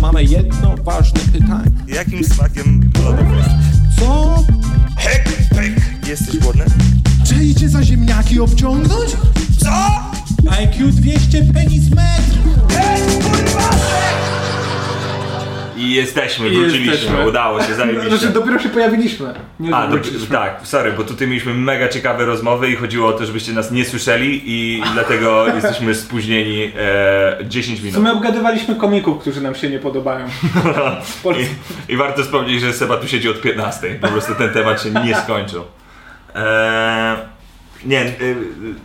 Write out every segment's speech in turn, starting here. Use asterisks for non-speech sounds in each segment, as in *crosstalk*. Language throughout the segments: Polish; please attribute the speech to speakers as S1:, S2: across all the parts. S1: mamy jedno ważne pytanie.
S2: Jakim smakiem lodów jesteś?
S1: Co?
S2: Hek, hek. Tak, Jesteś głodny?
S3: Czy idzie za ziemniaki obciągnąć?
S2: Co?
S1: IQ 200 penis metr!
S4: I jesteśmy, wróciliśmy,
S5: Jesteśmy.
S4: udało się,
S5: Znaczy,
S4: zajebiście.
S5: dopiero się pojawiliśmy. Nie
S4: A, to,
S5: wróciliśmy.
S4: tak, sorry, bo tutaj mieliśmy mega ciekawe rozmowy i chodziło o to, żebyście nas nie słyszeli i dlatego jesteśmy spóźnieni e, 10
S5: W
S4: minut.
S5: sumie obgadywaliśmy komików, którzy nam się nie podobają. Polscy.
S4: *laughs* I, I warto wspomnieć, że Seba tu siedzi od 15. Po prostu ten temat się nie skończył. Eee, nie, y, y,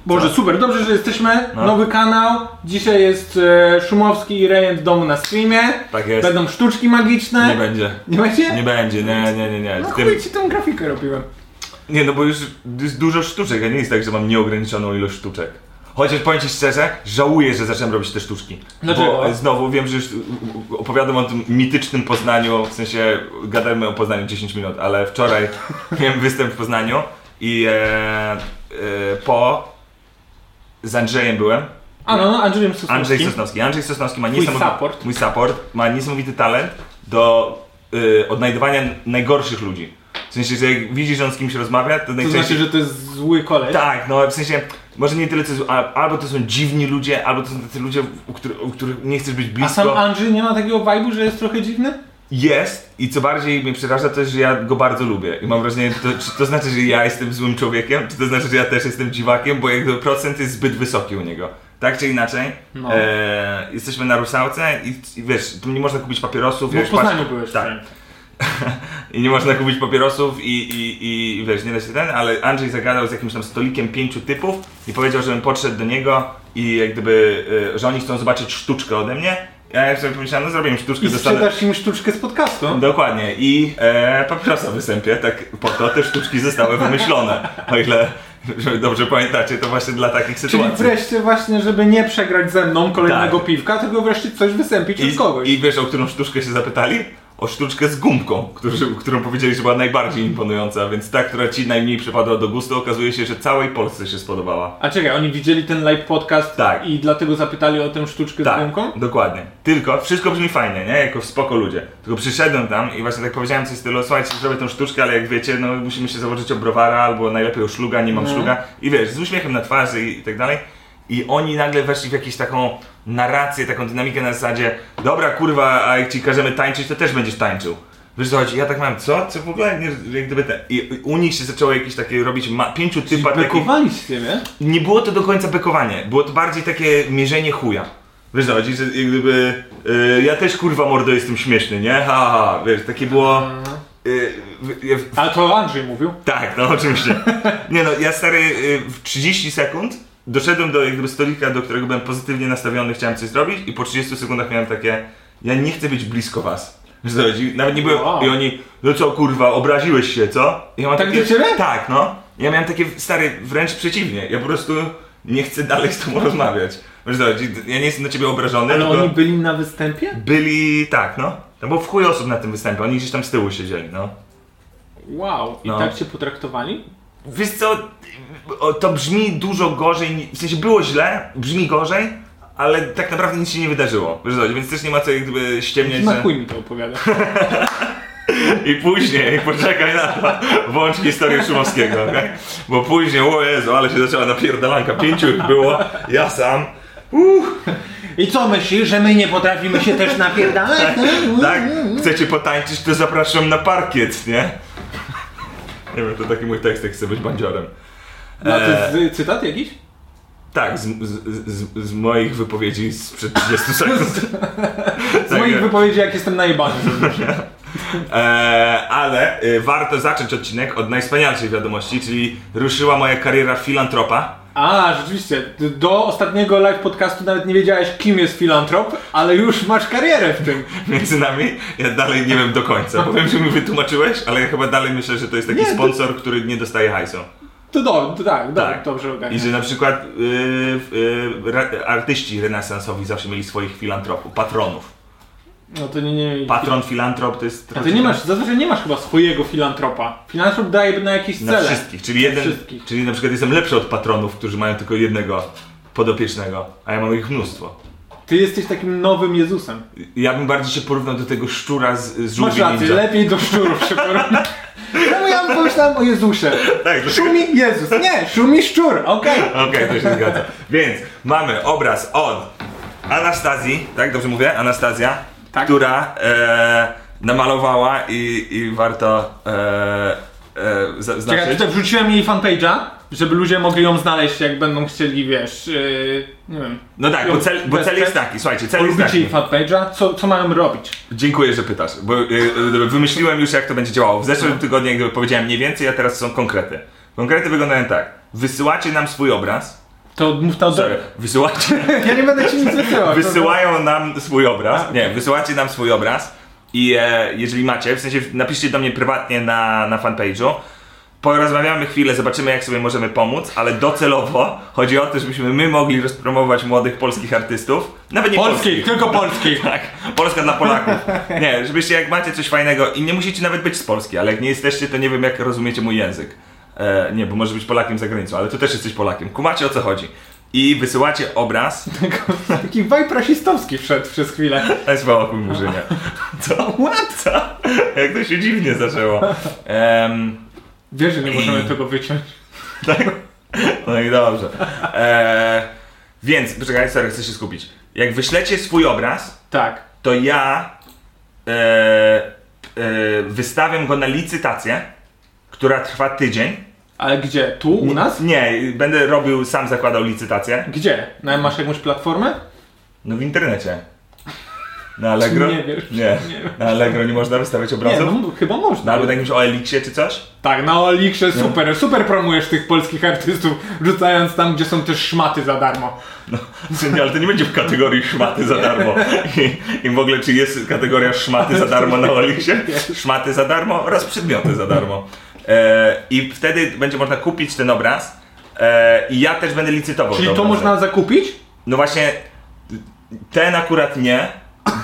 S5: Boże,
S4: co?
S5: super, dobrze, że jesteśmy.
S4: No.
S5: Nowy kanał. Dzisiaj jest e, Szumowski i Rejent Domu na streamie.
S4: Tak jest.
S5: Będą sztuczki magiczne.
S4: nie będzie.
S5: Nie będzie?
S4: Nie będzie, nie, nie, nie, nie.
S5: No
S4: Tym,
S5: chuj ci tą grafikę robiłem.
S4: nie, no bo już jest dużo sztuczek, a nie jest tak, że mam nieograniczoną ilość sztuczek. Chociaż powiem ci szczerze, żałuję, że zacząłem robić te sztuczki.
S5: Dlaczego?
S4: Bo e, znowu wiem, że już e, opowiadam o tym mitycznym Poznaniu, w sensie gadajmy o Poznaniu 10 minut, ale
S5: *laughs*
S4: wczoraj miałem występ w Poznaniu i e, e, po z Andrzejem byłem.
S5: A no, no Andrzejem Sosnowskim.
S4: Andrzej Sosnowski. Andrzej Sosnowski ma niesamowity,
S5: support.
S4: mój support, ma niesamowity talent do y, odnajdywania najgorszych ludzi. W sensie, że jak widzisz, że on z kimś rozmawia, to
S5: To
S4: najczęściej...
S5: znaczy, że to jest zły koleś.
S4: Tak, no w sensie, może nie tyle, co jest, a- albo to są dziwni ludzie, albo to są tacy ludzie, u których, u których nie chcesz być
S5: A
S4: blisko.
S5: sam Andrzej nie ma takiego vibe'u, że jest trochę dziwny?
S4: Jest i co bardziej mnie przeraża to jest, że ja go bardzo lubię i mam wrażenie, to, czy to znaczy, że ja jestem złym człowiekiem, czy to znaczy, że ja też jestem dziwakiem, bo jakby procent jest zbyt wysoki u niego. Tak czy inaczej,
S5: No.
S4: e, jesteśmy na Rusałce i, i wiesz, tu nie można kupić papierosów.
S5: Bo
S4: wiesz,
S5: w Poznaniu
S4: patrz-
S5: byłeś.
S4: Tak. I nie można kupić papierosów i, i, i, i wiesz, nie da się ten, ale Andrzej zagadał z jakimś tam stolikiem pięciu typów i powiedział, żebym podszedł do niego i jak gdyby, e, że oni chcą zobaczyć sztuczkę ode mnie. Ja sobie pomyślałem, no zrobię im sztuczkę,
S5: I
S4: dostanę...
S5: sprzedasz im sztuczkę z podcastu.
S4: Dokładnie. I e, papierosa występie, tak po to te sztuczki zostały wymyślone. O ile że dobrze pamiętacie, to właśnie dla takich
S5: Czyli
S4: sytuacji.
S5: wreszcie właśnie, żeby nie przegrać ze mną kolejnego
S4: Tak.
S5: piwka, tylko wreszcie coś wysępić od kogoś.
S4: I, I wiesz, o którą sztuczkę się zapytali? O sztuczkę z gumką, którzy, którą powiedzieli, że była najbardziej imponująca, więc ta, która ci najmniej przypadła do gustu, okazuje się, że całej Polsce się spodobała.
S5: A czekaj, oni widzieli ten live podcast
S4: Tak.
S5: i dlatego zapytali o tę sztuczkę z gumką?
S4: dokładnie. Tylko, wszystko brzmi fajnie, nie? Jako spoko ludzie. Tylko przyszedłem tam i właśnie tak powiedziałem coś w stylu, słuchajcie, zrobię tą sztuczkę, ale jak wiecie, no musimy się założyć o browara albo najlepiej o szluga, nie mam
S5: No.
S4: szluga. I wiesz, z uśmiechem na twarzy i, i tak dalej. I oni nagle weszli w jakąś taką narrację, taką dynamikę na zasadzie dobra kurwa, a jak ci każemy tańczyć, to też będziesz tańczył. Wiesz co chodzi? Ja tak mam, co? Co w ogóle? Nie, jak gdyby te... I i u nich się zaczęło jakieś takie robić ma... pięciu typa takich
S5: Bekowali z ciebie?
S4: nie było to do końca bekowanie, było to bardziej takie mierzenie chuja. Wiesz, co chodzi, że jak gdyby y, ja też kurwa mordo jestem śmieszny, nie? Ha, ha, ha. wiesz, takie było... y, w- ja w-
S5: A to Andrzej mówił.
S4: tak, no oczywiście. Nie no, ja stary y, w 30 sekund doszedłem do jakby stolika, do którego byłem pozytywnie nastawiony, chciałem coś zrobić i po 30 sekundach miałem takie, ja nie chcę być blisko was. Wiesz, co chodzi? Nawet nie byłem,
S5: Wow.
S4: i oni, no co kurwa, obraziłeś się, co? I ja mam
S5: Tak
S4: takie,
S5: do ciebie?
S4: Tak, no. Ja miałem takie, stary, wręcz przeciwnie, ja po prostu nie chcę dalej z tobą rozmawiać. Wiesz, co chodzi? Ja nie jestem na ciebie obrażony,
S5: Ale
S4: tylko
S5: oni byli na występie?
S4: byli, tak, no. No bo w chuj osób na tym występie, oni gdzieś tam z tyłu siedzieli, no.
S5: Wow. I
S4: No.
S5: tak cię potraktowali?
S4: Wiesz co, o, to brzmi dużo gorzej, ni- w sensie było źle, brzmi gorzej, ale tak naprawdę nic się nie wydarzyło, wiesz co, więc też nie ma co jak gdyby ściemniać,
S5: Na
S4: że...
S5: chuj mi to opowiada.
S4: *laughs* I później, *laughs* poczekaj na to, włącz historię Szumowskiego, okej? Bo później, o Jezu, ale się zaczęła napierdalanka, pięciu ich było, ja sam,
S5: I co myślisz, że my nie potrafimy się też napierdalać? No,
S4: tak, chcecie potańczyć, to zapraszam na parkiet, nie? Nie wiem, to taki mój tekst, jak chcę być bandziorem.
S5: No to jest
S4: E-
S5: y, cytat jakiś?
S4: Tak, z, z, z, z moich wypowiedzi sprzed 30 sekund. Tak.
S5: Z moich wypowiedzi jak jestem najebany. znaczy.
S4: Eee, ale e, warto zacząć odcinek od najwspanialszej wiadomości, czyli ruszyła moja kariera filantropa.
S5: A, rzeczywiście. ty Do ostatniego live podcastu nawet nie wiedziałeś, kim jest filantrop, ale już masz karierę w tym.
S4: Między nami ja dalej nie wiem do końca. Powiem, że mi wytłumaczyłeś, ale ja chyba dalej myślę, że to jest taki
S5: Nie, to-
S4: sponsor, który nie dostaje hajsu.
S5: To do, to tak, do,
S4: Tak.
S5: dobrze ogarniam.
S4: I że na przykład y, y, ra- artyści renesansowi zawsze mieli swoich filantropów, patronów.
S5: No to nie, nie.
S4: Patron, filantrop to jest...
S5: A ty nie masz, zazwyczaj nie masz chyba swojego filantropa. Filantrop daje na jakieś
S4: Na
S5: cele.
S4: wszystkich, czyli jeden,
S5: wszystkich.
S4: czyli na przykład jestem lepszy od patronów, którzy mają tylko jednego podopiecznego, a ja mam ich mnóstwo.
S5: Ty jesteś takim nowym Jezusem.
S4: Ja bym bardziej się porównał do tego szczura z, z
S5: Masz
S4: żółwi
S5: rację,
S4: ninja.
S5: lepiej do szczurów się
S4: *laughs*
S5: porównać. No ja pomyślałem o Jezusie.
S4: Tak, dlatego-
S5: Szumi Jezus. Nie, szumi szczur, okej.
S4: Okej, to się zgadza. Więc mamy obraz od Anastazji, tak dobrze mówię? Anastazja,
S5: Tak.
S4: która e, namalowała i, i warto e, e, za-
S5: Czekaj,
S4: znaczyć.
S5: tutaj wrzuciłem jej fanpage'a, żeby ludzie mogli ją znaleźć, jak będą chcieli, wiesz, yy, nie wiem.
S4: No tak, bo cel, bo cel jest taki, słuchajcie, cel jest
S5: Polubicie
S4: taki.
S5: jej fanpage'a, co, co mają robić?
S4: Dziękuję, że pytasz, bo y, y, wymyśliłem już jak to będzie działało. W
S5: No.
S4: zeszłym tygodniu jakby powiedziałem mniej więcej, a teraz są konkrety. Konkrety wyglądają tak. Wysyłacie nam swój obraz.
S5: To mów tam do...
S4: Sorry, wysyłacie...
S5: Ja nie będę ci nic wysyłał.
S4: Wysyłają nam swój obraz. Nie, wysyłacie nam swój obraz i e, jeżeli macie, w sensie napiszcie do mnie prywatnie na, na fanpage'u. Porozmawiamy chwilę, zobaczymy jak sobie możemy pomóc, ale docelowo chodzi o to, żebyśmy my mogli rozpromować młodych polskich artystów. Nawet nie
S5: Polski, tylko polski.
S4: *laughs* tak, Polska dla Polaków. Nie, żebyście jak macie coś fajnego i nie musicie nawet być z Polski, ale jak nie jesteście, to nie wiem jak rozumiecie mój język. E, nie, bo może być Polakiem za granicą, ale tu też jesteś Polakiem. Kumacie o co chodzi. I wysyłacie obraz
S5: znaczy, Taki vibe rasistowski wszedł przez chwilę.
S4: SW chuj murzynie. *laughs* Co? What? Co? Jak to się dziwnie zaczęło. Em,
S5: Wiesz, że nie
S4: Mm.
S5: możemy tego wyciąć.
S4: no i dobrze. E, więc, poczekaj, sorry, chcę się skupić. Jak wyślecie swój obraz,
S5: Tak.
S4: to ja e, e, wystawiam go na licytację, która trwa tydzień.
S5: Ale gdzie? Tu? U nas?
S4: Nie, będę robił, sam zakładał licytację.
S5: Gdzie? Na, masz jakąś platformę?
S4: No w internecie. Na Allegro?
S5: Nie wiesz.
S4: Nie. Na Allegro nie można wystawiać
S5: Nie,
S4: obrazów?
S5: no, chyba
S4: No,
S5: można.
S4: albo na jakimś OLX-ie czy coś?
S5: Tak, na Oliksze super, super promujesz tych polskich artystów, rzucając tam, gdzie są też szmaty za darmo.
S4: Czy Nie, No, *laughs* ale to nie będzie w kategorii szmaty za darmo. I, I w ogóle czy jest kategoria szmaty za darmo na Oliksie? Szmaty za darmo oraz przedmioty za darmo. E, I wtedy będzie można kupić ten obraz e, i ja też będę licytował.
S5: Czyli
S4: te
S5: to
S4: obrazy.
S5: można zakupić?
S4: No właśnie, ten akurat nie,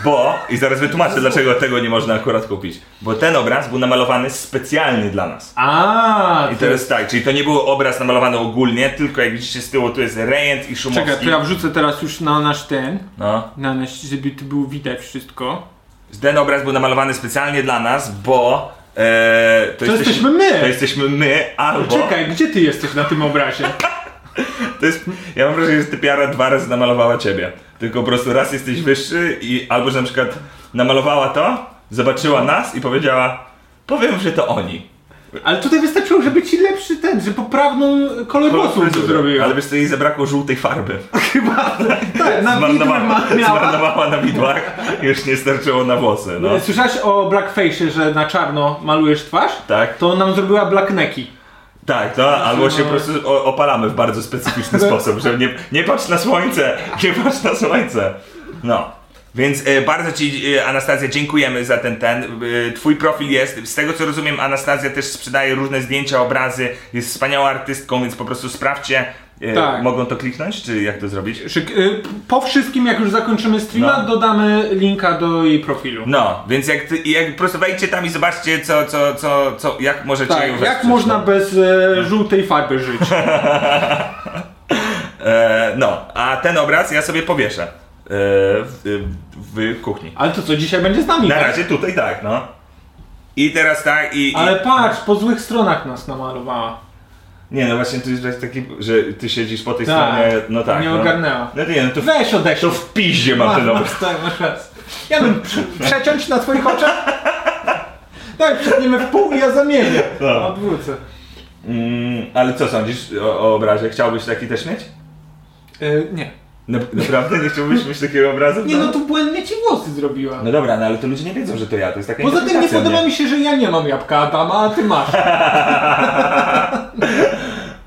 S4: bo... I zaraz wytłumaczę, dlaczego tego nie można akurat kupić. Bo ten obraz był namalowany specjalnie dla nas.
S5: A,
S4: I teraz tak, czyli to nie był obraz namalowany ogólnie, tylko jak widzicie z tyłu tu jest Rejent i Szumowski.
S5: Czekaj, to ja wrzucę teraz już na nasz ten,
S4: No.
S5: na nasz, żeby tu było widać wszystko.
S4: Ten obraz był namalowany specjalnie dla nas, bo e, to,
S5: jesteśmy my. No
S4: To jesteśmy my, albo.
S5: Czekaj, gdzie ty jesteś na tym obrazie?
S4: To jest, ja mam wrażenie, że typiara dwa razy namalowała ciebie. Tylko po prostu raz jesteś wyższy i albo że na przykład namalowała to, zobaczyła
S5: No.
S4: nas i powiedziała, powiem, że to oni.
S5: Ale tutaj wystarczyło, żeby ci lepszy ten, że poprawną kolor włosów
S4: Fryzurę.
S5: zrobiła.
S4: Ale wiesz, co jej zabrakło żółtej farby.
S5: chyba tak, na widmę
S4: Zmarnowała,
S5: ma- miała.
S4: zmarnowała na widłach, już nie starczyło na włosy. No.
S5: Słyszałeś o blackface'ie, że na czarno malujesz twarz?
S4: Tak.
S5: To nam zrobiła blacknecki.
S4: Tak, to albo się po prostu o- opalamy w bardzo specyficzny
S5: No.
S4: sposób, że nie, nie patrz na słońce, nie patrz na słońce. No. Więc e, bardzo Ci, e, Anastazja, dziękujemy za ten ten. E, twój profil jest, z tego co rozumiem, Anastazja też sprzedaje różne zdjęcia, obrazy, jest wspaniałą artystką, więc po prostu sprawdźcie. E,
S5: Tak.
S4: Mogą to kliknąć, czy jak to zrobić?
S5: Szyk, y, po wszystkim, jak już zakończymy streama,
S4: No.
S5: dodamy linka do jej profilu.
S4: No, więc jak, ty, jak po prostu wejdźcie tam i zobaczcie, co, co, co, co jak możecie
S5: tak,
S4: ją
S5: jak
S4: wesprzeć,
S5: można
S4: no.
S5: bez e, żółtej farby żyć?
S4: E, no, a ten obraz ja sobie powieszę e, w, w kuchni.
S5: Ale to co, dzisiaj będzie z nami,
S4: Na
S5: tak?
S4: razie tutaj tak, no. I teraz tak i... i...
S5: Ale patrz, po złych stronach nas namalowała.
S4: Nie, no właśnie tu jest taki, że ty siedzisz po tej
S5: Tak.
S4: stronie, no tak.
S5: Nie
S4: no.
S5: ogarnęła.
S4: No nie, no to w,
S5: Weź odejdź.
S4: to w piździe mam
S5: Masz,
S4: ten obraz.
S5: masz, tak, masz raz. Ja bym przy, przeciąć na twoich oczach? Daj, przetniemy w pół i ja zamienię. No,
S4: Tak.
S5: Odwrócę.
S4: Mm, ale co sądzisz o, o obrazie? Chciałbyś taki też mieć?
S5: Y, nie.
S4: Na, naprawdę nie chciałbyś mieć takiego obrazu?
S5: Nie no, tu błędnie ci włosy zrobiła.
S4: No dobra, no ale to ludzie nie wiedzą, że to ja, to jest taka
S5: Poza tym nie
S4: interpretacja,
S5: podoba mi się, że ja nie mam jabłka Adama, a ty masz.
S4: *laughs*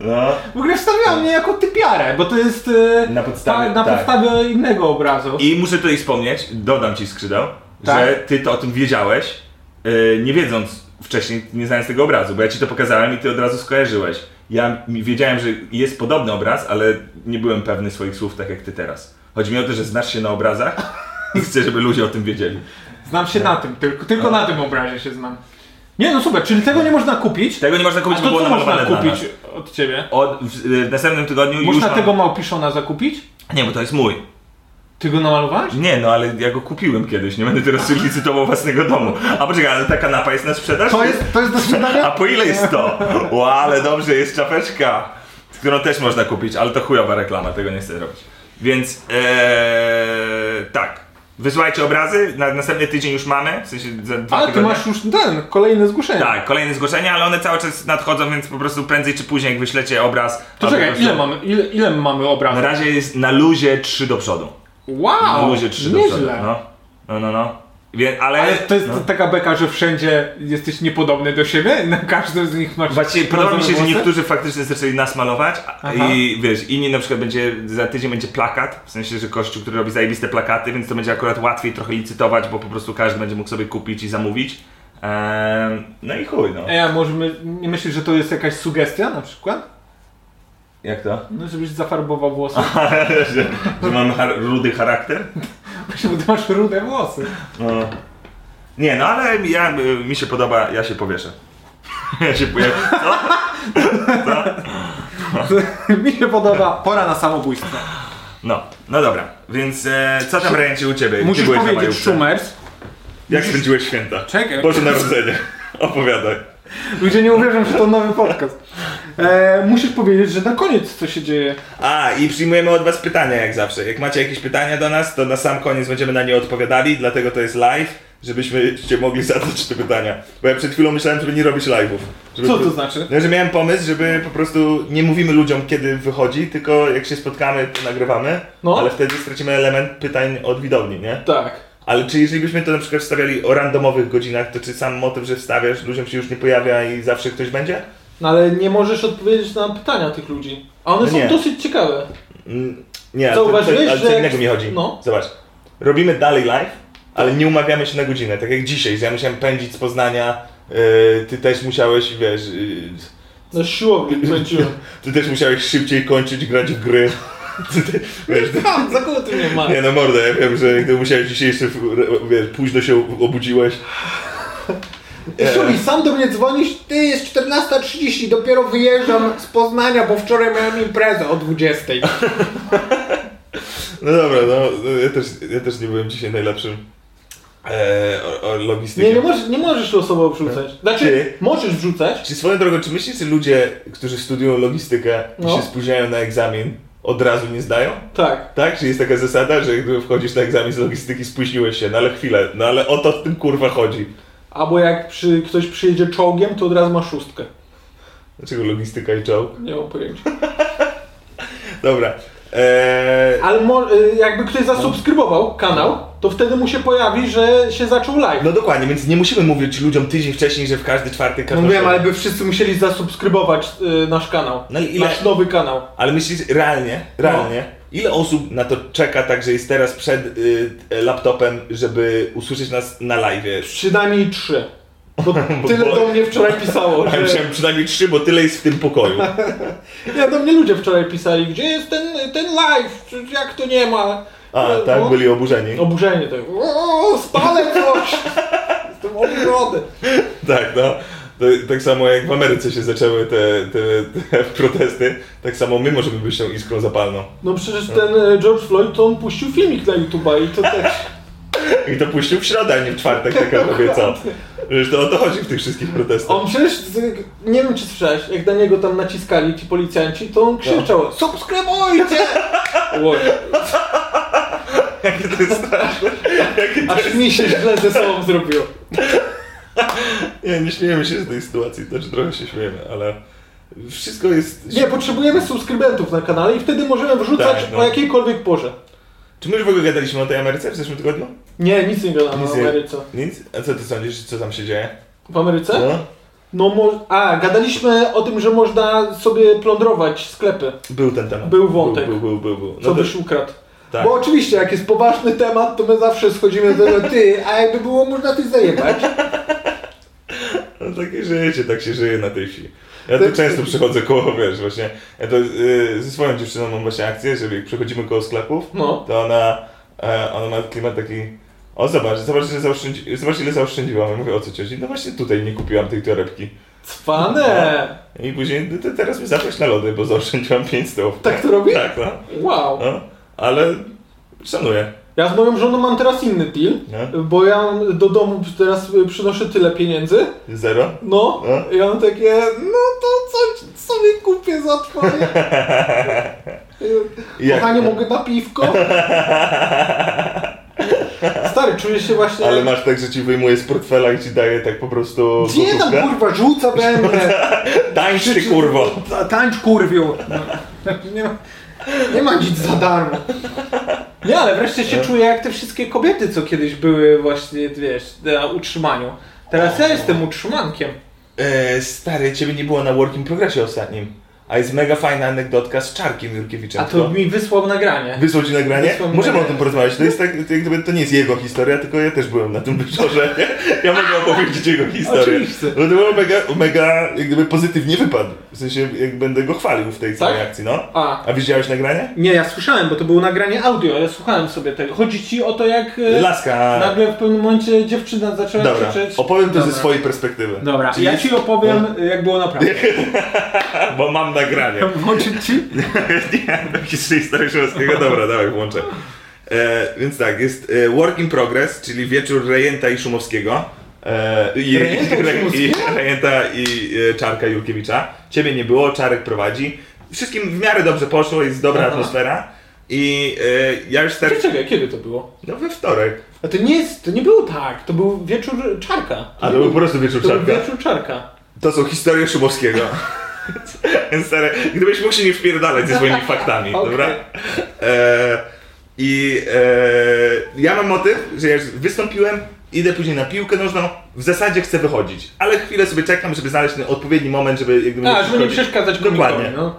S4: No.
S5: W ogóle wstawiła mnie jako typiarę, bo to jest e,
S4: Na podstawie-
S5: na
S4: tak.
S5: podstawie innego obrazu.
S4: I muszę tutaj wspomnieć, dodam ci skrzydeł,
S5: Tak.
S4: że ty to o tym wiedziałeś, yy, nie wiedząc wcześniej, nie znając tego obrazu, bo ja ci to pokazałem i ty od razu skojarzyłeś. Ja mi- wiedziałem, że jest podobny obraz, ale nie byłem pewny swoich słów tak jak ty teraz. Chodzi mi o to, że znasz się na obrazach i chcę, żeby ludzie o tym wiedzieli.
S5: Znam się
S4: no.
S5: na tym, tylko, tylko na tym obrazie się znam. Nie no super, czyli tego nie można kupić?
S4: Tego nie można
S5: A
S4: kupić, bo
S5: to
S4: było
S5: co można
S4: namalowane dla nas.
S5: kupić od ciebie?
S4: Od, w, w następnym tygodniu już
S5: Można
S4: mam-
S5: tego małpiszona zakupić?
S4: Nie, bo to jest mój.
S5: Ty go namalowałeś?
S4: Nie, no ale ja go kupiłem kiedyś, nie będę teraz *laughs* licytował własnego domu. A poczekaj, ale ta kanapa jest na sprzedaż?
S5: To jest, to jest do sprzedania?
S4: A po ile jest to? Ła, ale dobrze, jest czapeczka, którą też można kupić, ale to chujowa reklama, tego nie chcę robić. Więc ee, tak, wysyłajcie obrazy, na następny tydzień już mamy, w sensie za dwa
S5: A, ty
S4: tygodnie.
S5: masz już ten, kolejne zgłoszenie.
S4: Tak, kolejne zgłoszenia, ale one cały czas nadchodzą, więc po prostu prędzej czy później, jak wyślecie obraz...
S5: To
S4: albo po
S5: czekaj,
S4: prostu-
S5: ile mamy, ile, ile mamy
S4: Na
S5: obrazów?
S4: razie jest na luzie 3 do przodu. Na
S5: Wow,
S4: luzie 3 do przodu.
S5: nieźle.
S4: No, no, no. no. Wie, ale,
S5: Ale to jest
S4: no.
S5: taka beka, że wszędzie jesteś niepodobny do siebie? Na każdym z nich masz...
S4: Właśnie podoba mi się, że
S5: włosy?
S4: niektórzy faktycznie zaczęli nas malować a-
S5: Aha.
S4: i wiesz, inni na przykład będzie, za tydzień będzie plakat, w sensie, że Kościół, który robi zajebiste plakaty, więc to będzie akurat łatwiej trochę licytować, bo po prostu każdy będzie mógł sobie kupić i zamówić. Ehm, no i chuj, no.
S5: E, a może my, nie myślisz, że to jest jakaś sugestia na przykład?
S4: Jak to?
S5: No, żebyś zafarbował włosy.
S4: *laughs* że, że mam char- rudy charakter?
S5: *laughs* Bo ty masz rude włosy. *laughs*
S4: No. Nie, no ale ja, y, mi się podoba, ja się powieszę. *laughs* Ja się powieszę.
S5: Mi się podoba pora na samobójstwo.
S4: No, no dobra, więc e, co tam ręcie u ciebie? Gdzie
S5: Musisz
S4: byłeś na
S5: powiedzieć
S4: majówce?
S5: Schumers.
S4: Jak spędziłeś święta?
S5: Czekaj.
S4: Boże Narodzenie. *laughs* Opowiadaj.
S5: Ludzie nie uwierzą, że to nowy podcast. E, musisz powiedzieć, że na koniec co się dzieje.
S4: A, i przyjmujemy od was pytania jak zawsze. Jak macie jakieś pytania do nas, to na sam koniec będziemy na nie odpowiadali, dlatego to jest live, żebyście mogli zadać te pytania. Bo ja przed chwilą myślałem, żeby nie robić live'ów. Żeby
S5: Co to
S4: po-
S5: znaczy?
S4: No, że miałem pomysł, żeby po prostu nie mówimy ludziom, kiedy wychodzi, tylko jak się spotkamy, to nagrywamy,
S5: No.
S4: ale wtedy stracimy element pytań od widowni, nie?
S5: Tak.
S4: Ale czy jeżeli byśmy to na przykład wstawiali o randomowych godzinach, to czy sam motyw, że wstawiasz, ludziom się już nie pojawia i zawsze ktoś będzie?
S5: No ale nie możesz odpowiedzieć na pytania tych ludzi. A one
S4: No nie.
S5: są dosyć ciekawe.
S4: Mm, Nie,
S5: Zauważyłeś,
S4: ale co
S5: że-
S4: innego mi chodzi.
S5: no.
S4: Zobacz, robimy dalej live, ale nie umawiamy się na godzinę, tak jak dzisiaj, że ja musiałem pędzić z Poznania, yy, ty też musiałeś, wiesz, yy,
S5: No siłownie kręciłem. *laughs*
S4: ty też musiałeś szybciej kończyć grać w gry. Ty te- wiesz,
S5: Tam, za kogo ty mnie masz?
S4: nie no mordę, ja wiem, że ty musiałeś dzisiaj jeszcze, w- wiesz, późno się obudziłeś.
S5: Szuli, sam do mnie dzwonisz, ty jest 14.30, dopiero wyjeżdżam z Poznania, bo wczoraj miałem imprezę o 20.00.
S4: No dobra, no no, ja też, ja też nie byłem dzisiaj najlepszym e, o, o logistykiem.
S5: Nie, nie możesz, nie możesz osobą wrzucać. Znaczy,
S4: Ty.
S5: możesz wrzucać.
S4: Czy swoją drogą, czy myślisz, że ludzie, którzy studiują logistykę
S5: No.
S4: i się spóźniają na egzamin, od razu nie zdają?
S5: Tak.
S4: Tak? Czy jest taka zasada, że gdy wchodzisz na egzamin z logistyki, spóźniłeś się, no ale chwilę, no ale o to w tym kurwa chodzi.
S5: Albo jak przy, ktoś przyjedzie czołgiem, to od razu ma szóstkę.
S4: Dlaczego logistyka i czołg?
S5: Nie mam pojęcia.
S4: Dobra. Eee,
S5: Ale mo- y, jakby ktoś zasubskrybował kanał, to wtedy mu się pojawi, że się zaczął live.
S4: no dokładnie, więc nie musimy mówić ludziom tydzień wcześniej, że w każdy czwartek
S5: No
S4: każdą
S5: wiem,
S4: środę.
S5: ale by wszyscy musieli zasubskrybować y, nasz kanał.
S4: No i ile-
S5: Nasz nowy kanał.
S4: Ale myślisz, realnie, realnie,
S5: No.
S4: ile osób na to czeka tak, że jest teraz przed y, laptopem, żeby usłyszeć nas na live?
S5: Przynajmniej trzy. Bo tyle
S4: bo-
S5: do mnie wczoraj
S4: *laughs*
S5: pisało,
S4: Ja
S5: że...
S4: myślałem przynajmniej trzy, bo tyle jest w tym pokoju.
S5: Ja do mnie ludzie wczoraj pisali, gdzie jest ten, ten live, Czy- jak to nie ma.
S4: A,
S5: *laughs* No,
S4: tak,
S5: no,
S4: byli oburzeni.
S5: Oburzenie tak, o, spalę coś. Jestem oburzony.
S4: Tak, no. To, tak samo jak w Ameryce się zaczęły te, te, te *laughs* protesty, tak samo my możemy być tą iskrą zapalną.
S5: No przecież ten e, George Floyd, to on puścił filmik na YouTube'a i to też...
S4: I to puścił w środę, a nie w czwartek, tak jak mówię, co? Przecież to o to chodzi w tych wszystkich protestach.
S5: On przecież, z- nie wiem czy słyszałeś, jak na niego tam naciskali ci policjanci, to on krzyczał, subskrybujcie! Oj,
S4: Jakie to jest straszne. Jakie to...
S5: aż mi się źle ze sobą zrobiło.
S4: Nie, nie śmiejemy się z tej sytuacji, znaczy trochę się śmiejemy, ale wszystko jest...
S5: Nie, potrzebujemy subskrybentów na kanale i wtedy możemy wrzucać
S4: Tak, no.
S5: o jakiejkolwiek porze.
S4: Czy my już w ogóle gadaliśmy o tej Ameryce w zeszłym tygodniu?
S5: Nie, nic nie gadamy o Ameryce.
S4: Nic? A co ty sądzisz, co tam się dzieje?
S5: W Ameryce?
S4: No.
S5: No, mo- a, gadaliśmy o tym, że można sobie plądrować sklepy,
S4: Był ten temat.
S5: Był wątek.
S4: Był, był, był. był. No
S5: co
S4: to-
S5: byś ukradł.
S4: tak.
S5: Bo oczywiście, jak jest poważny temat, to my zawsze schodzimy do tego, ty, a jakby było, można coś zajebać.
S4: No takie życie, tak się żyje na tej wsi. Ja
S5: Tak
S4: tu często przychodzę koło, wiesz, właśnie, ja to y, ze swoją dziewczyną mam właśnie akcję, że jak przechodzimy koło sklepów,
S5: No.
S4: to ona, e, ona ma klimat taki, o zobacz, zobacz, że zaoszczędzi, zobacz ile zaoszczędziłam. Ja mówię, o co cioci? No właśnie tutaj nie kupiłam tej torebki.
S5: Cwane!
S4: I później, no to teraz mi zaproś na lody, bo zaoszczędziłam 5 stołów.
S5: Tak to robi?
S4: Tak, no.
S5: Wow.
S4: no. Ale Szanuję.
S5: Ja z moją żoną mam teraz inny deal,
S4: No.
S5: bo ja do domu teraz y, przynoszę tyle pieniędzy,
S4: Zero?
S5: no,
S4: No.
S5: i on takie, no to coś sobie kupię za
S4: *laughs*
S5: twoje.
S4: I jak?
S5: Kochanie, mogę na piwko?
S4: *laughs*
S5: Stary, czuję się właśnie...
S4: Ale masz tak, że ci wyjmuje z portfela i ci daje tak po prostu
S5: Gdzie tam
S4: gotówkę?
S5: kurwa, rzuca będę,
S4: Tańcz ty kurwo!
S5: Ta- tańcz kurwiu. No. Nie, ma, nie ma nic za darmo. Nie, ale wreszcie się czuję jak te wszystkie kobiety, co kiedyś były właśnie, wiesz, na utrzymaniu. Teraz ja jestem utrzymankiem.
S4: E, stary, ciebie nie było na Working Progressie ostatnim. A jest mega fajna anegdotka z Czarkiem Jurkiewiczem.
S5: A to mi wysłał nagranie.
S4: Wysłał ci nagranie?
S5: Wysłał mi
S4: Możemy o
S5: nagranie.
S4: tym porozmawiać. To jest tak, to, jak gdyby, to nie jest jego historia, tylko ja też byłem na tym wieczorze. *laughs* Ja mogę opowiedzieć jego historię.
S5: Oczywiście.
S4: No to było mega, mega jak gdyby pozytywnie wypadł. W sensie jak będę go chwalił w tej całej
S5: Tak?
S4: akcji, no.
S5: A.
S4: A widziałeś nagranie?
S5: Nie, ja słyszałem, bo to było nagranie audio, ja słuchałem sobie tego. Chodzi ci o to, jak e,
S4: Laska.
S5: nagle w pewnym momencie dziewczyna zaczęła
S4: Dobra,
S5: krzyczeć.
S4: opowiem to ze
S5: Dobra.
S4: swojej perspektywy.
S5: Dobra,
S4: Czyli-
S5: ja ci opowiem, jak było
S4: *laughs*
S5: naprawdę.
S4: Bo mam nagranie.
S5: *laughs* Włączyć ci?
S4: *laughs* nie, taki czyli stary Szymowskiego. Dobra, dawaj, włączę. E, więc tak, jest e, Work in Progress, czyli wieczór Rejenta i Szumowskiego. E, i,
S5: Rejenta i Szumowskiego?
S4: i, Rejenta i e, Czarka Jurkiewicza. Ciebie nie było, Czarek prowadzi. Wszystkim w miarę dobrze poszło, jest dobra atmosfera. I e, ja już stary...
S5: Czekaj, kiedy to było?
S4: No we wtorek.
S5: A to nie jest, to nie było tak, to był wieczór czarka.
S4: A to był po prostu wieczór
S5: No, To był
S4: Czarka.
S5: wieczór czarka.
S4: To są historie Szumowskiego. *laughs* Więc stary, gdybyś mógł się nie wpierdalać ze swoimi faktami,
S5: Okej.
S4: dobra? E, I e, ja mam motyw, że ja już wystąpiłem, idę później na piłkę nożną, w zasadzie chcę wychodzić, ale chwilę sobie czekam, żeby znaleźć ten odpowiedni moment, żeby... jak gdyby
S5: A, żeby nie przeszkadzać
S4: Dokładnie.
S5: komunikowi,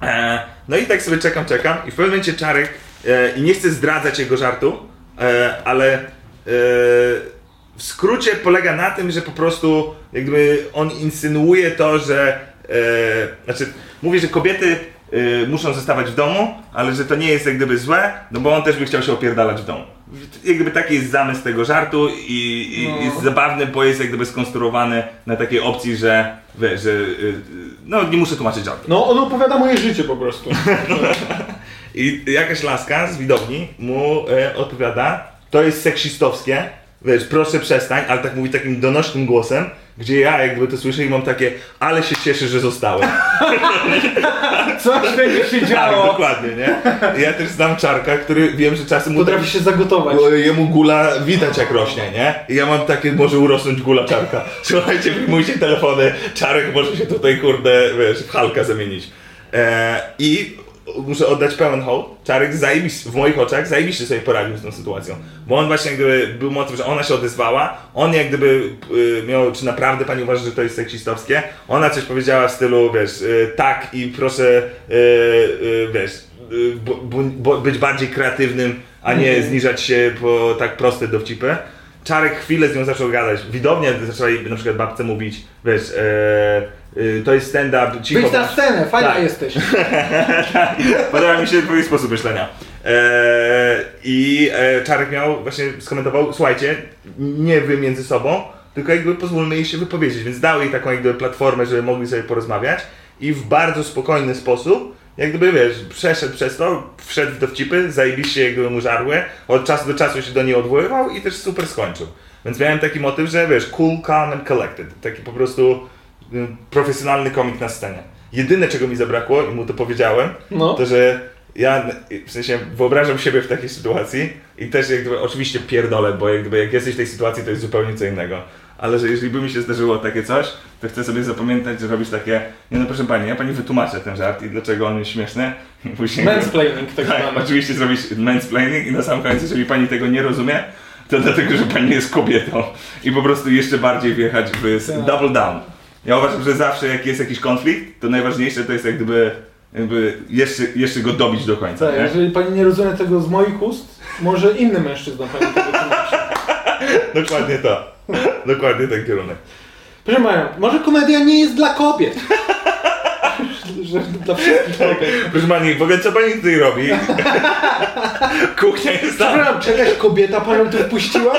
S5: no.
S4: E, no i tak sobie czekam, czekam i w pewnym momencie Czarek, e, i nie chcę zdradzać jego żartu, e, ale e, w skrócie polega na tym, że po prostu jakby on insynuuje to, że e, znaczy mówi, że kobiety e, muszą zostawać w domu, ale że to nie jest jak gdyby złe, no bo on też by chciał się opierdalać w domu. Jak gdyby taki jest zamysł tego żartu i, i
S5: No.
S4: jest zabawny, bo jest jak gdyby skonstruowany na takiej opcji, że, wiesz, że y, y, no nie muszę tłumaczyć żartu.
S5: No, on opowiada moje życie po *laughs* prostu.
S4: I jakaś laska z widowni mu e, odpowiada, to jest seksistowskie, wiesz, proszę przestań, ale tak mówi takim donośnym głosem, gdzie ja jakby to słyszę i mam takie, ale się cieszę, że zostałem.
S5: Coś będzie się
S4: Tak,
S5: działo.
S4: dokładnie, nie? Ja też znam Czarka, który wiem, że czasem mu tak,
S5: Potrafi się zagotować.
S4: bo jemu gula widać jak rośnie, nie? I ja mam takie, może urosnąć gula Czarka. Słuchajcie, wyjmujcie telefony, Czarek może się tutaj, kurde, wiesz, w Halka zamienić. E, I muszę oddać pełen hołd, Czarek zajebiście, w moich oczach zajebiście sobie poradził z tą sytuacją. Bo on właśnie jakby był motyw, że ona się odezwała, on jak gdyby y, miał, czy naprawdę pani uważa, że to jest seksistowskie, ona coś powiedziała w stylu, wiesz, y, tak i proszę, y, y, wiesz, y, bu- bu- bo- być bardziej kreatywnym, a nie zniżać się po tak proste dowcipy. Czarek chwilę z nią zaczął gadać. Widownia zaczęła jej na przykład babce mówić, wiesz, e, y, to jest stand-up, cicho.
S5: Wyjdź na scenę, fajna
S4: Tak. *laughs*
S5: jesteś.
S4: Podoba mi się twój sposób myślenia. Eee, I e, Czarek miał, właśnie skomentował, słuchajcie, nie wy między sobą, tylko jakby pozwólmy jej się wypowiedzieć, więc dał jej taką jakby platformę, żeby mogli sobie porozmawiać i w bardzo spokojny sposób, jak gdyby wiesz, przeszedł przez to, wszedł w dowcipy, zajebiście jakby mu żarły, od czasu do czasu się do niej odwoływał i też super skończył. Więc miałem taki motyw, że wiesz, cool, calm and collected, taki po prostu y, profesjonalny komik na scenie. Jedyne czego mi zabrakło i mu to powiedziałem,
S5: No.
S4: to że ja w sensie wyobrażam siebie w takiej sytuacji i też jak gdyby, oczywiście pierdolę, bo jak, gdyby, jak jesteś w tej sytuacji to jest zupełnie co innego. Ale że jeżeli by mi się zdarzyło takie coś, to chcę sobie zapamiętać, że robisz takie, nie no proszę pani, ja pani wytłumaczę ten żart i dlaczego on jest śmieszny. I później-
S5: Mansplaining
S4: tak,
S5: tak zwany.
S4: oczywiście zrobić mansplaining i na sam koniec, jeżeli pani tego nie rozumie, to dlatego, że pani jest kobietą i po prostu jeszcze bardziej wjechać w s-
S5: Tak.
S4: double down. Ja uważam, że zawsze jak jest jakiś konflikt, to najważniejsze to jest jak gdyby, jakby jeszcze, jeszcze go dobić do końca.
S5: Tak,
S4: nie?
S5: jeżeli pani nie rozumie tego z moich ust, może inny mężczyzna pani tego tłumaczy.
S4: Dokładnie to. Dokładnie ten kierunek.
S5: Proszę Maja, może komedia nie jest dla kobiet. *laughs* Że dla wszystkich tak. kobiet.
S4: Proszę pani, w ogóle co pani tutaj
S5: *laughs*
S4: robi? Kuchnia jest tam.
S5: Przepraszam, czy jakaś kobieta panią tu wpuściła?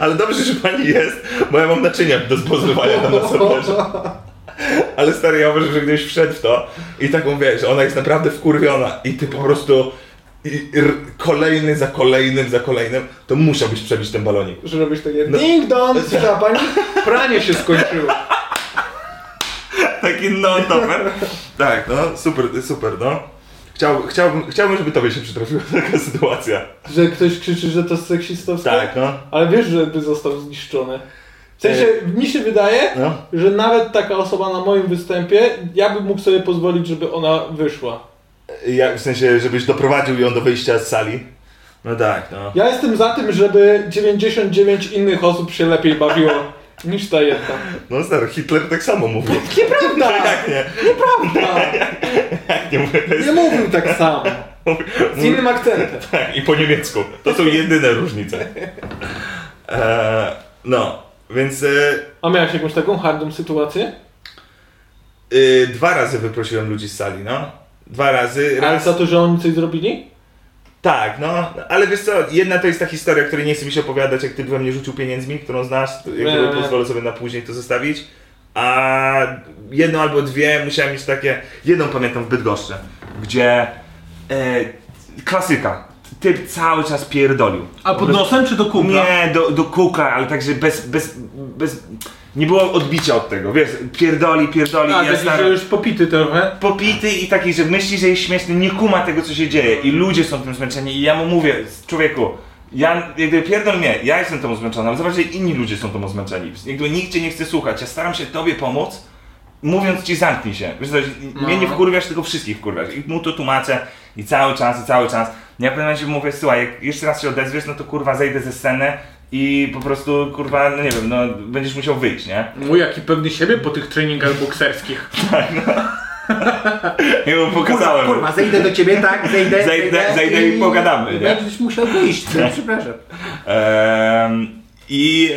S4: Ale dobrze, że pani jest, bo ja No,
S5: *laughs*
S4: mam naczynia do spożywania tam na serwerze. Ale stary, ja uważam, że gdybyś wszedł w to i taką wiesz, ona jest naprawdę wkurwiona i ty po prostu i, i r, kolejny za kolejnym za kolejnym, to musiałbyś przebić ten balonik.
S5: Że robisz takie
S4: No.
S5: ding dong, słyszała pani? Pranie się skończyło.
S4: Taki non-topper. Tak, no super, super, no. Chciał, chciałbym, chciałbym, żeby tobie się przytrafiła *laughs* taka sytuacja.
S5: Że ktoś krzyczy, że to seksistowskie?
S4: Tak, no.
S5: Ale wiesz, że by został zniszczony. W sensie, mi się wydaje,
S4: E. No.
S5: że nawet taka osoba na moim występie, ja bym mógł sobie pozwolić, żeby ona wyszła.
S4: Ja, w sensie, żebyś doprowadził ją do wyjścia z sali. No tak, no.
S5: Ja jestem za tym, żeby 99 innych osób się lepiej bawiło *laughs* niż ta jedna.
S4: No stary, Hitler tak samo mówił.
S5: Nieprawda!
S4: Jak nie?
S5: Nieprawda!
S4: Jak nie mówię, to jest-
S5: Nie mówił tak samo.
S4: No.
S5: Z innym akcentem.
S4: Tak, i po niemiecku. To są jedyne różnice. E, no, więc e,
S5: A miałeś jakąś taką hardą sytuację?
S4: y, dwa razy wyprosiłem ludzi z sali, no. Dwa razy.
S5: Ale
S4: Raz,
S5: za to, że oni coś zrobili?
S4: tak, no. Ale wiesz co, jedna to jest ta historia, której nie chce mi się opowiadać, jak ty we mnie rzucił pieniędzmi, którą znasz, to
S5: Nie,
S4: jakby
S5: nie.
S4: pozwolę sobie na później to zostawić. A jedną albo dwie musiałem mieć takie. Jedną pamiętam w Bydgoszczy, gdzie e, klasyka. Typ cały czas pierdolił.
S1: A pod nosem czy do kumpla?
S4: Nie, do, do kukla, ale także bez, bez, bez... Nie było odbicia od tego, wiesz, pierdoli, pierdoli,
S5: A,
S4: ja
S5: taki,
S4: staram...
S5: Tak, że już popity trochę.
S4: Popity i taki, że myśli, że jest śmieszny, nie kuma tego, co się dzieje i ludzie są tym zmęczeni i ja mu mówię, człowieku, ja, jakby pierdol nie, ja jestem tą zmęczony, ale zobacz, że inni ludzie są tą zmęczeni. Jakby nikt cię nie chce słuchać, ja staram się tobie pomóc, mówiąc ci zamknij się. Wiesz, co, mnie nie wkurwiasz, tylko wszystkich wkurwiasz. I mu to tłumaczę i cały czas, i cały czas. Ja w pewnym momencie mówię, słuchaj, jak jeszcze raz się odezwiesz, no to kurwa zejdę ze sceny i po prostu kurwa, no nie wiem, no będziesz musiał wyjść, nie?
S5: Mój jaki pewny siebie po tych treningach bokserskich.
S4: I mu pokazałem.
S6: Kurwa, zejdę do ciebie, tak? Zejdę,
S4: Zejdę, zejdę i pogadamy, nie?
S6: Będziesz musiał wyjść, przepraszam.
S4: Em, I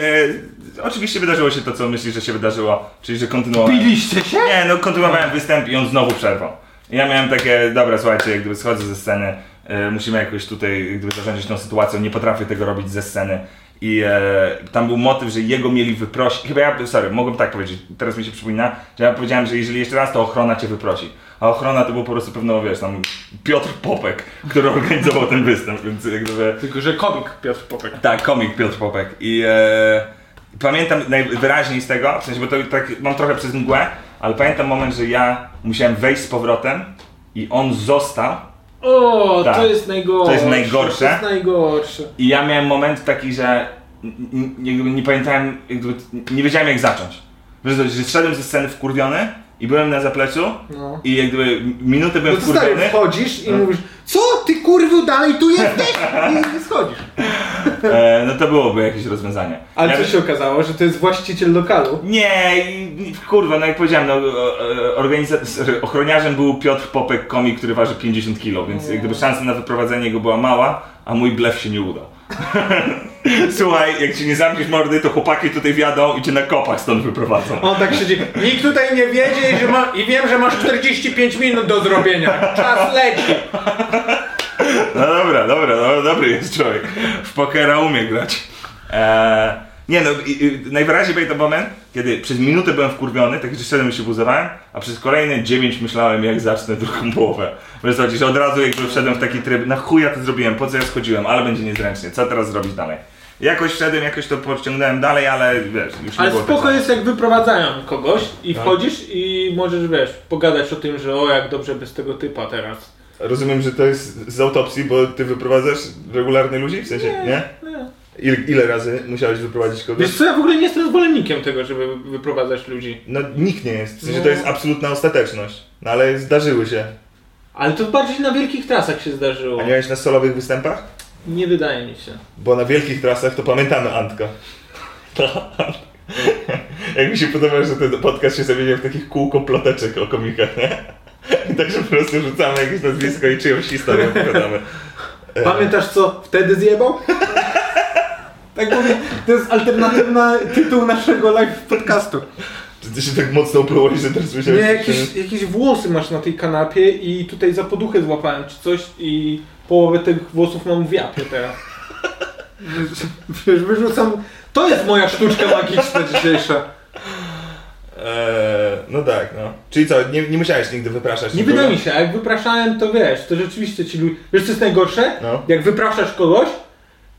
S4: e, oczywiście wydarzyło się to, co myślisz, że się wydarzyło, czyli że kontynuowałem.
S6: Piliście się?
S4: Nie, no kontynuowałem występ i on znowu przerwał. I Ja miałem takie, dobra, słuchajcie, jak gdyby schodzę ze sceny, e, musimy jakoś tutaj jak gdyby zarządzić tą sytuacją, nie potrafię tego robić ze sceny. I e, tam był motyw, że jego mieli wyprosić. Chyba ja, sorry, mogłem tak powiedzieć, teraz mi się przypomina, że ja powiedziałem, że jeżeli jeszcze raz, to ochrona cię wyprosi. A ochrona to był po prostu pewno, wiesz, tam Piotr Popek, który *laughs* organizował ten występ, więc jak gdyby...
S5: Tylko, że komik Piotr Popek.
S4: Tak, komik Piotr Popek. I e, pamiętam najwyraźniej z tego, w sensie, bo to tak mam trochę przez mgłę, ale pamiętam moment, że ja musiałem wejść z powrotem i on został.
S5: O,
S4: Tak.
S5: to jest najgorsze.
S4: To jest najgorsze.
S5: To jest najgorsze.
S4: I ja miałem moment taki, że n- n- jakby nie pamiętałem, jakby nie wiedziałem jak zacząć. Wiesz, że zszedłem ze sceny wkurwiony i byłem na zapleczu
S5: No.
S4: i jak gdyby minutę byłem
S5: No to No. stary,
S4: wkurwiony.
S5: wchodzisz i mówisz,
S6: Co? Ty kurwiu dalej tu jesteś? I schodzisz.
S4: E, no to byłoby jakieś rozwiązanie.
S5: ale
S4: Ja-
S5: co się okazało, że to jest właściciel lokalu.
S4: Nie, i- i- kurwa, no jak powiedziałem, no, e, organiza- sorry, ochroniarzem był Piotr Popek, komik, który waży 50 kg, więc jak gdyby szansa na wyprowadzenie go była mała, a mój blef się nie udał. *laughs* Słuchaj, jak ci nie zamkniesz mordy, to chłopaki tutaj wjadą i cię na kopach stąd wyprowadzą.
S5: On tak siedzi, nikt tutaj nie wiedzie i, że ma, i wiem, że masz 45 minut do zrobienia. Czas leci.
S4: No dobra, dobra, no, dobry jest człowiek. W pokera umie grać. Eee, nie no, i, i, najwyraźniej był to moment, kiedy przez minutę byłem wkurwiony, tak że szedłem i się buzowałem, a przez kolejne dziewięć myślałem, jak zacznę drugą połowę. Wiesz co, że od razu jakby wszedłem w taki tryb, na chuja to zrobiłem, po co ja schodziłem, ale będzie niezręcznie, co teraz zrobić dalej? Jakoś wszedłem, jakoś to pociągnąłem dalej, ale wiesz, już nie
S5: Ale
S4: było
S5: spoko
S4: tak
S5: jest jak wyprowadzają kogoś i wchodzisz i możesz, wiesz, pogadać o tym, że o jak dobrze bez tego typa teraz.
S4: Rozumiem, że to jest z autopsji, bo ty wyprowadzasz regularnie ludzi? W sensie, nie? Ile, ile razy musiałeś wyprowadzić kogoś?
S5: Wiesz co, ja w ogóle nie jestem zwolennikiem tego, żeby wyprowadzać ludzi.
S4: No nikt nie jest, w sensie to jest absolutna ostateczność. No ale zdarzyły się.
S5: Ale to bardziej na wielkich trasach się zdarzyło.
S4: A miałeś na solowych występach?
S5: Nie wydaje mi się.
S4: Bo na wielkich trasach to pamiętamy
S5: *laughs*
S4: Antka.
S5: Tak.
S4: Jak mi się podoba, że ten podcast się zamienia w takich kółko ploteczek o komikach, nie? I tak, że po prostu rzucamy jakieś nazwisko i czyjąś historię opowiadamy.
S5: Pamiętasz co wtedy zjebał? *laughs*
S6: Tak mówię, to jest alternatywny tytuł naszego live podcastu.
S4: Czy ty się tak mocno uplułeś, że teraz
S5: Nie,
S4: myślałeś...
S5: jakieś, jakieś włosy masz na tej kanapie i tutaj za poduchę złapałem czy coś i połowę tych włosów mam w japie teraz.
S6: Wiesz, wyrzucam
S5: To jest moja sztuczka magiczna dzisiejsza.
S4: Eee, No tak, no. Czyli co, nie, nie musiałeś nigdy wypraszać
S5: Nie
S4: nikogo?
S5: wyda mi się, a jak wypraszałem, to wiesz, to rzeczywiście ci ludzie... Wiesz, co jest najgorsze?
S4: No.
S5: Jak wypraszasz kogoś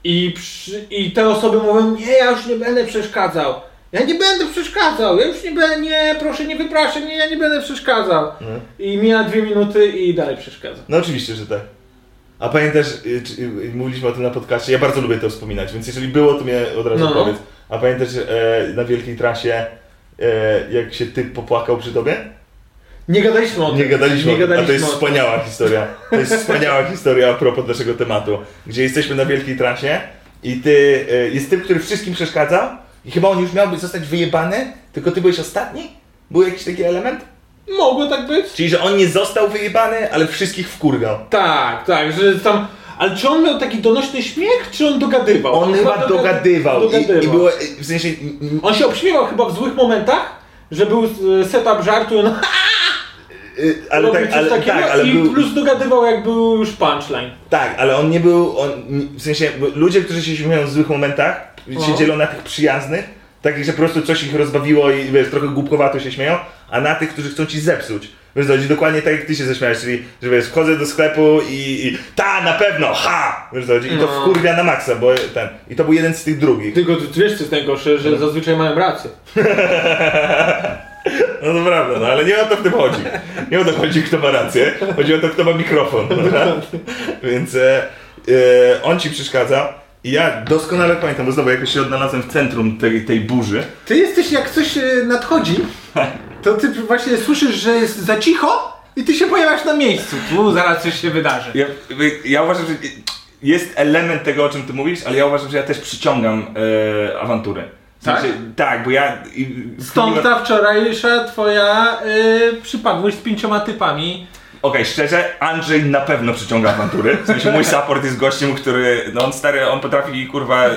S5: i, przy... i te osoby mówią, nie, ja już nie będę przeszkadzał. Ja nie będę przeszkadzał, ja już nie będę, nie, proszę nie wypraszaj mnie, ja nie będę przeszkadzał. I mija dwie minuty i dalej przeszkadza.
S4: No oczywiście, że tak. A pamiętasz, y, czy, y, mówiliśmy o tym na podcaście, ja bardzo lubię to wspominać, więc jeżeli było, to mnie od razu
S5: No.
S4: powiedz. A pamiętasz e, na wielkiej trasie, e, jak się typ popłakał przy tobie?
S5: Nie gadaliśmy o tym.
S4: Nie gadaliśmy,
S5: nie
S4: o tym, a to
S5: gadaliśmy
S4: jest
S5: o tym.
S4: wspaniała historia. To jest wspaniała historia a propos naszego tematu. Gdzie jesteśmy na wielkiej trasie i ty, e, jest typ, który wszystkim przeszkadzał i chyba on już miałby zostać wyjebany, tylko ty byłeś ostatni? Był jakiś taki element?
S5: Mogło tak być?
S4: Czyli, że on nie został wyjebany, ale wszystkich wkurgał.
S5: Tak, tak, że tam... Ale czy on miał taki donośny śmiech, czy on dogadywał?
S4: On chyba dogadywał.
S5: dogadywał.
S4: I, i było, i w sensie, m- m-
S5: On się obśmiewał chyba w złych momentach, że był e, setup żartu, no
S4: y, ale,
S5: robił
S4: tak,
S5: coś
S4: ale,
S5: takiego
S4: tak, ale
S5: i
S4: był,
S5: plus dogadywał jak był już punchline.
S4: tak, ale on nie był, on, m- w sensie bo ludzie, którzy się śmieją w złych momentach, się
S5: No.
S4: dzielą na tych przyjaznych, takich, że po prostu coś ich rozbawiło i wiesz, trochę głupkowato się śmieją, a na tych, którzy chcą ci zepsuć. Wiesz, chodzi dokładnie tak, jak ty się zaśmiałeś, czyli, że wiesz, wchodzę do sklepu i, i ta, na pewno, ha! Wiesz, chodzi, i to
S5: No.
S4: wkurwia na maksa, bo ten, i to był jeden z tych drugich.
S5: Tylko ty wiesz co jest najgorsze, że zazwyczaj mają rację.
S4: No to prawda, no ale nie o to w tym chodzi. Nie o to chodzi, kto ma rację. Chodzi o to, kto ma mikrofon. Prawda? Więc e, e, on ci przeszkadza. I ja doskonale pamiętam, bo znowu jakoś się odnalazłem w centrum tej, tej burzy.
S6: Ty jesteś, jak coś e, nadchodzi, to ty właśnie słyszysz, że jest za cicho i ty się pojawiasz na miejscu. Tu zaraz coś się wydarzy.
S4: Ja, ja uważam, że jest element tego, o czym ty mówisz, ale ja uważam, że ja też przyciągam e, awantury. W
S5: Tak?
S4: tak, bo ja... i-
S5: Stąd ta wczorajsza twoja
S6: e,
S5: y, przypadłość z pięcioma typami.
S4: Okej, szczerze, Andrzej na pewno przyciąga awantury. W sensie mój support jest gościem, który. No on stary, on potrafi kurwa y, y,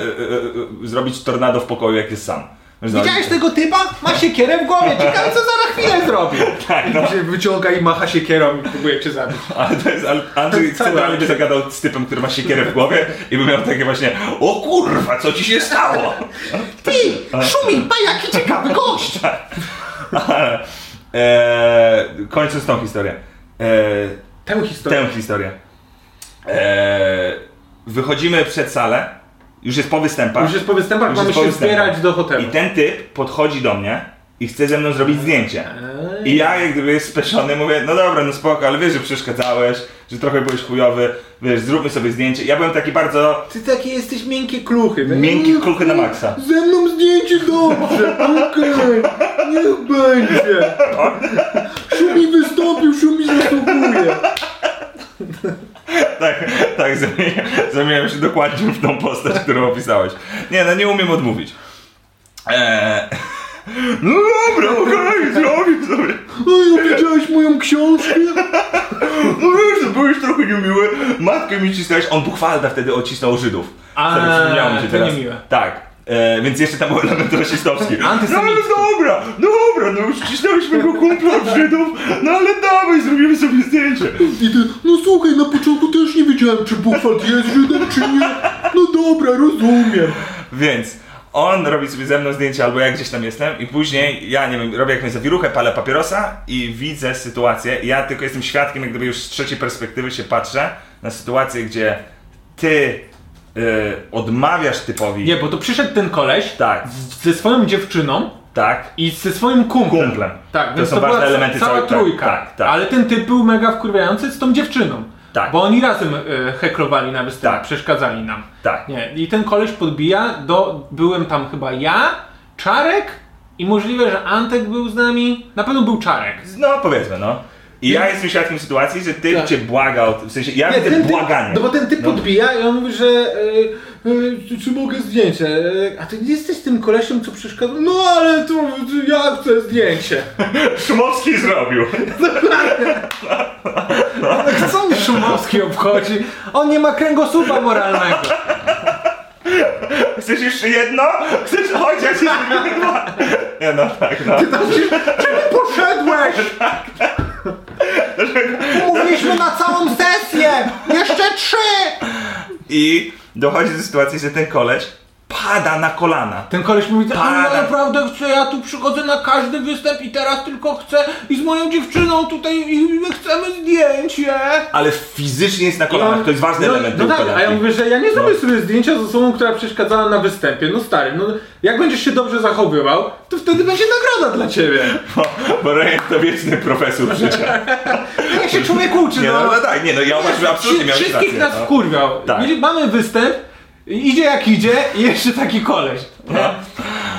S4: y, zrobić tornado w pokoju, jak jest sam. no,
S6: Widziałeś tego typa? Ma siekierę w głowie, ciekawe co za chwilę zrobi.
S4: *laughs* Tak, no,
S6: Się wyciąga i macha siekierą i próbuje cię zabić.
S4: ale to jest. Ale Andrzej centralnie by zagadał z typem, który ma siekierę w głowie i by miał takie właśnie. O kurwa, co ci się stało? No, *laughs*
S6: Ty, szumi, pa jaki ciekawy gość!
S4: tak. Ale, e, kończąc tą historię. E,
S5: Tę historię.
S4: Tę historię. E, wychodzimy przed salę. Już jest po występach.
S5: Już jest po występach,
S4: Już
S5: mamy
S4: jest po
S5: się
S4: występach.
S5: zbierać do hotelu.
S4: I ten typ podchodzi do mnie i chce ze mną zrobić zdjęcie.
S5: Eee,
S4: I ja jak gdyby jest speszony mówię, no dobra, no spoko, ale wiesz, że przeszkadzałeś, że trochę byłeś chujowy, wiesz, zróbmy sobie zdjęcie. Ja byłem taki bardzo
S5: Ty takie jesteś miękkie kluchy. tak?
S4: miękki kulkę na maksa.
S5: Ze mną zdjęcie dobrze, okej, niech będzie. Szumi wystąpił, Szumi zastępuje.
S4: Tak, tak, zamieniam, zamieniam się dokładnie w tą postać, którą opisałeś. Nie, no nie umiem odmówić. Eee, *laughs* no dobra, okej, zrobię sobie.
S6: No
S5: Oj, widziałeś moją książkę?
S4: No wiesz, to byłeś trochę niemiły, matkę mi cisnąłeś, on Buchwalda wtedy odcisnął Żydów.
S5: A,
S4: Sorry, przypomniało mi się
S5: to
S4: teraz.
S5: niemiłe.
S4: Tak, e, więc jeszcze tam był element rasistowski. No ale
S5: *laughs* Antysemicki.
S4: dobra, no dobra, no już cisnąłeś mojego kumpla od Żydów, no ale dawaj, zrobimy sobie zdjęcie.
S6: I ty, no słuchaj, na początku też nie wiedziałem, czy Buchwald jest Żydem, czy nie. No dobra, rozumiem.
S4: Więc on robi sobie ze mną zdjęcie, albo ja gdzieś tam jestem i później, ja nie wiem, robię jakąś zawiruchę, palę papierosa i widzę sytuację. Ja tylko jestem świadkiem, jak gdyby już z trzeciej perspektywy się patrzę na sytuację, gdzie ty e, odmawiasz typowi...
S5: Nie, bo to przyszedł ten koleś
S4: Tak,
S5: z- ze swoją dziewczyną
S4: tak.
S5: i ze swoim kumplem.
S4: Kumplem.
S5: Tak,
S4: To
S5: więc
S4: są
S5: to,
S4: ważne
S5: była ca-
S4: elementy
S5: cała
S4: całej- tak,
S5: trójka.
S4: tak, tak.
S5: Ale ten typ był mega wkurwiający z tą dziewczyną.
S4: Tak.
S5: Bo oni razem e, heklowali na występ,
S4: Tak.
S5: przeszkadzali nam.
S4: Tak.
S5: Nie. I ten koleś podbija, do, byłem tam chyba ja, Czarek i możliwe, że Antek był z nami. Na pewno był Czarek.
S4: No powiedzmy, no. I ja jestem świadkiem sytuacji, że ty
S5: Tak.
S4: cię błaga o tym, w sensie ja widzę
S5: typ-
S4: Tak, błaganie.
S5: No bo ten typ podbija i on mówi, że e, e, czy mogę zdjęcie? E, a ty nie jesteś tym kolesiem, co przeszkadza? No ale to, to ja chcę
S4: *laughs*
S5: zdjęcie.
S4: *laughs* Szumowski zrobił.
S5: Co mi Szumowski obchodzi? On nie ma kręgosłupa moralnego.
S4: Chcesz jeszcze jedno? Chcesz chociaż jedno? *laughs* Nie no, tak, no.
S6: Poszedłeś! Mówiliśmy na całą sesję! Jeszcze trzy!
S4: I dochodzi do sytuacji, że ten koleś pada na kolana.
S5: Ten koleś mówi, ale
S4: Pada.
S5: ja naprawdę chcę, ja tu przychodzę na każdy występ i teraz tylko chcę i z moją dziewczyną tutaj i my chcemy zdjęcie.
S4: Ale fizycznie jest na kolanach, to jest ważny
S6: no,
S4: element
S6: No
S4: tej No.
S6: tak, a ja
S4: układanki.
S6: mówię, że ja nie zrobię sobie zdjęcia z osobą, która przeszkadzała na występie. No stary, no jak będziesz się dobrze zachowywał, to wtedy będzie nagroda dla ciebie.
S4: Bo Rejent to wieczny profesor
S6: *laughs*
S4: życia.
S6: Jak się człowiek uczy,
S4: Nie
S6: Znaczy, no.
S4: no, no tak, nie no, ja uważam, że absolutnie
S6: Wszy-
S4: miałeś rację.
S6: Wszystkich nas
S4: no.
S6: wkurwiał.
S4: Tak.
S6: Idzie- Mamy występ, idzie jak idzie i jeszcze taki koleś.
S4: No.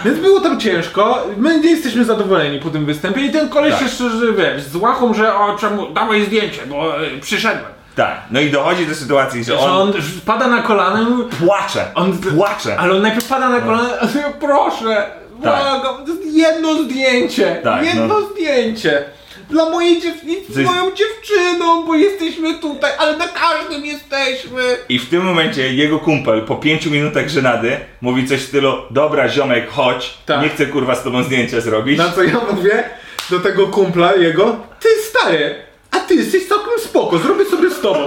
S6: Więc było tam ciężko, my nie jesteśmy zadowoleni po tym występie i ten koleś
S4: Tak.
S6: jeszcze, że wiesz, z łachą, że o czemu, dawaj zdjęcie, bo e, przyszedłem.
S4: Tak, no i dochodzi do sytuacji, że
S6: Że
S4: on
S6: on pada na kolana i mówi,
S4: płacze, on płacze.
S6: Ale on najpierw pada na kolana, a ja proszę,
S4: No. Tak.
S6: błagam, to jest jedno zdjęcie,
S4: Tak,
S6: jedno
S4: no.
S6: zdjęcie. Dla mojej dziewczyny,
S4: Coś-
S6: z moją dziewczyną, bo jesteśmy tutaj, ale na każdym jesteśmy.
S4: I w tym momencie jego kumpel po pięciu minutach żenady mówi coś w stylu Dobra ziomek, chodź,
S6: Tak. No
S4: nie chcę kurwa z tobą zdjęcia zrobić.
S6: Na co ja mówię do tego kumpla jego, ty stary, a ty jesteś całkiem spoko, zrobię sobie z tobą.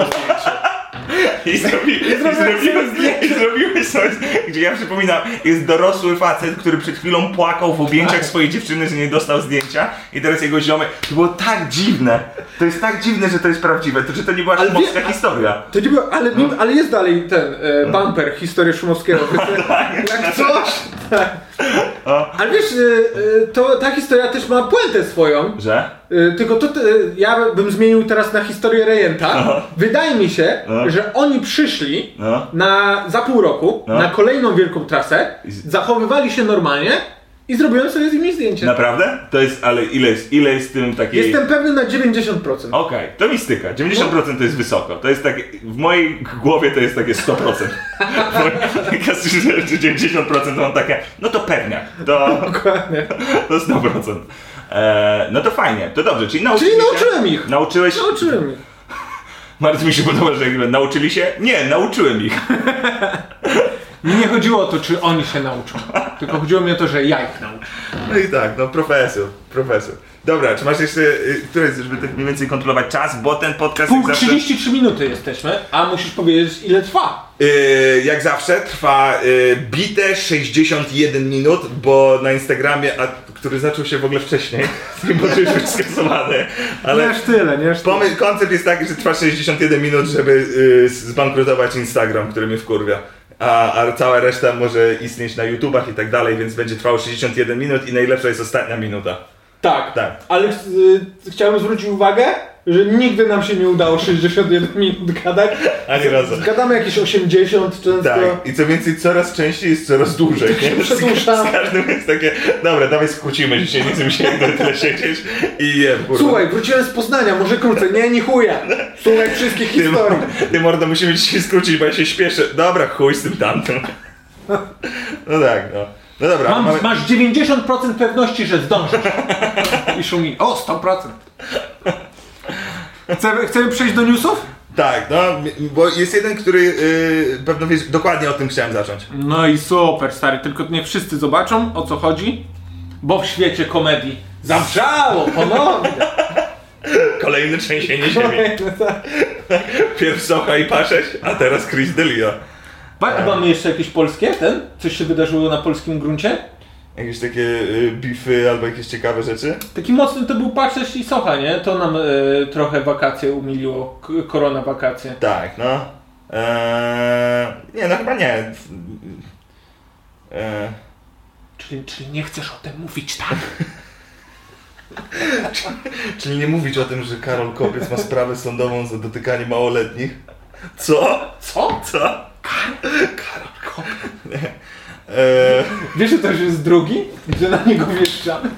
S4: I, zrobi, i, zrobiłeś, i zrobiłeś coś, gdzie ja przypominam, jest dorosły facet, który przed chwilą płakał w objęciach swojej dziewczyny, że nie dostał zdjęcia i teraz jego ziomek, to było tak dziwne, to jest tak dziwne, że to jest prawdziwe, to czy to nie była
S6: Ale wie-
S4: szumowska historia?
S6: To nie było, ale,
S4: No.
S6: mimo- ale jest dalej ten e, bumper, historia Szumowskiego. Jak coś. Tak. Ale wiesz, e, e, to ta historia też ma puentę swoją.
S4: Że?
S6: E, tylko to te, ja bym zmienił teraz na historię Rejenta. Wydaje mi się,
S4: No.
S6: że oni przyszli
S4: No.
S6: na, za pół roku
S4: No.
S6: na kolejną wielką trasę,
S4: z-
S6: zachowywali się normalnie i zrobiłem sobie z nimi zdjęcie.
S4: Naprawdę? To jest, ale ile jest, ile jest w tym takiej...
S6: Jestem pewny na 90%.
S4: Okej, to mi styka. 90% to jest wysoko. To jest takie, w mojej głowie to jest takie 100%.
S6: *laughs*
S4: Bo *laughs* Jak ja słyszę, że 90% to mam takie, no to pewnie. To,
S6: Dokładnie.
S4: to 100%. Eee, no to fajnie, to dobrze, czyli nauczyli
S6: Czyli
S4: się-
S6: nauczyłem ich.
S4: Nauczyłeś?
S6: Nauczyłem ich.
S4: Bardzo mi się podoba, że jakby nauczyli się? Nie, nauczyłem ich.
S5: Mi nie chodziło o to, czy oni się nauczą, tylko chodziło mi o to, że ja ich nauczę.
S4: No i tak, no profesor, profesor. Dobra, czy masz jeszcze, y, które jest, żeby tak mniej więcej kontrolować czas, bo ten podcast
S6: Tak,
S4: jak
S5: Pół
S4: zawsze,
S5: 33 minuty jesteśmy, a musisz powiedzieć ile trwa.
S4: y, jak zawsze trwa y, bite 61 minut, bo na Instagramie, a, który zaczął się w ogóle wcześniej, *laughs* z nim może już być skasowany, ale...
S6: tyle, nie aż
S4: Pomysł, koncept jest taki, że trwa 61 minut, żeby y, zbankrutować Instagram, który mnie wkurwia. A, a cała reszta może istnieć na YouTubach i tak dalej, więc będzie trwało 61 minut i najlepsza jest ostatnia minuta.
S5: Tak,
S4: Tak.
S5: ale y, chciałem zwrócić uwagę, że nigdy nam się nie udało 61 minut gadać.
S4: Ani razu.
S5: Gadamy jakieś 80 często.
S4: Tak. I co więcej, coraz częściej jest coraz dłużej. nie?
S5: Przedłużamy.
S4: Z każdym jest takie, dobra, dawaj skrócimy dzisiaj, nie chcę mi się na tyle siedzieć i jem, kurwa.
S5: Słuchaj, wróciłem z Poznania, może krócej, nie, nie chuja. Słuchaj wszystkich
S4: ty, no.
S5: historii.
S4: ty mordo, musimy dzisiaj skrócić, bo ja się śpieszę. Dobra, chuj z tym tamtym. No tak, no. No dobra, mamy-
S5: Mam, masz 90% pewności, że zdążysz. I szumi.
S6: O, 100%. Chcemy, chcemy przejść do newsów?
S4: Tak, no, mi- bo jest jeden, który yy, pewno wiesz, dokładnie o tym chciałem zacząć.
S6: No i super, stary, tylko niech wszyscy zobaczą o co chodzi.
S5: Bo w świecie komedii zawrzało ponownie.
S4: Kolejne trzęsienie ziemi. Pierw Socha i Paszeć, a teraz Chris Delia.
S5: Ba- a Mamy jeszcze jakieś polskie, ten? Coś się wydarzyło na polskim gruncie?
S4: Jakieś takie yy, bify albo jakieś ciekawe rzeczy?
S5: Taki mocny to był Patrzesz i Socha, nie? To nam e, trochę wakacje umiliło, k- korona wakacje.
S4: Tak, no. Eee, nie, no chyba nie. Eee,
S5: Czyli, czyli nie chcesz o tym mówić, tak?
S4: czyli nie mówić o tym, że Karol Kopiec ma sprawę sądową za dotykanie małoletnich? Co?
S5: Co?
S4: Co? Karol Kopiec. Eee,
S5: Wiesz, że to już jest drugi? Że na niego wieszczamy?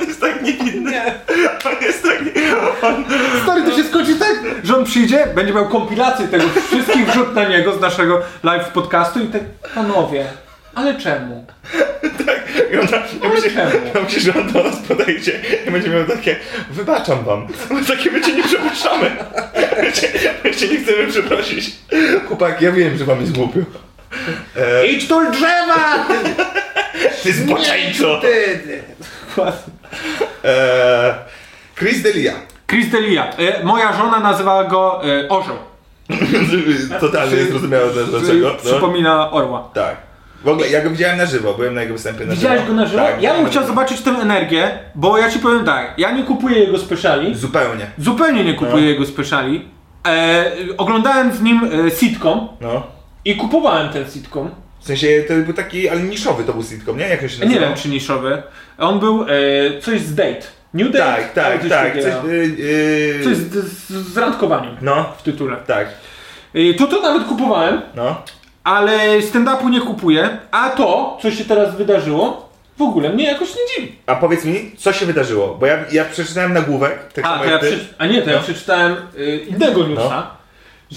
S4: on jest tak niewinny. On jest tak niewinny. On...
S6: Stary, to się skończy tak, że on przyjdzie, będzie miał kompilację tego, wszystkich wrzut na niego z naszego live podcastu i tak,
S5: Panowie, ale czemu?
S4: I on tam, ja
S5: Ale
S4: myślę,
S5: czemu?
S4: ja myślę, że on do nas podejdzie i będzie miał takie, wybaczam wam, my takie my cię nie przepuszczamy, my cię, my cię nie chcemy przeprosić. Chłopak, ja wiem, że wam jest głupio.
S6: idź tu drzewa!
S4: Ty zboczeńco!
S6: Ty, ty.
S4: Eee, Chris Delia.
S5: *laughs*
S6: Chris Delia, e, moja żona nazywała go e, orzeł.
S4: Totalnie niezrozumiałe też dlaczego. No.
S5: Przypomina orła.
S4: Tak. W ogóle ja go widziałem na żywo, byłem na jego występie na żywo.
S5: Widziałeś go na żywo?
S4: Tak,
S5: ja bym
S4: byłem
S5: chciał
S4: na-
S5: zobaczyć tę energię, bo ja ci powiem tak, ja nie kupuję jego speciali,
S4: Zupełnie.
S5: zupełnie nie kupuję
S4: No.
S5: jego speciali. E, oglądałem z nim e, sitcom
S4: No.
S5: i kupowałem ten sitcom.
S4: W sensie to był taki, ale niszowy to był sitcom, nie? Jak on się
S5: Nie
S4: nazywał?
S5: wiem czy niszowy. On był e, coś z date. New date?
S4: Tak,
S5: albo
S4: tak,
S5: coś
S4: tak.
S5: takiego.
S4: Coś, yy, yy,
S5: Coś z, z, z randkowaniem
S4: No,
S5: w tytule.
S4: tak,
S5: E, to to nawet kupowałem,
S4: no.
S5: ale stand-upu nie kupuję, a to, co się teraz wydarzyło, w ogóle mnie jakoś nie dziwi.
S4: A powiedz mi, co się wydarzyło? Bo ja, ja przeczytałem nagłówek, tak
S5: A,
S4: samo
S5: to ja
S4: jak ty.
S5: przeczy- a nie, to ja
S4: No.
S5: przeczytałem y, innego newsa,
S4: No.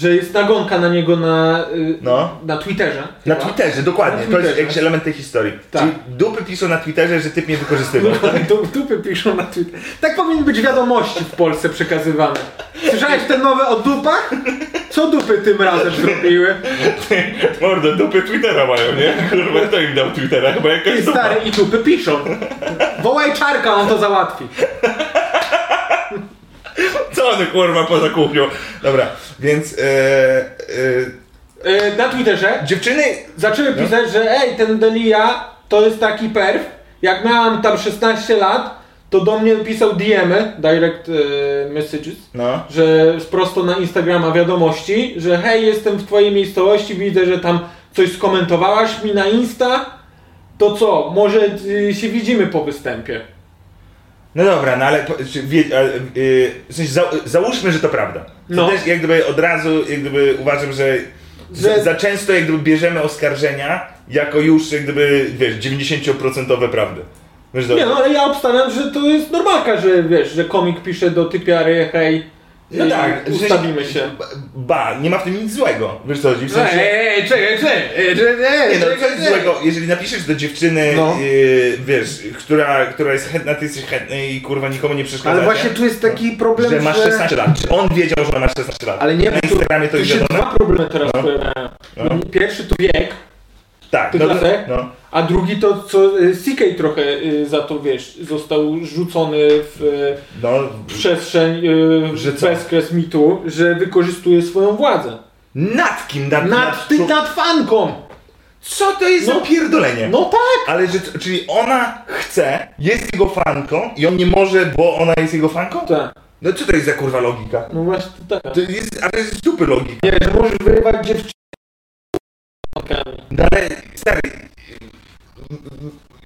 S5: że jest nagonka na niego na, y,
S4: No.
S5: na Twitterze.
S4: Na
S5: *laughs* chyba.
S4: Twitterze, dokładnie.
S5: Na
S4: To jest
S5: Twitterze.
S4: jakiś element tej historii.
S5: Tak. No.
S4: Czyli dupy piszą na Twitterze, że typ mnie wykorzystywał.
S5: Du- Dupy piszą na Twitterze. Tak powinny być wiadomości w Polsce przekazywane. Słyszałeś te nowe o dupach? Co dupy tym razem zrobiły?
S4: *laughs* Mordo, dupy Twittera mają, nie? *laughs* Kurwa, kto im dał Twittera? Chyba jakaś
S5: I stary i dupy piszą. Wołaj czarka, on to załatwi.
S4: Co one kurwa poza kuchnią? Dobra, więc e, e,
S5: Y, na Twitterze
S4: dziewczyny...
S5: zaczęły
S4: No.
S5: pisać, że ej, ten Delia to jest taki perf. Jak miałam tam 16 lat, to do mnie pisał DM-y, direct y, messages,
S4: No.
S5: że prosto na Instagrama wiadomości, że hej, jestem w twojej miejscowości, widzę, że tam coś skomentowałaś mi na Insta, to co, może y, się widzimy po występie.
S4: No dobra, no ale po- czy wie, a, y, w sensie za, załóżmy, że to prawda. To
S5: No.
S4: też jak gdyby od razu, jak gdyby uważam, że,
S5: Że-
S4: za- za często jak gdyby bierzemy oskarżenia jako już jak gdyby, wiesz, 90% prawdy. Wiesz,
S5: Nie
S4: dobra.
S5: no, ale ja obstawiam, że to jest normalka, że wiesz, że komik pisze do typiary, hej,
S4: No tak, w sensie-
S5: ustawimy się.
S4: Ba, nie ma w tym nic złego. Wiesz co chodzi? W sensie,
S5: Ej, czekaj, czekaj,
S4: Nie no, co jest złego, jeżeli napiszesz do dziewczyny,
S6: No.
S4: yy, wiesz, która, która jest chętna, ty jesteś chętny i kurwa nikomu nie przeszkadza.
S6: Ale właśnie
S4: nie?
S6: tu jest taki problem,
S4: że masz 16 lat. Czy on wiedział, że ona ma 16 lat?
S6: Ale nie,
S4: Na Instagramie to
S5: Tu
S4: jest
S5: się
S4: wiadomo? No.
S5: dwa problemy teraz pojawiają. Pierwszy to wiek,
S4: Tak,
S5: Ty
S4: no,
S5: klasę?
S4: no.
S5: a drugi to, co y, CK trochę y, za to, wiesz, został rzucony w y,
S4: no.
S5: przestrzeń, y,
S4: Że co?
S5: bezkres mitu, że wykorzystuje swoją władzę.
S4: Nad kim? Nad,
S5: Nad, ty,
S4: czu-
S5: nad fanką!
S4: Co to jest
S5: No.
S4: za pierdolenie?
S5: No tak!
S4: Ale że, czyli ona chce, jest jego fanką i on nie może, bo ona jest jego fanką?
S5: Tak,
S4: No co to jest za kurwa logika?
S5: no właśnie tak.
S4: To jest, ale to jest z dupy logika.
S5: Nie, że możesz wyrywać dziewczynę.
S4: No ale, stary,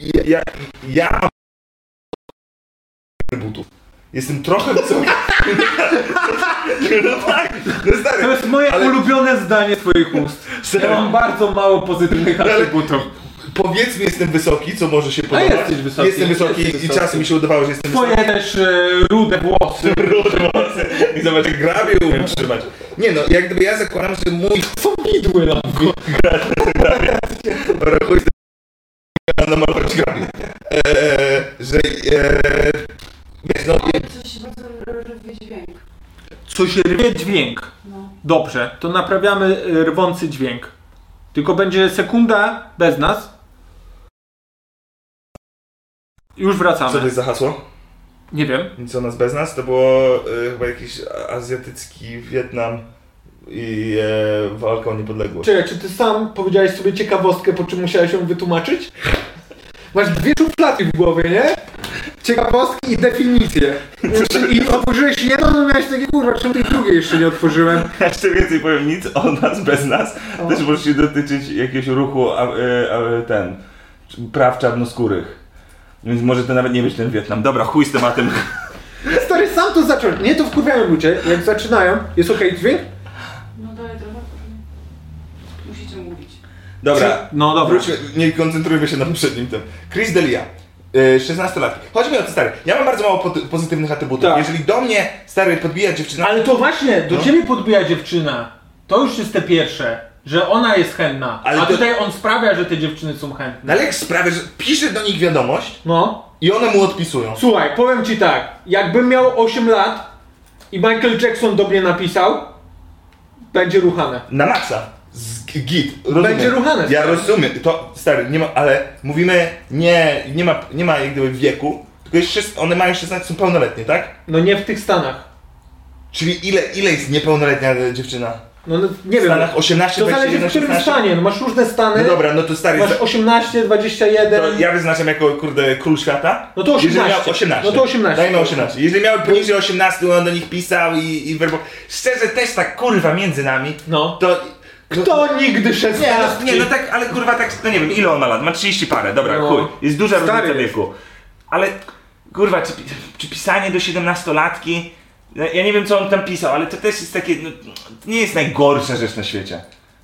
S4: ja, ja, ja mam atrybutów. Jestem trochę *laughs* co? no tak, no
S5: To
S4: stary,
S5: jest moje
S4: Ale-
S5: ulubione zdanie twoich ust. Ja
S4: stary,
S5: mam bardzo mało pozytywnych atrybutów.
S4: powiedzmy jestem wysoki, co może się podobać.
S5: jesteś wysoki,
S4: Jestem wysoki
S5: jesteś
S4: i
S5: wysoki.
S4: czasem mi się udawało, że jestem
S5: Twoje też e, rude włosy.
S4: wysoki. I zobacz, jak grabie umiem trzymać. Nie no, jak gdyby ja zakładam, że mój
S5: Są widły no. na
S4: Rachuj na namalować grabie. Eee, że, eee, wiesz, no,
S7: Coś bardzo robi dźwięk.
S5: Coś rwie dźwięk.
S7: No.
S5: Dobrze, to naprawiamy y, rwący dźwięk. Tylko będzie sekunda bez nas. Już
S4: co to
S5: wracamy.
S4: jest za hasło?
S5: Nie wiem.
S4: Nic o nas bez nas, to było y, chyba jakiś azjatycki Wietnam i e, walka o niepodległość.
S5: Czekaj, czy ty sam powiedziałeś sobie ciekawostkę, po czym musiałeś ją wytłumaczyć?
S6: Masz dwie szufladki w głowie, nie? Ciekawostki i definicje. I otworzyłeś jedną, no miałeś takie kurwa, czemu tej drugiej jeszcze nie otworzyłem?
S4: Jeszcze więcej powiem, nic o nas bez nas też może się dotyczyć jakiegoś ruchu, a, e, a, ten, praw czarnoskórych. Więc może to nawet nie być ten Wietnam. Dobra, chuj z tematem. *laughs*
S6: Stary, sam to zacząłem. Nie, to wkurwiają ludzie, jak zaczynają. Jest okej dźwięk?
S7: No dalej trochę. później. Musicie mówić.
S4: Dobra,
S5: No dobra.
S4: Wróćmy, nie koncentrujmy się na poprzednim tym. Chris Delia. y, 16 lat. Chodźmy o to stary. Ja mam bardzo mało po- pozytywnych atrybutów.
S5: Tak.
S4: Jeżeli do mnie stary podbija dziewczyna.
S5: Ale to właśnie, do ciebie podbija dziewczyna. To już jest te pierwsze, że ona jest chętna.
S4: Ale
S5: A
S4: to-
S5: tutaj on sprawia, że te dziewczyny są chętne.
S4: No ale jak sprawia, że pisze do nich wiadomość
S5: No.
S4: i one mu odpisują.
S5: Słuchaj, powiem ci tak. Jakbym miał 8 lat i Michael Jackson do mnie napisał, będzie ruchane.
S4: Na maksa. Z g- git. Rozumiem.
S5: Będzie ruchane,
S4: Ja
S5: stary.
S4: rozumiem. To stary, nie ma, ale mówimy nie, nie ma, nie ma jak gdyby wieku, tylko jest szes- one mają 16, są pełnoletnie, tak?
S5: No nie w tych Stanach.
S4: Czyli ile, ile jest niepełnoletnia e, dziewczyna?
S5: No, no nie
S4: W
S5: wiem.
S4: Stanach 18,
S5: To zależy w
S4: 21,
S5: którym
S4: 16.
S5: stanie. No, masz różne stany.
S4: No dobra, no to stary,
S5: Masz
S4: za-
S5: 18, 21.
S4: to ja wyznaczam jako, kurde, król świata.
S5: No to
S4: Jeżeli miał
S5: 18.
S4: 18.
S5: No to 18.
S4: Dajmy 18. Jeżeli miał poniżej 18, on do nich pisał i, i werbo... Szczerze, też tak, kurwa, między nami,
S5: No.
S4: to...
S5: To nigdy
S4: Nie,
S5: 16.
S4: no, nie, no tak, ale kurwa tak, no nie wiem, ile on ma lat? Ma 30 parę, dobra,
S5: No.
S4: chuj. Jest duża
S5: Stary
S4: różnica
S5: jest.
S4: wieku. Ale kurwa, czy, pi- czy pisanie do 17-latki? Ja ja nie wiem, co on tam pisał, ale to też jest takie, no, to nie jest najgorsza rzecz na świecie.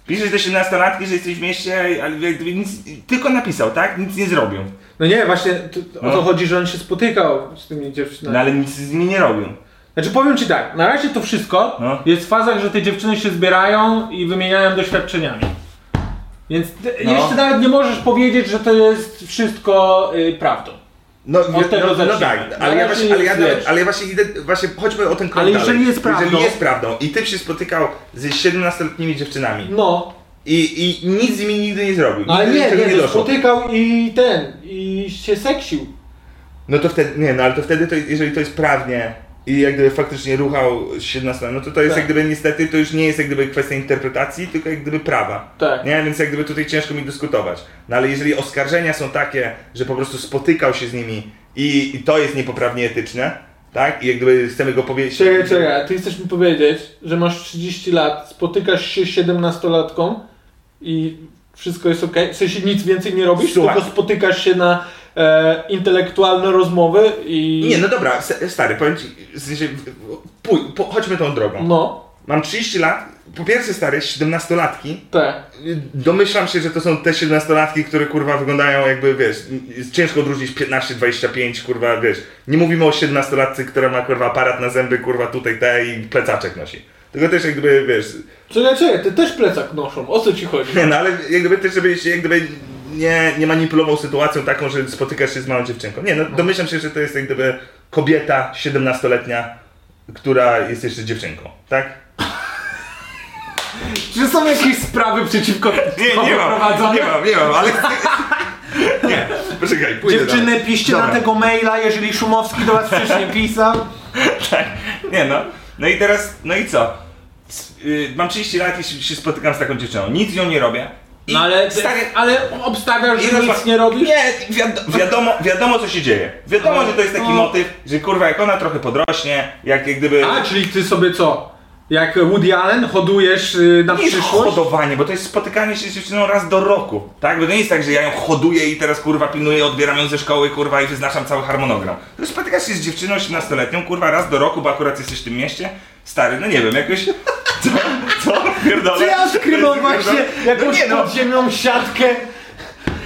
S4: Piszesz do 17-latki, że jesteś w mieście, ale jakby nic, tylko napisał, tak? Nic nie zrobił.
S5: No nie, właśnie to, o
S4: No.
S5: to chodzi, że on się spotykał z tymi
S4: No
S5: dziewczynami.
S4: ale nic z nimi nie robił.
S5: Znaczy powiem ci tak, na razie to wszystko
S4: No.
S5: jest w fazach, że te dziewczyny się zbierają i wymieniają doświadczeniami. Więc ty
S4: No.
S5: jeszcze nawet nie możesz powiedzieć, że to jest wszystko y, prawdą.
S4: No,
S5: Od tego
S4: no, no
S5: zacznijmy.
S4: tak,
S5: Na
S4: ale ja,
S5: razie
S4: właśnie, ale, ja,
S5: jest, wiesz.
S4: ale ja właśnie idę, właśnie chodźmy o ten krok
S5: Ale
S4: dalej.
S5: jeżeli jest prawdą-
S4: Jeżeli jest prawdą i ty się spotykał z 17-letnimi dziewczynami,
S5: No,
S4: I, I nic z nimi nigdy nie zrobił.
S5: ale
S4: nigdy do niczego
S5: nie,
S4: No nie
S5: nie, no, to
S4: doszło.
S5: spotykał i ten, i się seksił.
S4: No to wtedy, nie, no ale to wtedy, to, jeżeli to jest prawnie i jak gdyby faktycznie ruchał 17, no to to jest
S5: Tak.
S4: jak gdyby niestety, to już nie jest jak gdyby kwestia interpretacji, tylko jak gdyby prawa.
S5: Tak.
S4: Nie, więc jak gdyby tutaj ciężko mi dyskutować. No ale jeżeli oskarżenia są takie, że po prostu spotykał się z nimi i, i to jest niepoprawnie etyczne, tak? I jak gdyby chcemy go powiedzieć...
S5: Czekaj, czekaj, a ty chcesz mi powiedzieć, że masz 30 lat, spotykasz się z 17-latką i wszystko jest ok? W sensie nic więcej nie robisz,
S4: Słuchaj.
S5: tylko spotykasz się na e, intelektualne rozmowy i...
S4: Nie, no dobra, s- stary, powiem ci, w sensie, pój, po, chodźmy tą drogą.
S5: No,
S4: Mam 30 lat, po pierwsze stary, 17-latki,
S5: tak.
S4: Domyślam się, że to są te 17-latki, które kurwa wyglądają jakby, wiesz, jest ciężko odróżnić 15-25, kurwa, wiesz. Nie mówimy o 17-latce, która ma kurwa aparat na zęby, kurwa tutaj te i plecaczek nosi. Tylko też jakby, wiesz,
S5: Czekaj, czekaj, ty też plecak noszą, o co ci chodzi?
S4: nie, no ale jakby też, żeby się, jakby nie, nie manipulował sytuacją taką, że spotykasz się z małą dziewczynką. Nie, no domyślam się, że to jest jak gdyby kobieta 17-letnia, która jest jeszcze dziewczynką, tak?
S8: Czy są jakieś sprawy przeciwko
S4: Nie, nie mam, nie mam, nie mam, ale... Nie, poczekaj, pójdę
S8: Dziewczyny,
S4: dalej.
S8: piszcie
S4: Dobra.
S8: na tego maila, jeżeli Szumowski do was wcześniej pisał.
S4: Tak. Nie no. No i teraz, no i co? S- y, mam 30 lat i się, się spotykam z taką dziewczyną. Nic z nią nie robię. I
S5: No ale,
S4: stary,
S5: ale obstawiasz,
S4: i
S5: że
S4: rozma-
S5: nic nie robisz?
S4: Nie, wiad wiadomo, wiadomo co się dzieje. Wiadomo, że to jest
S5: No.
S4: taki motyw, że kurwa jak ona trochę podrośnie, jak, jak gdyby...
S5: A, czyli ty sobie co? Jak Woody Allen hodujesz y, na
S4: Nie jest
S5: przyszłość?
S4: hodowanie, bo to jest spotykanie się z dziewczyną raz do roku, tak? Bo to nie jest tak, że ja ją hoduję i teraz kurwa pilnuję, odbieram ją ze szkoły, kurwa i wyznaczam cały harmonogram. To spotykasz się z dziewczyną 17-letnią, kurwa raz do roku, bo akurat jesteś w tym mieście, stary, no nie wiem, jakoś... *laughs* Co? Co? Pierdolę?
S8: Czy ja odkrywam właśnie
S4: No
S8: jakąś
S4: nie no,
S8: podziemną siatkę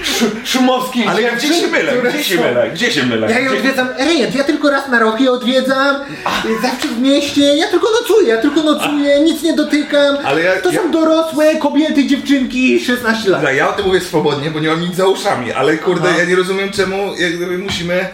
S8: sz szumowskich
S4: ale ja gdzie się mylę, gdzie się mylę, gdzie się mylę?
S6: Ja je
S4: Gdzie-
S6: odwiedzam, rejent, ja tylko raz na rok je odwiedzam, y, zawsze w mieście, ja tylko nocuję, ja tylko nocuję, nic nie dotykam,
S9: Ale ja-
S6: to
S9: ja-
S6: są dorosłe kobiety, dziewczynki, 16
S4: *laughs*
S6: lat.
S9: Dobra, ja o tym mówię swobodnie, bo nie mam nic za uszami, ale kurde, ja nie rozumiem czemu jak gdyby musimy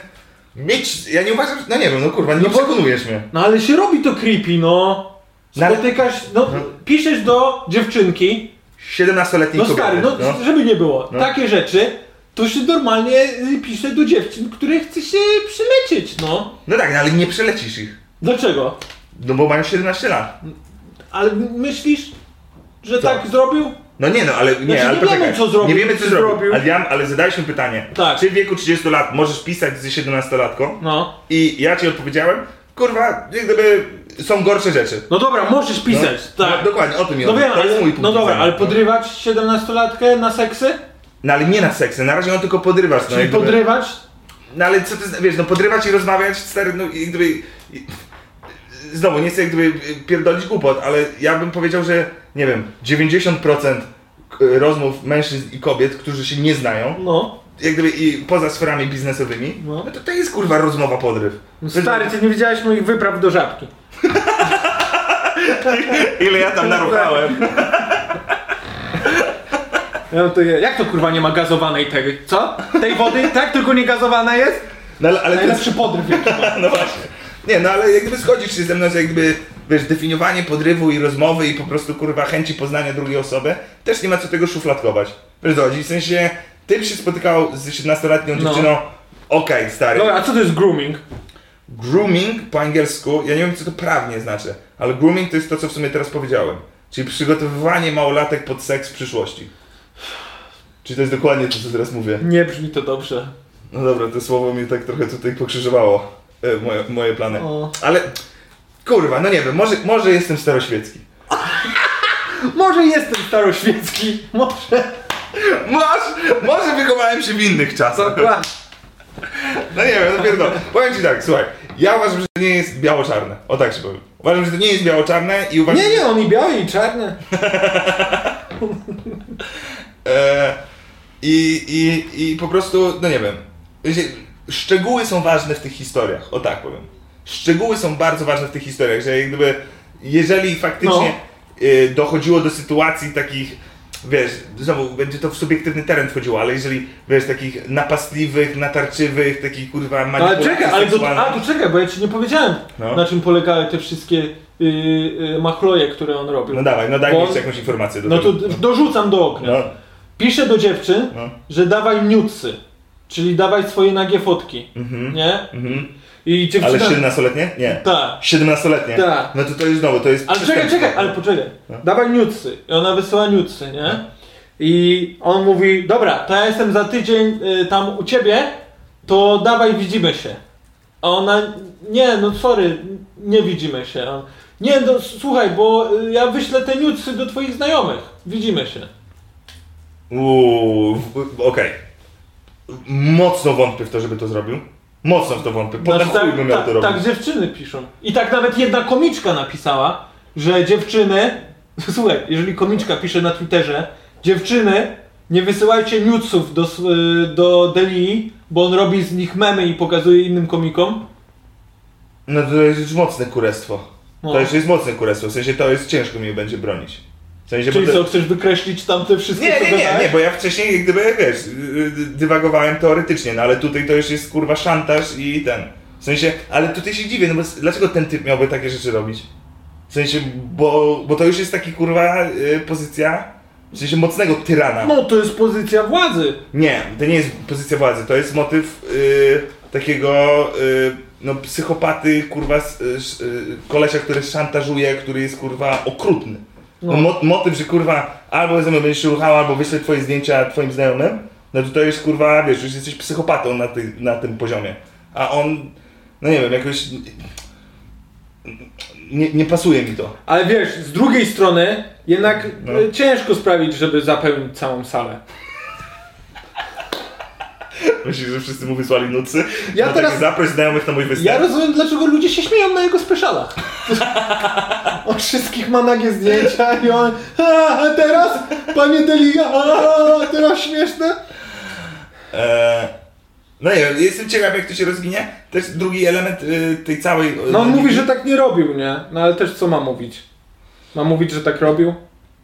S9: mieć, ja nie uważam, no nie wiem, no kurwa, nie przekonujesz mnie.
S5: No ale się robi to creepy, no.
S4: No ale-
S5: Spotykasz, no, piszesz do dziewczynki,
S4: 17-letniej
S5: no
S4: kobiety.
S5: stary, no,
S4: no.
S5: żeby nie było,
S4: No.
S5: takie rzeczy, to się normalnie y, pisze do dziewczyn, które chce się przylecieć, no.
S4: no tak, no, ale nie przelecisz ich,
S5: Dlaczego?
S4: no bo mają 17 lat.
S5: Ale myślisz, że tak zrobił?
S4: No nie no, ale nie,
S5: Znaczy,
S4: ale
S5: nie wiemy,
S4: poczekaj.
S5: co zrobił,
S4: Nie wiemy co
S5: czy
S4: zrobił.
S5: zrobił.
S4: Ale, ja, ale zadaliśmy pytanie.
S5: Tak.
S4: Czy w wieku 30 lat możesz pisać z 17-latką?
S5: No.
S4: I ja ci odpowiedziałem, kurwa, jak gdyby są gorsze rzeczy.
S5: No dobra, możesz pisać, tak.
S4: No, dokładnie, o tym mi
S5: No
S4: chodzi.
S5: wiem,
S4: to
S5: ale,
S4: jest mój punkt
S5: no dobra,
S4: widzenia.
S5: ale podrywać 17-latkę na seksy?
S4: No ale nie na seksy, na razie on tylko podrywasz. No,
S5: Czyli
S4: jak gdyby-
S5: podrywać?
S4: No ale co ty, zna- wiesz, no podrywać i rozmawiać, stary, no jak gdyby... Znowu, nie chcę jak gdyby y, pierdolić głupot, ale ja bym powiedział, że, nie wiem, 90% k- rozmów mężczyzn i kobiet, którzy się nie znają,
S5: No.
S4: jak gdyby i poza sferami biznesowymi, no,
S5: No.
S4: to to jest kurwa rozmowa podryw.
S5: Stary, ty nie widziałeś moich wypraw do żabki. tak,
S4: *laughs* Ile ja tam naruchałem.
S5: No to je- jak to kurwa nie ma gazowanej tej, co? Tej wody? Tak, tylko nie gazowana jest?
S4: No ale, ale to jest
S5: Najlepszy podryw.
S4: No właśnie. Nie, no ale jakby zgodzisz się ze mną, że jakby, wiesz, definiowanie podrywu i rozmowy i po prostu, kurwa, chęci poznania drugiej osoby, też nie ma co tego szufladkować. Wiesz, co chodzi? w sensie, ty się spotykał z 17-letnią dziewczyną, okej, stary.
S5: Dobra, a co to jest grooming?
S4: Grooming po angielsku, ja nie wiem, co to prawnie znaczy, ale grooming to jest to, co w sumie teraz powiedziałem. Czyli przygotowywanie małolatek pod seks w przyszłości. Czyli to jest dokładnie to, co teraz mówię.
S5: Nie brzmi to dobrze.
S4: No dobra, to słowo mnie tak trochę tutaj pokrzyżowało e, moje, moje plany.
S5: O.
S4: Ale kurwa, no nie wiem, może, może jestem staroświecki.
S5: Może jestem staroświecki, może.
S4: Może, może wychowałem się w innych czasach.
S5: Dokładnie.
S4: No nie wiem, no pierdolę. Powiem ci tak, słuchaj, ja uważam, że to nie jest biało-czarne. O tak się powiem. Uważam, że to nie jest biało-czarne i uważam...
S5: Nie, nie, on i biały, i czarny.
S4: E, i, i, I po prostu, no nie wiem. Wiecie, Szczegóły są ważne w tych historiach, o tak powiem. Szczegóły są bardzo ważne w tych historiach, że jak gdyby, jeżeli faktycznie
S5: No.
S4: e, dochodziło do sytuacji takich, wiesz, znowu będzie to w subiektywny teren wchodziło, ale jeżeli, wiesz, takich napastliwych, natarczywych, takich kurwa
S5: Ale czekaj, ale to,
S4: seksualnych-
S5: a, to czekaj, bo ja ci nie powiedziałem,
S4: No.
S5: na czym polegały te wszystkie y, y, machloje, które on robił.
S4: No dawaj, no daj
S5: Bo-
S4: mi jeszcze jakąś informację do
S5: No to
S4: tego.
S5: d- dorzucam do okna.
S4: No,
S5: Pisze do dziewczyn,
S4: No.
S5: że dawaj niutsy, czyli dawaj swoje nagie fotki,
S4: mhm,
S5: nie?
S4: mhm.
S5: I dziewczyna...
S4: Ale 17-letnie? Nie.
S5: Tak.
S4: 17-letnie.
S5: Tak.
S4: No to to jest znowu, to jest.
S5: Ale czekaj,
S4: przestępstwo.
S5: czekaj, ale poczekaj.
S4: No.
S5: Dawaj niutsy. I ona wysyła niutsy, nie? I on mówi, dobra, to ja jestem za tydzień y, tam u ciebie, to dawaj widzimy się. A ona, nie, no sorry, nie widzimy się. A On, nie, no s- słuchaj, bo y, ja wyślę te niutsy do twoich znajomych. Widzimy się.
S4: Uuu, w- okej. Mocno wątpię w to, żeby to zrobił. Mocno w to wątpię. Po
S5: Znaczy,
S4: znaczy, chuj bym miał
S5: tak,
S4: to robić.
S5: tak dziewczyny piszą. I tak nawet jedna komiczka napisała, że dziewczyny. *laughs* Słuchaj, jeżeli komiczka pisze na Twitterze, dziewczyny, nie wysyłajcie newsów do, s- y, do Delii, bo on robi z nich memy i pokazuje innym komikom.
S4: No to jest już mocne kurestwo.
S5: No.
S4: To już jest mocne kurestwo. W sensie to jest ciężko mi będzie bronić. W sensie,
S5: Czyli
S4: bo to...
S5: co, chcesz wykreślić tamte wszystkie
S4: Nie,
S5: co
S4: nie, nie,
S5: gadałeś?
S4: nie, bo ja wcześniej jak gdyby, wiesz, yy, dywagowałem teoretycznie, no ale tutaj to już jest kurwa szantaż i ten. W sensie, ale tutaj się dziwię, no bo s- dlaczego ten typ miałby takie rzeczy robić? W sensie, bo, bo to już jest taki kurwa yy, pozycja, w sensie mocnego tyrana.
S5: No to jest pozycja władzy.
S4: Nie, to nie jest pozycja władzy, to jest motyw y, takiego y, no, psychopaty, kurwa, s- y, sz- y, kolesia, który szantażuje, który jest kurwa okrutny. No. Mo- motyw, że kurwa albo ze mną będziesz się ruchał, albo wyślę twoje zdjęcia twoim znajomym, no to to jest kurwa, wiesz, już jesteś psychopatą na, ty, na tym poziomie. A on, no nie wiem, jakoś... Nie, nie pasuje mi to.
S5: Ale wiesz, z drugiej strony jednak
S4: No.
S5: y, ciężko sprawić, żeby zapełnić całą salę.
S4: Myślisz, że wszyscy mu wysłali nucy?
S5: Ja
S4: no
S5: teraz-
S4: Tak, zaproś znajomych na mój występ.
S5: Ja rozumiem, dlaczego ludzie się śmieją na jego
S4: *laughs*
S5: specialach. On wszystkich ma nagie zdjęcia i on... A, a teraz, panie Delia, a, teraz śmieszne.
S4: Eee, no nie wiem, jestem ciekaw jak to się rozginie. Też drugi element y, tej całej... y,
S5: No on
S4: logiki.
S5: mówi, że tak nie robił, nie? No ale też co ma mówić? Ma mówić, że tak robił?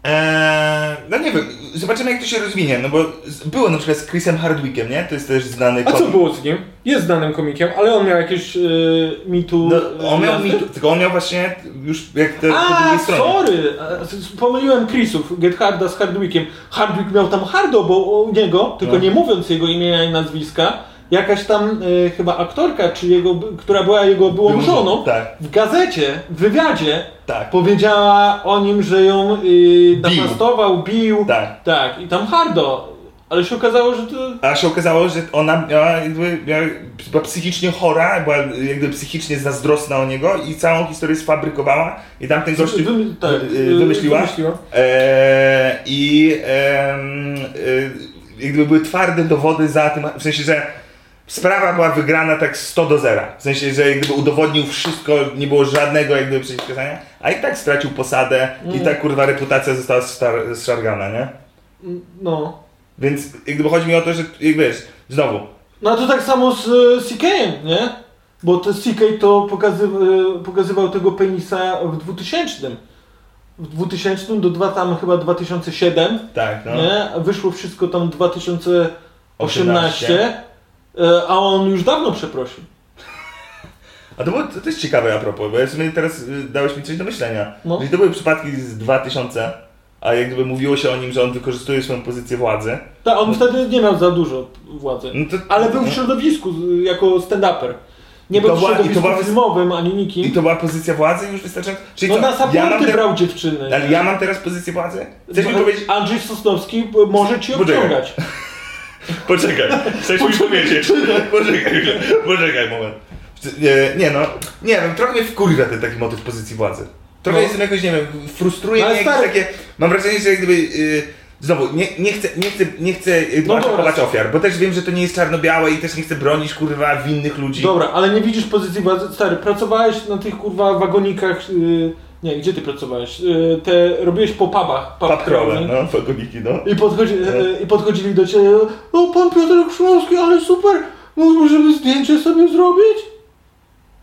S4: Eee, no nie wiem, zobaczymy jak to się rozwinie, no bo z, było na przykład z Chrisem Hardwickiem, nie? To jest też znany
S5: A co
S4: komik.
S5: było z nim? Jest znanym komikiem, ale on miał jakieś yy, mitu...
S4: No, on miał
S5: miasty?
S4: mi, tylko on miał właśnie już jak te po
S5: A,
S4: drugiej stronie.
S5: sorry! A, s- s- Pomyliłem Chrisów, Get Harda z Hardwickiem. Hardwick miał tam Hardo, bo u niego, tylko
S4: No.
S5: nie mówiąc jego imienia i nazwiska, jakaś tam e, chyba aktorka, czy jego, b- która była jego byłą
S4: Był-
S5: żoną,
S4: Tak,
S5: w gazecie, w wywiadzie
S4: tak,
S5: powiedziała o nim, że ją y, napastował, bił.
S4: tak.
S5: tak, i tam Hardo. Ale się okazało, że to
S4: A się okazało, że ona miała, jakby, miała, była psychicznie chora, była jakby psychicznie zazdrosna o niego i całą historię sfabrykowała i tamten gościu...
S5: wym- tak,
S4: wy-
S5: y,
S4: wymyśliła? Eee, I em, e, jak gdyby były twarde dowody za tym, w sensie, że sprawa była wygrana tak 100 do zera. W sensie, że jak gdyby udowodnił wszystko, nie było żadnego jak gdyby przeciwwskazania, a i tak stracił posadę i
S5: Mm.
S4: tak kurwa reputacja została star- zszargana, nie?
S5: No.
S4: Więc jak gdyby chodzi mi o to, że jak wiesz, znowu,
S5: No a to tak samo z e, CK-em, nie? Bo to CK to pokazyw- e, pokazywał tego penisa w 2000. W 2000 do dwa, tam chyba 2007,
S4: tak, no.
S5: nie? A Wyszło wszystko tam 2018,
S4: 18.
S5: e, a on już dawno przeprosił.
S4: A to było to też ciekawe a propos, bo ja w sumie teraz y, dałeś mi coś do myślenia.
S5: No.
S4: Że to były przypadki z 2000, a jak gdyby mówiło się o nim, że on wykorzystuje swoją pozycję władzy.
S5: Tak, on wtedy nie miał za dużo władzy.
S4: No to,
S5: Ale był
S4: no.
S5: w środowisku z- jako stand-upper. Nie
S4: I to
S5: był
S4: była- i to była-
S5: środowisku filmowym ani
S4: I
S5: nikim.
S4: to była pozycja władzy już wystarczająco? Czyli
S5: No
S4: co,
S5: na
S4: ja mam
S5: supporty
S4: te-
S5: brał dziewczyny.
S4: Ale ja mam teraz pozycję władzy? Chcesz mi
S5: Bo
S4: powiedzieć...
S5: Andrzej Sosnowski e, może ci
S4: Poczekaj.
S5: obciągać.
S4: Poczekaj, chcesz mi powiedzieć. Poczekaj, poczekaj moment. Nie, nie no, nie wiem, trochę mnie wkurza ten taki motyw pozycji władzy. Trochę
S5: No.
S4: jestem jakoś, nie wiem, frustruje
S5: No ale
S4: mnie jakieś
S5: stary-
S4: takie... Mam wrażenie, że jak gdyby... Yy, znowu, nie, nie chcę, nie chcę, nie chcę yy,
S5: No dobra.
S4: atakować ofiar, bo też wiem, że to nie jest czarno-białe i też nie chcę bronić, kurwa, winnych ludzi.
S5: Dobra, ale nie widzisz pozycji władzy. Stary, pracowałeś na tych kurwa wagonikach. y, nie, gdzie ty pracowałeś? Y, te robiłeś po pubach. pub crawling.
S4: Paprole, no, wagoniki, no.
S5: I, podchodzi, e, I podchodzili do ciebie. O, pan Piotr Krzymowski, ale super! Możemy zdjęcie sobie zrobić?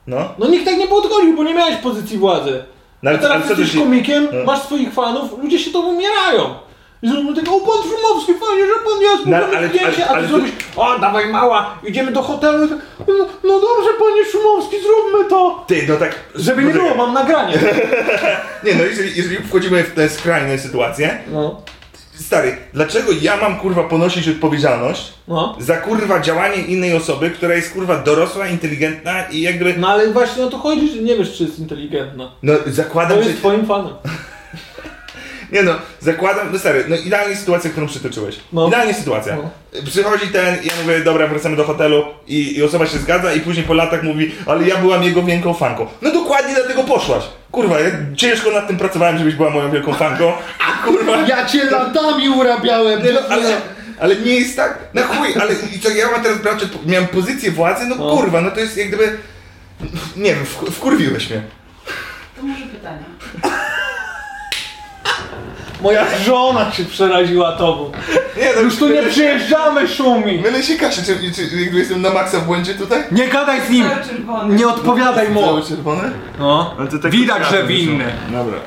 S4: No,
S5: No nikt tak nie podchodził, bo nie miałeś pozycji władzy.
S4: no
S5: A
S4: ale, ale
S5: teraz
S4: co ty
S5: jesteś
S4: się...
S5: komikiem,
S4: No.
S5: masz swoich fanów, ludzie się tobą umierają. I zrobią tego, o pan Szumowski, fajnie, że pan jest,
S4: No,
S5: no, ale,
S4: ale-
S5: zdjęcie,
S4: ale-
S5: a
S4: ale
S5: ty
S4: to-
S5: zrobisz, o dawaj mała, idziemy do hotelu, no, no dobrze panie Szumowski, zróbmy to.
S4: Ty, no tak...
S5: Żeby nie
S4: poczekaj.
S5: było, mam nagranie.
S4: Nie no, jeżeli, jeżeli wchodzimy w te skrajne sytuacje,
S5: No,
S4: Stary, dlaczego ja mam kurwa ponosić odpowiedzialność
S5: no.
S4: za kurwa działanie innej osoby, która jest kurwa dorosła, inteligentna i jak gdyby.
S5: No ale właśnie o to chodzi, że nie wiesz, czy jest inteligentna.
S4: No
S5: To
S4: zakładam, że.
S5: jest twoim fanem.
S4: Nie no, zakładam. No stary, no idealnie sytuacja, którą przytoczyłeś.
S5: No.
S4: Idealnie sytuacja.
S5: No.
S4: Przychodzi ten, ja mówię, dobra, wracamy do hotelu i, i osoba się zgadza i później po latach mówi, ale ja byłam jego wielką fanką. No dokładnie dlatego poszłaś. Kurwa, ja ciężko nad tym pracowałem, żebyś była moją wielką
S5: *laughs*
S4: fanką, a kurwa.
S6: Ja cię latami urabiałem,
S4: Nie, no, ale, ale nie jest tak. Na chuj, ale i co, ja mam teraz brać, odpo- miałem pozycję władzy, no, kurwa, no to jest jak gdyby. Nie wiem, wku- wkurwiłeś mnie.
S7: To może pytania.
S5: Moja żona się przeraziła tobą.
S4: Nie, no
S5: Już tu nie przyjeżdżamy, szumi!
S4: Mylę się kaszę, czy, czy jakby jestem na maksa w błędzie tutaj?
S10: Nie gadaj z nim!
S7: Cały czerwony.
S10: Nie odpowiadaj mu!
S4: Cały czerwony?
S10: No.
S11: No to tak
S10: Widać, że
S11: odsiadłem,
S10: winny.
S11: że- Dobra.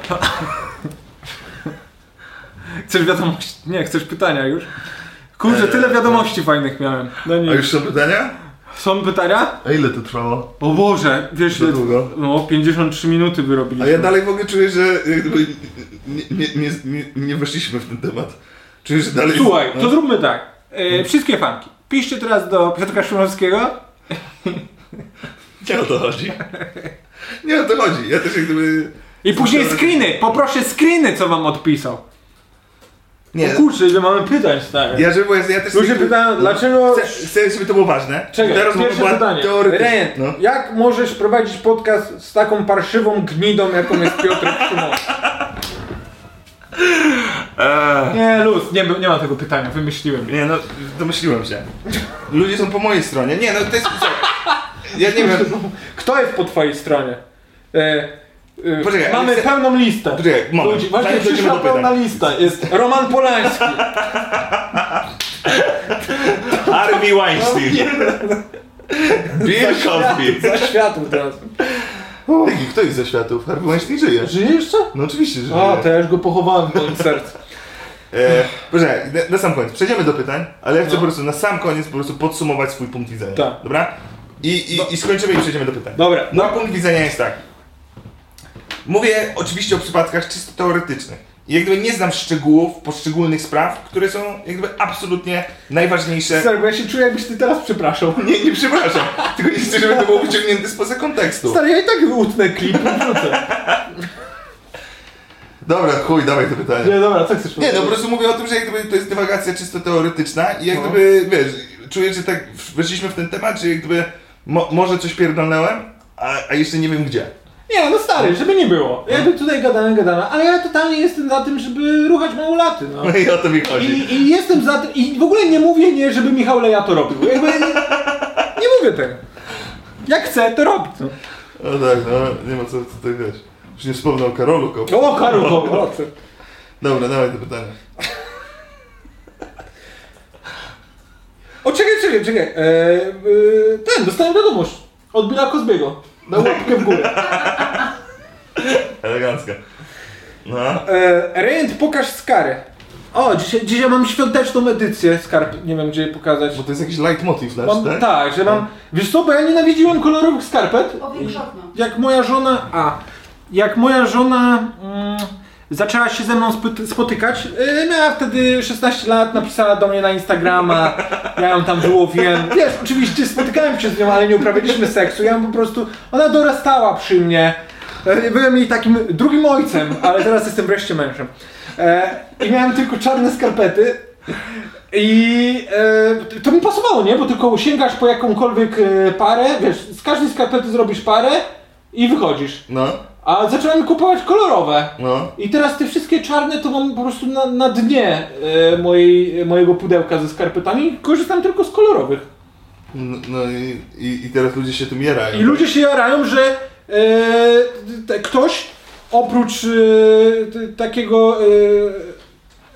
S10: Chcesz wiadomości? Nie, chcesz pytania już? Kurczę,
S4: Eee.
S10: tyle wiadomości fajnych miałem. No
S4: A
S10: nie.
S4: już są pytania?
S10: Są pytania?
S4: A ile to trwało?
S10: O Boże, wiesz,
S4: Za
S10: ile-
S4: długo.
S10: no 53 minuty
S4: A ja
S10: wyrobiliśmy.
S4: dalej w ogóle czuję, że y, jakby nie, nie, nie, nie, nie weszliśmy w ten temat. Czuję, że dalej. No,
S10: Słuchaj, to zróbmy tak.
S4: Mhm.
S10: E, wszystkie fanki. Piszcie teraz do Piotra Szumowskiego.
S4: Nie o to chodzi. Nie o to chodzi. Ja też jak gdyby.
S10: I później screeny! Poproszę screeny, co wam odpisał.
S4: Nie.
S5: O kurczę, ile mamy pytań, stary.
S4: Ja, żeby, ja też.
S5: Ludzie pytają, dlaczego...
S4: Chcę, chcę, żeby to było ważne.
S5: Czekaj,
S4: Teraz
S5: pierwsze pytanie.
S4: teoretyczna.
S10: Rejen,
S4: No.
S10: jak możesz prowadzić podcast z taką parszywą gnidą, jaką jest Piotr Szumowski?
S11: Eee,
S10: Nie, luz, nie, nie ma tego pytania, wymyśliłem.
S11: nie no, domyśliłem się.
S4: Ludzie są po mojej stronie. Nie, no to jest... Ja nie wiem...
S10: Kto jest po twojej stronie? E, e,
S4: Poczekaj, ale
S5: Mamy
S4: chcę-
S5: pełną listę.
S4: Poczekaj, moment.
S5: Ludzi, właśnie
S4: Zanim przejdziemy
S5: przyszła
S4: do
S5: pełna
S4: pytań.
S5: lista. Jest
S10: Roman
S4: *laughs*
S10: Polański.
S11: Harvey
S5: No,
S11: Weinstein.
S4: Bill
S5: *laughs*
S4: Cosby.
S10: Za światło teraz.
S4: Jaki, kto jest ze światów? Harvey Weinstein żyje.
S5: Żyje jeszcze?
S4: No oczywiście, że
S5: A, to
S4: żyje.
S5: ja już go pochowałem w moim sercu.
S4: E, poczekaj, na, na sam koniec. Przejdziemy do pytań, ale ja chcę po prostu na sam koniec po prostu podsumować swój punkt widzenia.
S5: No. Tak. No.
S4: Dobra? I, i, I skończymy i przejdziemy do pytań.
S5: Dobra.
S4: Mój punkt widzenia jest tak. Mówię oczywiście o przypadkach czysto teoretycznych. I jak gdyby nie znam szczegółów poszczególnych spraw, które są jak gdyby absolutnie najważniejsze
S5: Stary, bo no, ja się czuję, jakbyś ty teraz przepraszał. No,
S4: Nie, nie przepraszam. Tylko nie chcę, żeby to było wyciągnięte spoza kontekstu.
S5: Stary, ja i tak
S4: *laughs*
S5: utnę klip i wrzucę.
S4: Dobra, chuj, dawaj te pytanie.
S5: Nie, dobra, co chcesz
S4: Nie, no po
S5: powiedzieć?
S4: prostu mówię o tym, że jak gdyby to jest dywagacja czysto teoretyczna i
S5: No.
S4: jak gdyby, wiesz, czuję, że tak weszliśmy w ten temat, że jak gdyby mo może coś pierdolnąłem, a, a jeszcze nie wiem gdzie.
S5: Nie, no stary, żeby nie było. Jakby tutaj gadane, gadane, ale ja totalnie jestem za tym, żeby ruchać małolaty, no.
S4: No i o to mi chodzi.
S5: I, I jestem za tym, i w ogóle nie mówię nie, żeby Michał Leja to robił. Jakby,
S10: Nie mówię tego. Jak chcę, to robię. No.
S4: No tak, no, nie ma co tutaj wiesz. Już nie wspomnę o Karolu Kopu.
S5: o, Karuko,
S4: Dobra, dawaj te pytanie.
S5: O, czekaj, czekaj, czekaj. E, e, ten, dostałem wiadomość od Billa Cosbiego. Na łapkę w górę.
S4: Elegancko. No.
S5: E, Rejent, pokaż skary. O, dzisiaj, dzisiaj mam świąteczną edycję skarb, nie wiem gdzie je pokazać.
S4: Bo to jest jakiś leitmotiv nasz,
S5: Mam,
S4: tak?
S5: tak, że mam... Wiesz co, bo ja nienawidziłem kolorowych skarpet.
S7: Powiększ okno.
S5: Jak moja żona... A. Jak moja żona... Mm, zaczęła się ze mną spy- spotykać. Yy, miała wtedy 16 lat, napisała do mnie na Instagrama, *laughs* ja ją tam wyłowiłem. Wiesz, oczywiście spotykałem się z nią, ale nie uprawialiśmy seksu. Ja ją po prostu, ona dorastała przy mnie. Yy, Byłem jej takim drugim ojcem, ale teraz jestem wreszcie mężem. Yy, I miałem tylko czarne skarpety. I e, to mi pasowało, nie? Bo tylko sięgasz po jakąkolwiek e, parę, wiesz, z każdej skarpety zrobisz parę i wychodzisz.
S4: No,
S5: A zacząłem kupować kolorowe.
S4: no.
S5: I teraz te wszystkie czarne to mam po prostu na, na dnie e, mojej, mojego pudełka ze skarpetami. Korzystam tylko z kolorowych.
S4: No, no i, i, i teraz ludzie się tym jerają.
S5: I ludzie się jarają, że e, te, ktoś oprócz e, t, takiego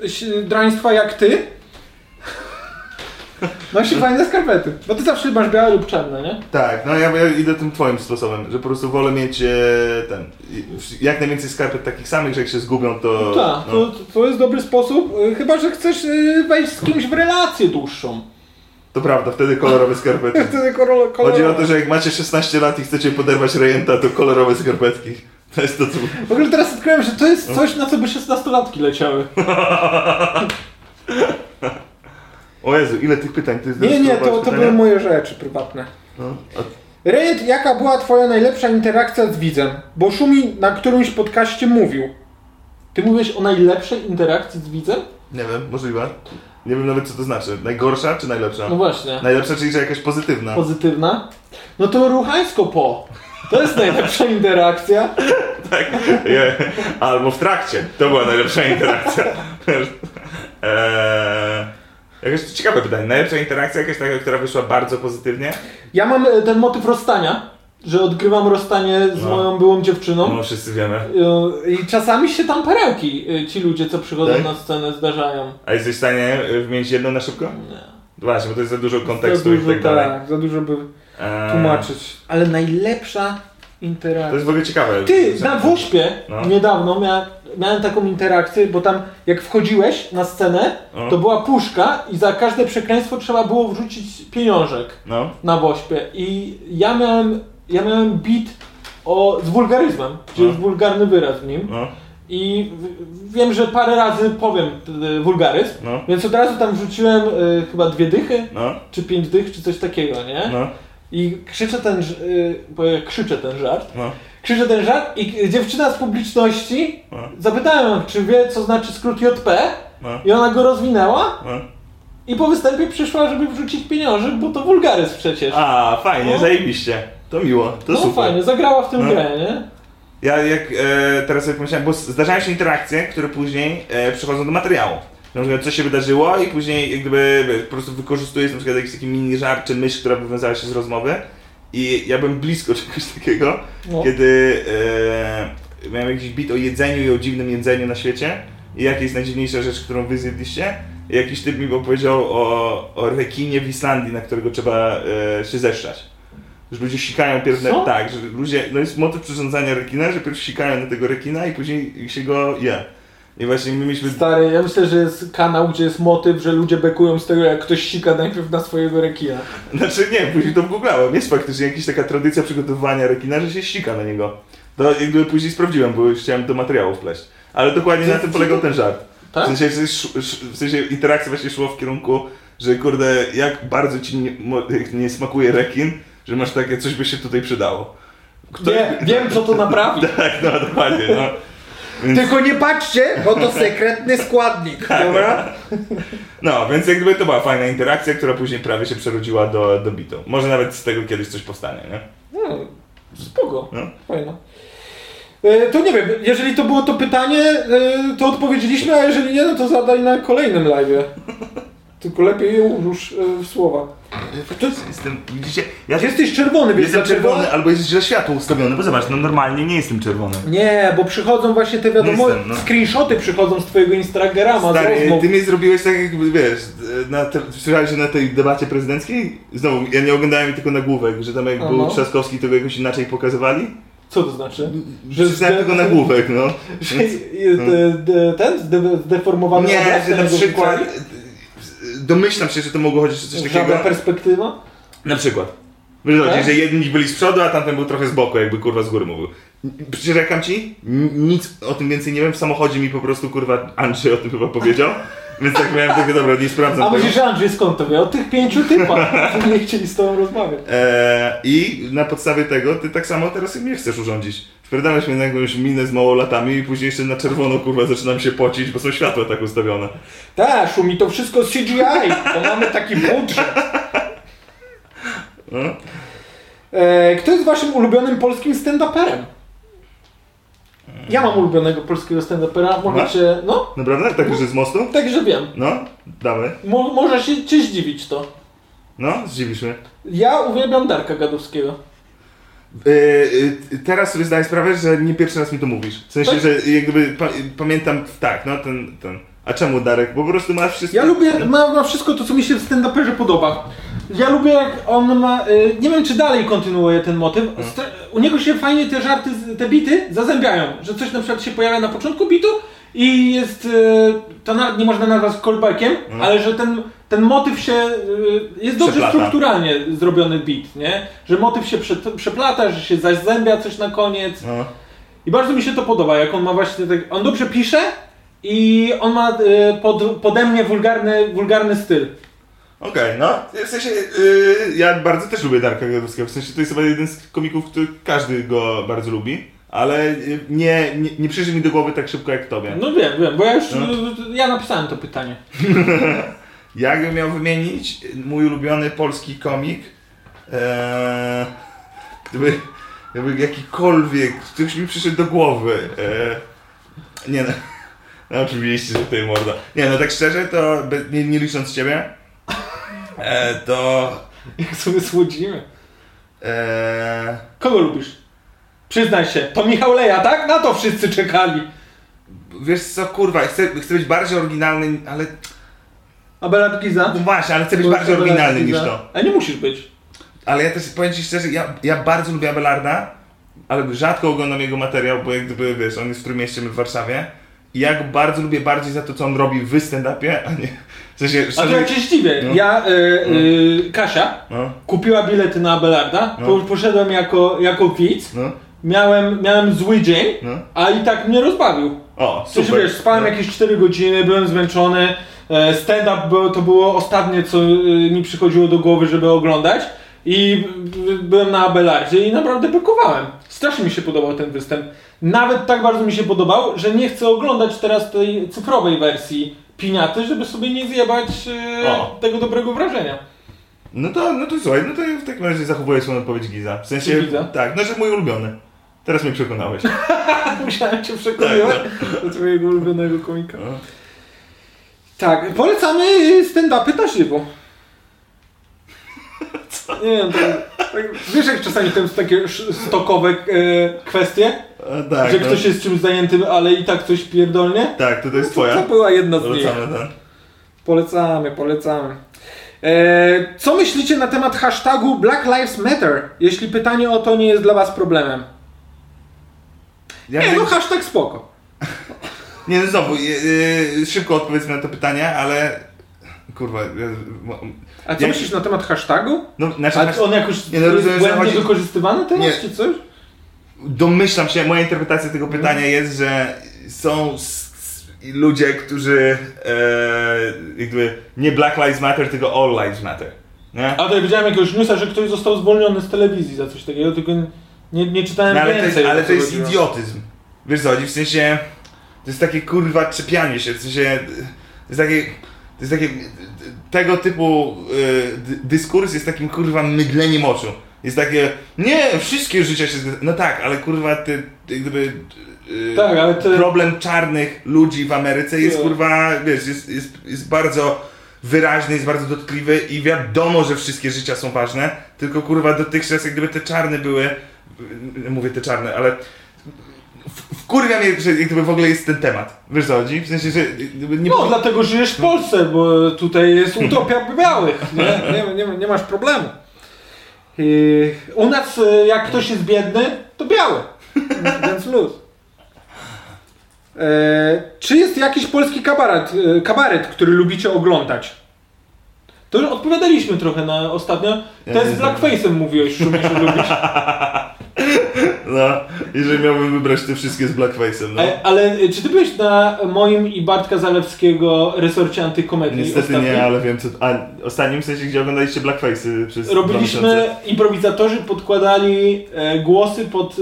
S5: e, si- draństwa jak ty *laughs* nosi fajne skarpety. Bo ty zawsze masz białe lub czarne, nie?
S4: Tak, no ja, ja idę tym twoim sposobem, że po prostu wolę mieć e, ten, i- jak najwięcej skarpet takich samych, że jak się zgubią, to...
S5: Tak,
S4: no.
S5: to, to jest dobry sposób, e, chyba że chcesz e, wejść z kimś w relację dłuższą.
S4: To prawda, wtedy kolorowe
S5: *laughs*
S4: skarpety.
S5: Wtedy kolor, kolor...
S4: Chodzi o to, że jak macie 16 lat i chcecie poderwać rejenta, to kolorowe skarpetki. To jest to, co...
S5: W ogóle teraz odkryłem, że to
S4: No.
S5: jest coś, na co by 16-latki
S4: *laughs*
S5: leciały.
S4: O Jezu, ile tych pytań? Ty
S5: Nie, nie, to, to
S4: pytania?
S5: były moje rzeczy prywatne.
S4: No,
S5: Rejent, jaka była twoja najlepsza interakcja z widzem? Bo Szumi na którymś podcaście mówił.
S12: Ty mówisz o najlepszej interakcji z widzem?
S4: Nie wiem, możliwe. Nie wiem nawet, co to znaczy. Najgorsza czy najlepsza?
S12: No właśnie.
S4: Najlepsza, czyli że jakaś pozytywna.
S12: Pozytywna? No to ruchańsko po. To jest
S5: *laughs*
S12: najlepsza interakcja.
S4: *laughs* Je- Albo w trakcie. To była najlepsza interakcja. eee, jakieś ciekawe pytanie. Najlepsza interakcja, jakaś taka, która wyszła bardzo pozytywnie?
S12: Ja mam e, ten motyw rozstania, że odgrywam rozstanie z
S4: No.
S12: moją byłą dziewczyną.
S4: No, wszyscy wiemy.
S12: E, I czasami się tam perełki e, ci ludzie, co przychodzą
S4: Tak?
S12: na scenę, zdarzają.
S4: A jesteś w stanie y, wymienić jedną na szybko? Nie. Właśnie, bo to jest za dużo kontekstu
S5: za dużo,
S4: i tak dalej.
S5: tak, za dużo by
S4: Eee,
S5: tłumaczyć.
S12: Ale najlepsza
S4: To
S12: interakcja.
S4: jest w ogóle ciekawe.
S12: Ty,
S4: Że-
S12: na Wośpie
S4: No.
S12: niedawno mia, miałem taką interakcję, bo tam jak wchodziłeś na scenę,
S4: No.
S12: to była puszka i za każde przekleństwo trzeba było wrzucić pieniążek.
S4: No.
S12: na Wośpie i ja miałem, ja miałem bit o, z wulgaryzmem, gdzie
S4: No.
S12: jest wulgarny wyraz w nim
S4: No,
S12: i w, wiem, że parę razy powiem y, wulgaryzm,
S4: no,
S12: więc od razu tam wrzuciłem y, chyba dwie dychy,
S4: no,
S12: czy pięć dych, czy coś takiego, nie?
S4: no,
S12: I krzyczę ten, ż- y, bo ja krzyczę ten żart,
S4: no.
S12: krzyczę ten żart i dziewczyna z publiczności
S4: No.
S12: zapytałem ją, czy wie, co znaczy skrót JP
S4: No.
S12: i ona go rozwinęła
S4: no.
S12: i po występie przyszła, żeby wrzucić pieniążek, bo to wulgaryzm przecież.
S4: A, fajnie,
S12: No.
S4: zajebiście. To miło, to
S12: no
S4: super.
S12: fajnie, zagrała w tym
S4: No.
S12: grę, nie?
S4: Ja jak e, teraz sobie pomyślałem, bo zdarzają się interakcje, które później e, przechodzą do materiału. Na przykład coś się wydarzyło i później jak gdyby wiesz, po prostu wykorzystujesz na przykład jakiś taki mini żart czy myśl, która wywiązała się z rozmowy. I ja byłem blisko *laughs* czegoś takiego,
S12: No.
S4: kiedy e, miałem jakiś bit o jedzeniu i o dziwnym jedzeniu na świecie. I jaka jest najdziwniejsza rzecz, którą wy zjedliście? I jakiś typ mi opowiedział o, o rekinie w Islandii, na którego trzeba e, się zeszczać. Że ludzie sikają pierw na,
S12: Co?
S4: tak, że ludzie, no jest motyw przyrządzania rekina, że pierw sikają na tego rekina i później się go je. I właśnie my mieliśmy...
S12: Stary, ja myślę, że jest kanał, gdzie jest motyw, że ludzie bekują z tego, jak ktoś sika najpierw na swojego rekina.
S4: Znaczy nie, później to googlałem. Jest faktycznie jakaś taka tradycja przygotowywania rekina, że się sika na niego. To jakby później sprawdziłem, bo już chciałem do materiału wpleść. Ale dokładnie na tym polegał ten żart.
S12: Tak?
S4: W sensie, że sz- sz- w sensie interakcja właśnie szła w kierunku, że kurde, jak bardzo ci nie, mo- nie smakuje rekin, że masz takie, coś by się tutaj przydało. Ktoś-
S12: Nie, wiem, co to naprawi.
S4: *laughs* Tak, no dokładnie, no.
S5: Tylko nie patrzcie,
S6: No
S5: bo to sekretny składnik,
S4: Tak.
S5: dobra?
S4: No, więc jak gdyby to była fajna interakcja, która później prawie się przerodziła do, do bitu. Może nawet z tego kiedyś coś powstanie, nie?
S12: No, spoko.
S4: No.
S12: Fajno.
S5: E, To nie wiem, jeżeli to było to pytanie, e, to odpowiedzieliśmy, a jeżeli nie, no to zadaj na kolejnym
S4: *laughs*
S5: live'ie. Tylko lepiej je ułóż e, w słowa.
S4: Jestem, widzicie, ja
S5: Jesteś czerwony, więc
S4: Jestem
S5: dlaczego-
S4: czerwony, albo jest źle światło ustawione, bo zobacz, no normalnie nie jestem czerwony.
S5: Nie, bo przychodzą właśnie te wiadomości,
S4: Jestem, no.
S5: screenshoty przychodzą z twojego Instagrama, z
S4: Stary,
S5: rozmów.
S4: ty mnie zrobiłeś tak jakby, wiesz, na te, słyszałeś że na tej debacie prezydenckiej? Znowu, ja nie oglądałem tylko nagłówek, że tam jak był Trzaskowski, to go jakoś inaczej pokazywali?
S12: Co to znaczy?
S5: *laughs*
S4: Że Słyszałem tylko nagłówek, no.
S12: Jest, e, de- ten zde- zdeformowany
S4: Nie,
S12: obraz
S4: że na
S12: tego
S4: przykład...
S12: wrzucali?
S4: Domyślam się, że to mogło chodzić o coś takiego.
S12: Żadna perspektywa?
S4: Na przykład. Tak? Wiesz, o co chodzi, że jedni byli z przodu, a tamten był trochę z boku, jakby kurwa z góry mówił. Przyrzekam ci, n- nic o tym więcej nie wiem, w samochodzie mi po prostu kurwa Andrzej o tym chyba powiedział. *laughs* Więc tak miałem takie, dobra, nie sprawdzam
S5: A
S4: tego.
S5: myślisz, że Andrzej skąd to wie? Od tych pięciu typa, *laughs* którzy nie chcieli z tobą rozmawiać.
S4: Eee, I na podstawie tego ty tak samo teraz jak mnie chcesz urządzić. Wpierdalasz mnie na jakąś minę z małolatami i później jeszcze na czerwono kurwa zaczynam się pocić, bo są światła tak ustawione.
S5: Tak, szumi to wszystko z CGI, bo mamy taki budżet. E, Kto jest waszym ulubionym polskim stand-uperem? Ja mam ulubionego polskiego stand-upera, możecie... No,
S4: Naprawdę? Tak, że z mostu?
S5: także wiem.
S4: No, damy.
S5: Mo może się cię zdziwić to.
S4: No, zdziwisz mnie.
S5: Ja uwielbiam Darka Gadowskiego.
S4: E, e, teraz sobie zdaję sprawę, że nie pierwszy raz mi to mówisz. W sensie,
S5: Tak?
S4: że jak gdyby pa, pamiętam, tak, no ten, ten. A czemu Darek? Bo po prostu masz wszystko.
S13: Ja lubię, ma, ma wszystko to, co mi się w stand-uperze podoba. Ja lubię jak on ma, y, nie wiem czy dalej kontynuuje ten motyw,
S4: Mhm.
S13: Stra- u niego się fajnie te żarty, z- te bity zazębiają, że coś na przykład się pojawia na początku bitu i jest, y, to nawet nie można nazwać callbackiem, ale że ten, ten motyw się, y, jest dobrze
S4: Mhm. Przeplata.
S13: strukturalnie zrobiony bit, nie? Że motyw się prze, przeplata, że się zazębia coś na koniec,
S4: No.
S13: i bardzo mi się to podoba, jak on ma właśnie tak. On dobrze pisze i on ma y, pod, pode mnie wulgarny, wulgarny styl.
S4: Okej, no. W sensie, y, ja bardzo też lubię Darka Gadowskiego. W sensie, to jest chyba jeden z komików, który każdy go bardzo lubi. Ale y, nie, nie, nie przyszedł mi do głowy tak szybko jak tobie.
S13: No wiem, wiem, bo ja już.
S4: No.
S13: y, Ja napisałem to pytanie.
S4: Jakbym miał wymienić mój ulubiony polski komik, eee, gdyby, gdyby jakikolwiek, ktoś mi przyszedł do głowy. eee, nie no, no, oczywiście, że ty morda. Nie no, tak szczerze, to be, nie, nie licząc ciebie, eee, to...
S5: *laughs* Jak sobie słodzimy.
S4: eee,
S5: Kogo lubisz? Przyznaj się, to Michał Leja, tak? Na to wszyscy czekali.
S4: wiesz co, kurwa, chcę, chcę być bardziej oryginalny, ale...
S5: A Bela Kiza?
S4: No właśnie, ale chcę być bardziej oryginalny niż to.
S5: A nie musisz być.
S4: Ale ja też powiem Ci szczerze, ja, ja bardzo lubię Abelarda, ale rzadko oglądam jego materiał, bo jak gdyby, wiesz, on jest w Trójmieście, my w Warszawie. I ja go bardzo lubię bardziej za to, co on robi w stand-upie, a nie... W sensie,
S5: A to
S4: szczerze,
S5: ja cię zdziwię.
S4: No.
S5: Ja, y, y, Kasia,
S4: no,
S5: kupiła bilety na Abelarda,
S4: No.
S5: po, poszedłem jako, jako widz,
S4: no,
S5: miałem, miałem zły dzień,
S4: no.
S5: a i tak mnie rozbawił.
S4: O,
S5: Super.
S4: super.
S5: Przecież wiesz, spałem
S4: no.
S5: jakieś 4 godziny, byłem zmęczony. e, Stand-up było- to było ostatnie, co y, mi przychodziło do głowy, żeby oglądać. I b- byłem na Abelardzie i naprawdę blokowałem. Strasznie mi się podobał ten występ. Nawet tak bardzo mi się podobał, że nie chcę oglądać teraz tej cyfrowej wersji piniaty, żeby sobie nie zjebać e,
S4: O.
S5: tego dobrego wrażenia.
S4: No to, no to słuchaj, no to ja w takim razie zachowuję swoją odpowiedź Giza. W sensie,
S5: Giza?
S4: tak, no że mój ulubiony. Teraz mnie
S5: *laughs*
S4: przekonałeś.
S5: Musiałem cię przekonywać do twojego ulubionego komika.
S4: Tak, No.
S5: Tak, polecamy y, stand-upy na żywo. Nie wiem, to, tak, wiesz jak czasami to są takie sz- stokowe e, kwestie,
S4: A, tak,
S5: że
S4: no.
S5: ktoś jest czymś zajętym, ale i tak coś pierdolnie?
S4: Tak, to, to jest
S5: No To
S4: twoja.
S5: była jedna z nich.
S4: Wracamy ten.
S5: Polecamy, polecamy. E, co myślicie na temat hashtagu Black Lives Matter, jeśli pytanie o to nie jest dla was problemem?
S4: Ja
S5: Nie,
S4: wiem-
S5: no hashtag spoko.
S4: Nie, no znowu, y, y, szybko odpowiedzmy na to pytanie, ale... Kurwa, y, mo-
S5: A co
S4: Jak-
S5: myślisz na temat hashtagu?
S4: no, znaczy,
S5: A on jakoś
S4: Nie, no rozumiem, że
S5: błędnie
S4: chodzi-
S5: wykorzystywany teraz,
S4: Nie.
S5: czy coś?
S4: domyślam się, moja interpretacja tego pytania jest, że są s- s- ludzie, którzy e, jakby nie Black Lives Matter, tylko All Lives Matter. Nie?
S5: A to ja widziałem jakiegoś newsa, że ktoś został zwolniony z telewizji za coś takiego, tylko nie, nie czytałem
S4: No, ale to jest,
S5: więcej.
S4: ale
S5: o
S4: to
S5: co
S4: jest
S5: chodziło.
S4: idiotyzm. Wiesz co, chodzi? w sensie to jest takie kurwa czepianie się, w sensie to jest takie, to jest takie tego typu y, dy- dyskurs jest takim kurwa mydleniem oczu. Jest takie, nie, wszystkie życia się, zgadza- no tak, ale kurwa ty, ty gdyby y,
S5: Tak, ale ty-
S4: problem czarnych ludzi w Ameryce jest
S5: Tak.
S4: kurwa, wiesz, jest, jest, jest bardzo wyraźny, jest bardzo dotkliwy i wiadomo, że wszystkie życia są ważne, tylko kurwa dotychczas jak gdyby te czarne były, mówię te czarne, ale w- wkurwia mnie, że jak gdyby w ogóle jest ten temat. Wiesz co chodzi? W sensie, że jakby nie...
S5: No, dlatego żyjesz w Polsce, bo tutaj jest utopia białych, nie? Nie, nie, nie masz problemu. Yy, u nas, y, jak ktoś jest biedny, to biały, więc luz. E, czy jest jakiś polski kabaret, e, kabaret, który lubicie oglądać? To już odpowiadaliśmy trochę na ostatnio. Ten
S4: nie
S5: z blackface'em mówiłeś, że
S4: *laughs*
S5: musisz lubić.
S4: No, jeżeli miałbym wybrać te wszystkie z blackface'em, no.
S5: E, Ale, ale czy ty byłeś na moim i Bartka Zalewskiego resorcie antykomedii
S4: Niestety
S5: ostatnio?
S4: nie, ale wiem co... A ostatnim w sensie, gdzie oglądaliście blackface'y przez dwa miesiące.
S5: Robiliśmy, improwizatorzy podkładali e, głosy pod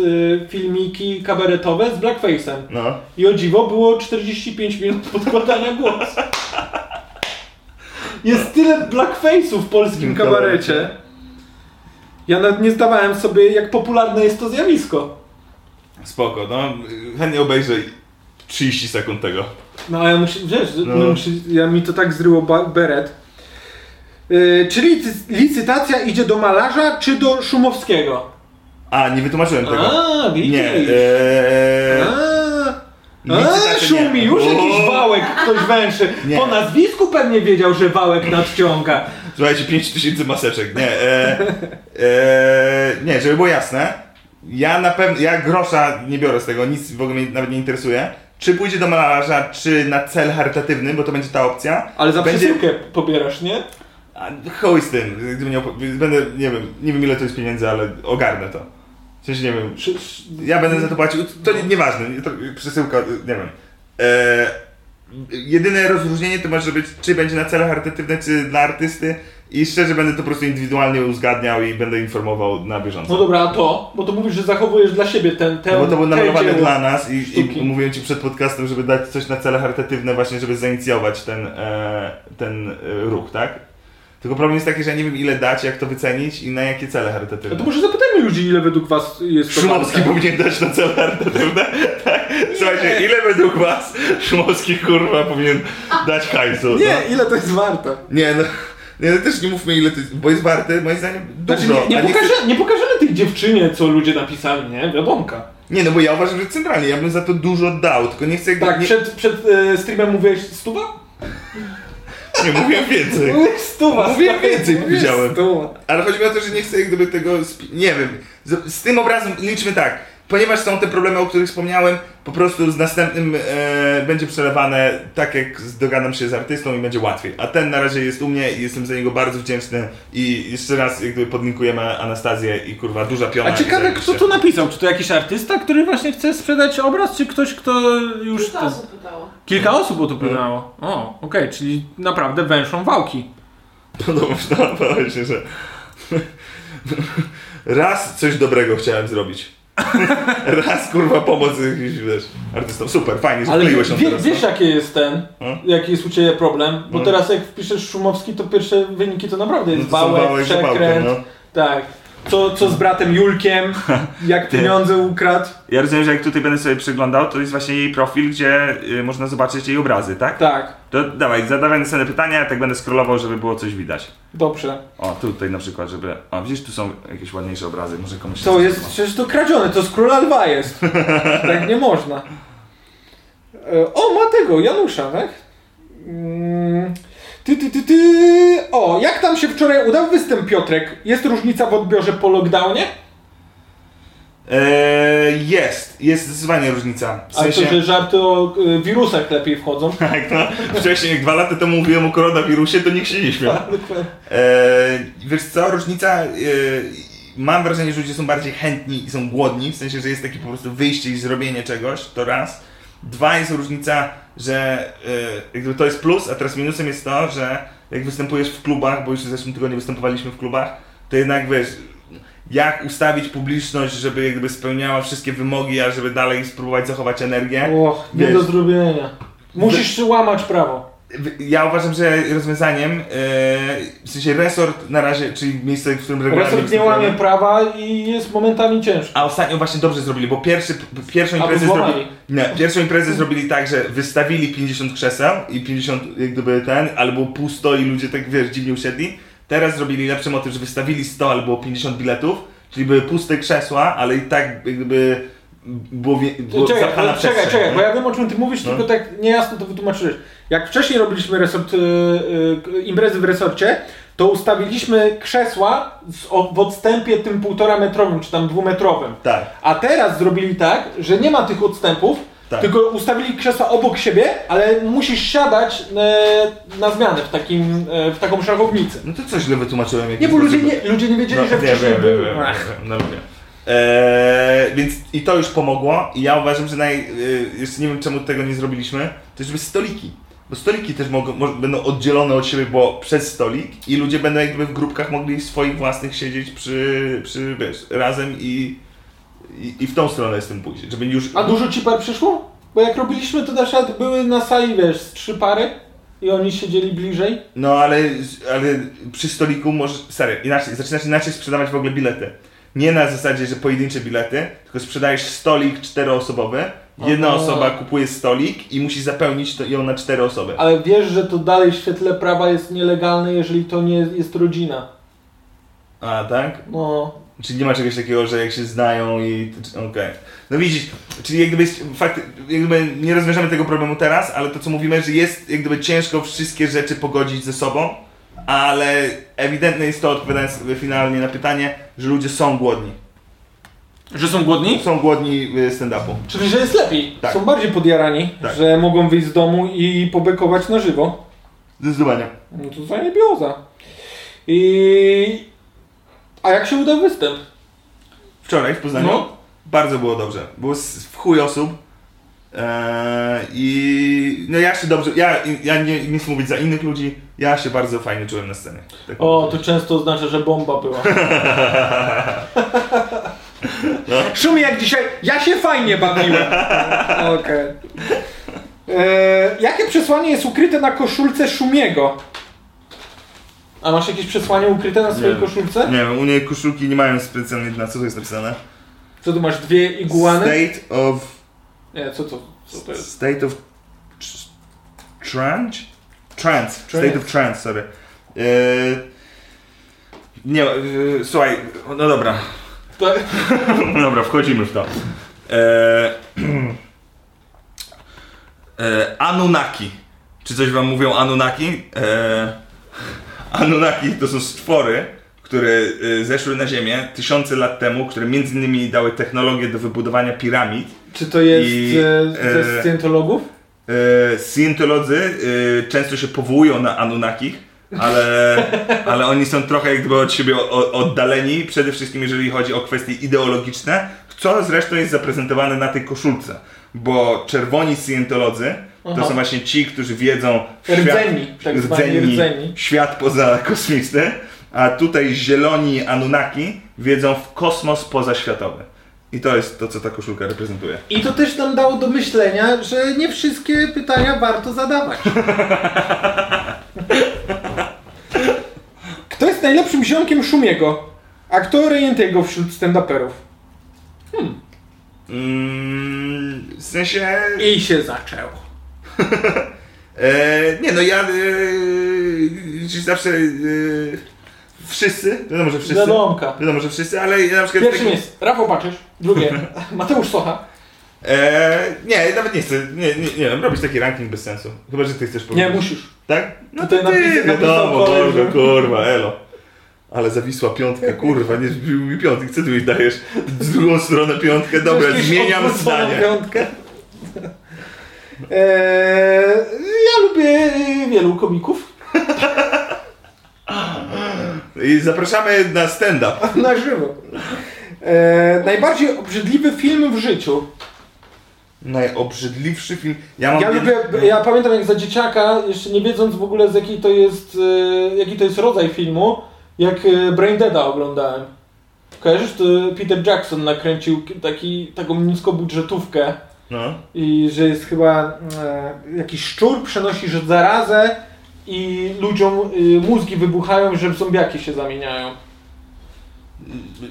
S5: e, filmiki kabaretowe z blackface'em.
S4: No.
S5: I o dziwo było 45 minut *laughs* podkładania głosu. Jest tyle blackface'u w polskim kabarecie. Ja nawet nie zdawałem sobie, jak popularne jest to zjawisko.
S4: Spoko, no. Chętnie obejrzę 30 sekund tego.
S5: No a ja muszę, wiesz,
S4: No.
S5: no. muszę, ja mi to tak zryło ba- beret. Yy, czy licy- licytacja idzie do malarza, czy do Szumowskiego?
S4: A, nie wytłumaczyłem tego.
S5: A, widzisz.
S4: Nie, e, eee...
S5: A, a
S4: licytacja
S5: szumi,
S4: tak nie.
S5: już jakiś
S4: O!
S5: wałek ktoś węszy.
S4: Nie.
S5: Po nazwisku pewnie wiedział, że wałek nadciąga.
S4: Słuchajcie, 5000 maseczek, nie. E, e, nie, żeby było jasne, ja na pewno, ja grosza nie biorę z tego, nic w ogóle mnie nawet nie interesuje. Czy pójdzie do malarza, czy na cel charytatywny, bo to będzie ta opcja.
S5: Ale za
S4: będzie,
S5: przesyłkę pobierasz, nie?
S4: A, Chuj z tym, gdy mnie opo- będę, nie wiem, nie wiem ile to jest pieniędzy, ale ogarnę to. W sensie, nie wiem,
S5: Czy, czy,
S4: ja będę za to płacił, to nie- nieważne, nie, to przesyłka, nie wiem. E, jedyne rozróżnienie to może być, czy będzie na cele charytatywne, czy dla artysty i szczerze będę to po prostu indywidualnie uzgadniał i będę informował na bieżąco.
S5: no dobra, a to? Bo to mówisz, że zachowujesz dla siebie ten, ten
S4: No bo to było
S5: te
S4: namalowane
S5: dzieło.
S4: dla nas i, i
S5: sztuki.
S4: mówiłem ci przed podcastem, żeby dać coś na cele charytatywne właśnie, żeby zainicjować ten, e, ten e, ruch, tak? Tylko problem jest taki, że ja nie wiem ile dać, jak to wycenić i na jakie cele
S5: No to
S4: charytatywne.
S5: może zapytajmy ludzi, ile według was jest to
S4: Szumowski
S5: warte.
S4: powinien dać na cele charytatywne, tak? Słuchajcie, ile według was Szumowski kurwa powinien dać hajsu?
S5: Nie,
S4: No.
S5: ile to jest warte?
S4: Nie no, nie, no też nie mówmy ile to jest, bo jest warty, moim zdaniem, dużo.
S5: Znaczy, nie,
S4: a
S5: nie,
S4: nie chcę-
S5: pokaże, nie pokażemy tej dziewczynie, co ludzie napisali, nie? Wiadomka.
S4: nie no, bo ja uważam, że centralnie, ja bym za to dużo dał, tylko nie chcę...
S5: Tak,
S4: nie,
S5: przed, przed e, streamem mówiłeś stuwa?
S4: nie mówiłem więcej.
S5: Mówiłeś stuwa.
S4: Mówiłem
S5: stary.
S4: więcej,
S5: Mówiłeś
S4: widziałem.
S5: Stuwa.
S4: Ale chodzi mi o to, że nie chcę jak gdyby tego. spi- Nie wiem. Z, z tym obrazem liczmy tak. Ponieważ są te problemy, o których wspomniałem, po prostu z następnym e, będzie przelewane tak, jak z- dogadam się z artystą i będzie łatwiej. A ten na razie jest u mnie i jestem za niego bardzo wdzięczny. I jeszcze raz jak gdyby podlinkujemy Anastazję i kurwa duża piona.
S14: A ciekawe,
S4: i
S14: kto
S4: zajebiście.
S14: to napisał? Czy to jakiś artysta, który właśnie chce sprzedać obraz, czy ktoś, kto już...
S7: Kilka osób pytało.
S14: Kilka osób o to pytało. O, okej, czyli naprawdę węszą wałki.
S4: Podobno, *laughs* no, podoba się, że... Raz coś dobrego chciałem zrobić. *laughs* Raz kurwa pomoc jakimś, wiesz, artystom. Super, fajnie, że
S5: Ale wie,
S4: wkleiłeś się
S5: wie,
S4: teraz. no.
S5: wiesz, jaki jest ten,
S4: Hmm?
S5: jaki jest u ciebie problem? Bo
S4: No.
S5: teraz jak wpiszesz Szumowski, to pierwsze wyniki to naprawdę jest
S4: No to są
S5: bałek,
S4: bałek,
S5: przekręt.
S4: bałkiem, no.
S5: Tak. Co, co z bratem
S4: *laughs*
S5: Julkiem, jak pieniądze ukradł.
S15: Ja rozumiem, że jak tutaj będę sobie przeglądał, to jest właśnie jej profil, gdzie y, można zobaczyć jej obrazy, tak?
S5: Tak,
S15: To dawaj, zadawaj następne pytania, ja tak będę scrollował, żeby było coś widać.
S5: dobrze.
S15: O, tutaj na przykład, żeby... O, widzisz, tu są jakieś ładniejsze obrazy, może komuś... się
S5: To
S15: coś
S5: jest,
S15: podoba.
S5: przecież to kradzione, to z Króla Lwa jest. Tak nie można. E, O, ma tego, Janusza, tak? Mm, Ty, ty, ty, ty. O, jak tam się wczoraj udał występ Piotrek? Jest różnica w odbiorze po lockdownie?
S15: E,
S4: Eee, jest, jest zdecydowanie różnica. W
S5: A to,
S4: sensie,
S5: że żarty o y, wirusach lepiej wchodzą.
S4: *laughs* tak, no, wcześniej jak dwa lata temu mówiłem o koronawirusie, to nikt się nie śmiał. Eee, wiesz co, różnica, eee, mam wrażenie, że ludzie są bardziej chętni i są głodni, w sensie, że jest takie po prostu wyjście i zrobienie czegoś, to raz. Dwa, jest różnica, że eee, jakby to jest plus, a teraz minusem jest to, że jak występujesz w klubach, bo już w zeszłym tygodniu występowaliśmy w klubach, to jednak wiesz, jak ustawić publiczność, żeby jakby spełniała wszystkie wymogi, a żeby dalej spróbować zachować energię.
S5: Och, nie
S4: Wiesz.
S5: do zrobienia. Musisz łamać prawo.
S4: Ja uważam, że rozwiązaniem, e, w sensie resort na razie, czyli miejsce, w którym regularnie
S5: Resort nie
S4: występujemy,
S5: łamie prawa i jest momentami ciężko.
S4: A ostatnio właśnie dobrze zrobili, bo pierwszy, pierwszą
S5: Albo
S4: imprezę
S5: złamali.
S4: zrobili. Nie, pierwszą imprezę zrobili tak, że wystawili 50 krzeseł i 50 jak gdyby ten, albo pusto i ludzie tak wiesz, dziwnie usiedli. Teraz zrobili lepszy motyw, że wystawili 100 albo 50 biletów, czyli były puste krzesła, ale i tak jak gdyby było, wie, było
S5: Czekaj,
S4: zapchana
S5: ale czekaj,
S4: przestrzeń,
S5: czekaj,
S4: nie?
S5: bo ja wiem o czym ty mówisz, tylko tak niejasno to wytłumaczyłeś. Jak wcześniej robiliśmy resort, y, y, imprezy w resorcie, to ustawiliśmy krzesła z, o, w odstępie tym półtora metrowym, czy tam dwumetrowym.
S4: Tak.
S5: A teraz zrobili tak, że nie ma tych odstępów,
S4: Tak.
S5: Tylko ustawili krzesła obok siebie, ale musisz siadać e, na zmianę w, takim, e, w taką szachownicę.
S4: No to coś źle wytłumaczyłem.
S5: Nie,
S4: jakiś
S5: bo ludzie
S4: sposób.
S5: nie, ludzie nie wiedzieli,
S4: No,
S5: że
S4: wiem,
S5: wcześniej
S4: wiem,
S5: był.
S4: wiem, wiem, wiem, no lubię. Eee, więc i to już pomogło i ja uważam, że naj, y, jeszcze nie wiem czemu tego nie zrobiliśmy, to żeby stoliki. Bo stoliki też mogą, mo- będą oddzielone od siebie bo przez stolik i ludzie będą jakby w grupkach mogli swoich własnych siedzieć przy, przy wiesz, razem i, i, i w tą stronę z tym pójść. Żeby już...
S5: A dużo ci par przyszło? Bo jak robiliśmy, to na przykład były na sali, wiesz, z trzy pary i oni siedzieli bliżej.
S4: No ale, ale przy stoliku możesz. Serio, inaczej, zaczynasz inaczej sprzedawać w ogóle bilety. Nie na zasadzie, że pojedyncze bilety, tylko sprzedajesz stolik czteroosobowy. Jedna
S5: Aha.
S4: osoba kupuje stolik i musi zapełnić to, ją na cztery osoby.
S5: Ale wiesz, że to dalej w świetle prawa jest nielegalne, jeżeli to nie jest rodzina.
S4: A tak?
S5: No,
S4: Czyli nie ma czegoś takiego, że jak się znają i. Okej. No widzisz, czyli jak gdyby, fakt, jak gdyby nie rozwiążemy tego problemu teraz, ale to co mówimy, że jest jak gdyby ciężko wszystkie rzeczy pogodzić ze sobą, ale ewidentne jest to, odpowiadając finalnie na pytanie, że ludzie są głodni.
S16: Że są głodni?
S4: Są głodni y, stand-upu.
S5: Czyli, że jest lepiej.
S4: Tak.
S5: Są bardziej podjarani,
S4: Tak.
S5: że mogą wyjść z domu i pobekować na żywo.
S4: Zdecydowanie.
S5: No to zajebioza. I... A jak się uda występ?
S4: Wczoraj w Poznaniu
S5: No.
S4: bardzo było dobrze. Było s- w chuj osób. Eee, I no ja się dobrze, ja, ja nie nic mówić za innych ludzi, ja się bardzo fajnie czułem na scenie. Tak.
S5: O, to często oznacza, że bomba
S4: *laughs*
S5: była.
S4: No.
S16: Szumi jak dzisiaj, ja się fajnie
S4: *laughs*
S16: bawiłem.
S5: Okej. E, Jakie przesłanie jest ukryte na koszulce Szumiego? A masz jakieś przesłanie ukryte na swojej
S4: Nie.
S5: koszulce?
S4: Nie wiem, u niej koszulki nie mają specjalnie na co to jest napisane.
S5: Co tu masz, dwie iguany?
S4: State of.
S5: Nie, co to, co to jest?
S4: State of. tr- Trance? Trance. State of trance, sorry. Eee, nie, eee, słuchaj, no dobra.
S5: To,
S4: No *laughs* Dobra, wchodzimy w to. E, *clears throat* e, Anunnaki. Czy coś wam mówią Anunnaki? E, *laughs* Anunnaki to są stwory, które e, zeszły na Ziemię tysiące lat temu, które między innymi dały technologię do wybudowania piramid.
S5: czy to jest
S4: I,
S5: e,
S4: e,
S5: ze scjentologów?
S4: E, Scientolodzy e, często się powołują na Anunnakich, ale,
S5: *laughs*
S4: ale oni są trochę jak gdyby od siebie o- o- oddaleni, przede wszystkim jeżeli chodzi o kwestie ideologiczne, co zresztą jest zaprezentowane na tej koszulce, bo czerwoni Scientolodzy to
S5: Aha.
S4: są właśnie ci, którzy wiedzą w
S5: Rdzeni, tak zwani rdzeni.
S4: świat pozakosmiczny, a tutaj zieloni Anunnaki wiedzą w kosmos pozaświatowy. I to jest to, co ta koszulka reprezentuje.
S16: I to też nam dało do myślenia, że nie wszystkie pytania warto zadawać.
S5: Kto jest najlepszym ziomkiem Szumiego? A kto Rejentego wśród stand-uperów?
S4: Mm, w sensie...
S5: I się zaczęło.
S4: E, nie no, ja e, czyli zawsze e, wszyscy, wiadomo, że wszyscy,
S5: Wiadomka.
S4: wiadomo, że wszyscy, ale ja na przykład
S5: Pierwszym
S4: taki-
S5: jest Rafał Baczysz,
S4: *laughs*
S5: drugie Mateusz Socha.
S4: e, nie, nawet nie chcę, nie, nie, nie wiem, robić taki ranking bez sensu, chyba, że ty chcesz
S5: Nie,
S4: powiedzieć.
S5: musisz.
S4: Tak? No to
S5: Tutaj
S4: ty,
S5: napis- napisał
S4: wiadomo,
S5: koleś,
S4: Boże,
S5: że-
S4: kurwa, elo. Ale zawisła piątka, kurwa, nie zbił mi piątki, co ty mi dajesz? Z drugą stronę piątkę, dobra,
S5: Przecież
S4: zmieniam
S5: odwróconą
S4: zdanie.
S16: *laughs*
S5: piątkę. Eee,
S16: E,
S5: ja lubię
S16: y,
S5: wielu komików.
S4: I zapraszamy na stand-up.
S5: Na żywo. Eee, najbardziej obrzydliwy film w życiu.
S4: Najobrzydliwszy film. Ja mam
S5: Ja
S4: jeden-
S5: lubię, ja pamiętam jak za dzieciaka, jeszcze nie wiedząc w ogóle z jakiej to jest, e, jaki to jest rodzaj filmu, jak e, Brain Deada oglądałem. Kojarzysz, to Peter Jackson nakręcił taki, taką niskobudżetówkę
S4: No.
S5: i że jest chyba e, jakiś szczur przenosi że zarazę i ludziom e, mózgi wybuchają, że w zombiaki się zamieniają.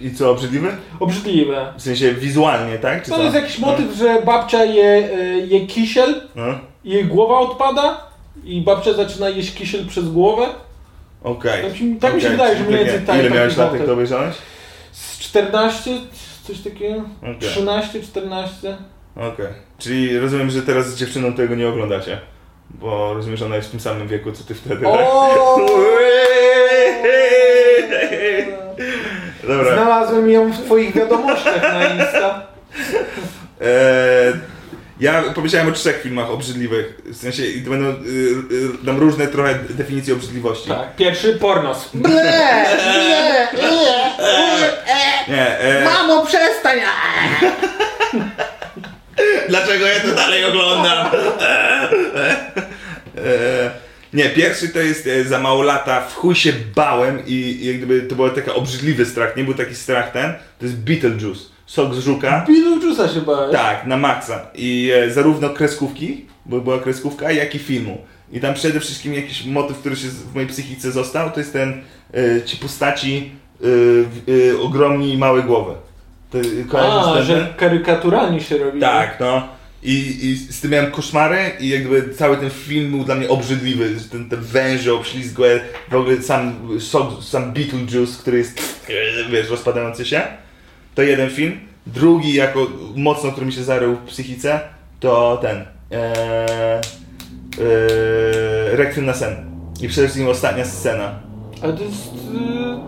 S4: I co, obrzydliwy?
S5: Obrzydliwe.
S4: W sensie wizualnie, tak? Czy
S5: To
S4: co?
S5: jest jakiś motyw, że babcia je, e, je kisiel
S4: No.
S5: jej głowa odpada i babcia zaczyna jeść kisiel przez głowę.
S4: Okej.
S5: Tak mi- tak mi się
S4: Okej,
S5: wydaje, że
S4: czyli
S5: mniej
S4: takie-
S5: więcej tak-
S4: Ile
S5: taki
S4: miałeś lat, jak
S5: motyw.
S4: to obejrzałeś?
S5: Z 14, coś takiego.
S4: Okej.
S5: 13, 14.
S4: Okej. Czyli rozumiem, że teraz z dziewczyną tego nie oglądacie. Bo rozumiem, że ona jest w tym samym wieku, co ty wtedy, tak? *laughs*
S5: O!
S4: Dobra.
S5: Znalazłem ją w twoich wiadomościach na Insta.
S4: Eee, e, Ja powiedziałem o trzech filmach obrzydliwych, w sensie i to będą y, y, dam różne trochę definicje obrzydliwości.
S5: Tak. Pierwszy pornos.
S6: Ble! Nie! Nie!
S4: Nie, e,
S6: Mamo, przestań! Eee.
S4: dlaczego ja to dalej oglądam? E, nie, pierwszy to jest e, za mało lata, w chuj się bałem i, i jak gdyby to był taki obrzydliwy strach, nie był taki strach ten, to jest Beetlejuice, sok z żuka.
S5: Beetlejuice'a się bałeś.
S4: Tak, na maksa. I e, zarówno kreskówki, bo była kreskówka, jak i filmu. I tam przede wszystkim jakiś motyw, który się z- w mojej psychice został, to jest ten e, ci postaci e, w- e, ogromni i małe głowy. To, e, kojarzysz
S5: A,
S4: ten-
S5: że karykaturalnie się robi.
S4: Tak, no. I, I z tym miałem koszmary i jakby cały ten film był dla mnie obrzydliwy. że Ten, te węże obślizgłe, w ogóle sam, sok- sam Beetlejuice, który jest, *sniffs* wiesz, rozpadający się. To jeden film. Drugi, jako mocno, który mi się zarył w psychice, to ten. Ee, Requiem na sen. I przede wszystkim ostatnia scena.
S5: Ale to jest... y,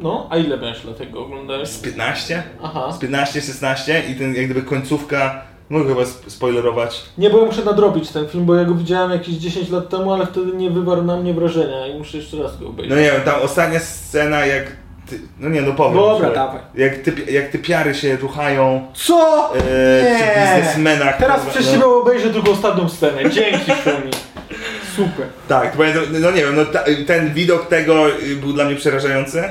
S5: No, a ile będziesz lat tego oglądałeś?
S4: Z 15?
S5: Aha.
S4: Z 15, 16 i ten jak gdyby końcówka. Mogę chyba sp- spoilerować.
S5: Nie, bo ja muszę nadrobić ten film, bo ja go widziałem jakieś 10 lat temu, ale wtedy nie wywarł na mnie wrażenia i muszę jeszcze raz go obejrzeć.
S4: No nie wiem, tam ostatnia scena jak. Ty, no nie, no powiem.
S5: Dobra,
S4: słuchaj.
S5: dawaj.
S4: Jak, ty, jak typiary się ruchają
S5: Co?
S4: e, przy biznesmenach.
S5: Teraz
S4: kurwa,
S5: przecież no. obejrzę drugą ostatnią scenę. Dzięki, Szumi. Super.
S4: Tak, to pamiętam, no nie wiem, no ta, ten widok tego y, był dla mnie przerażający.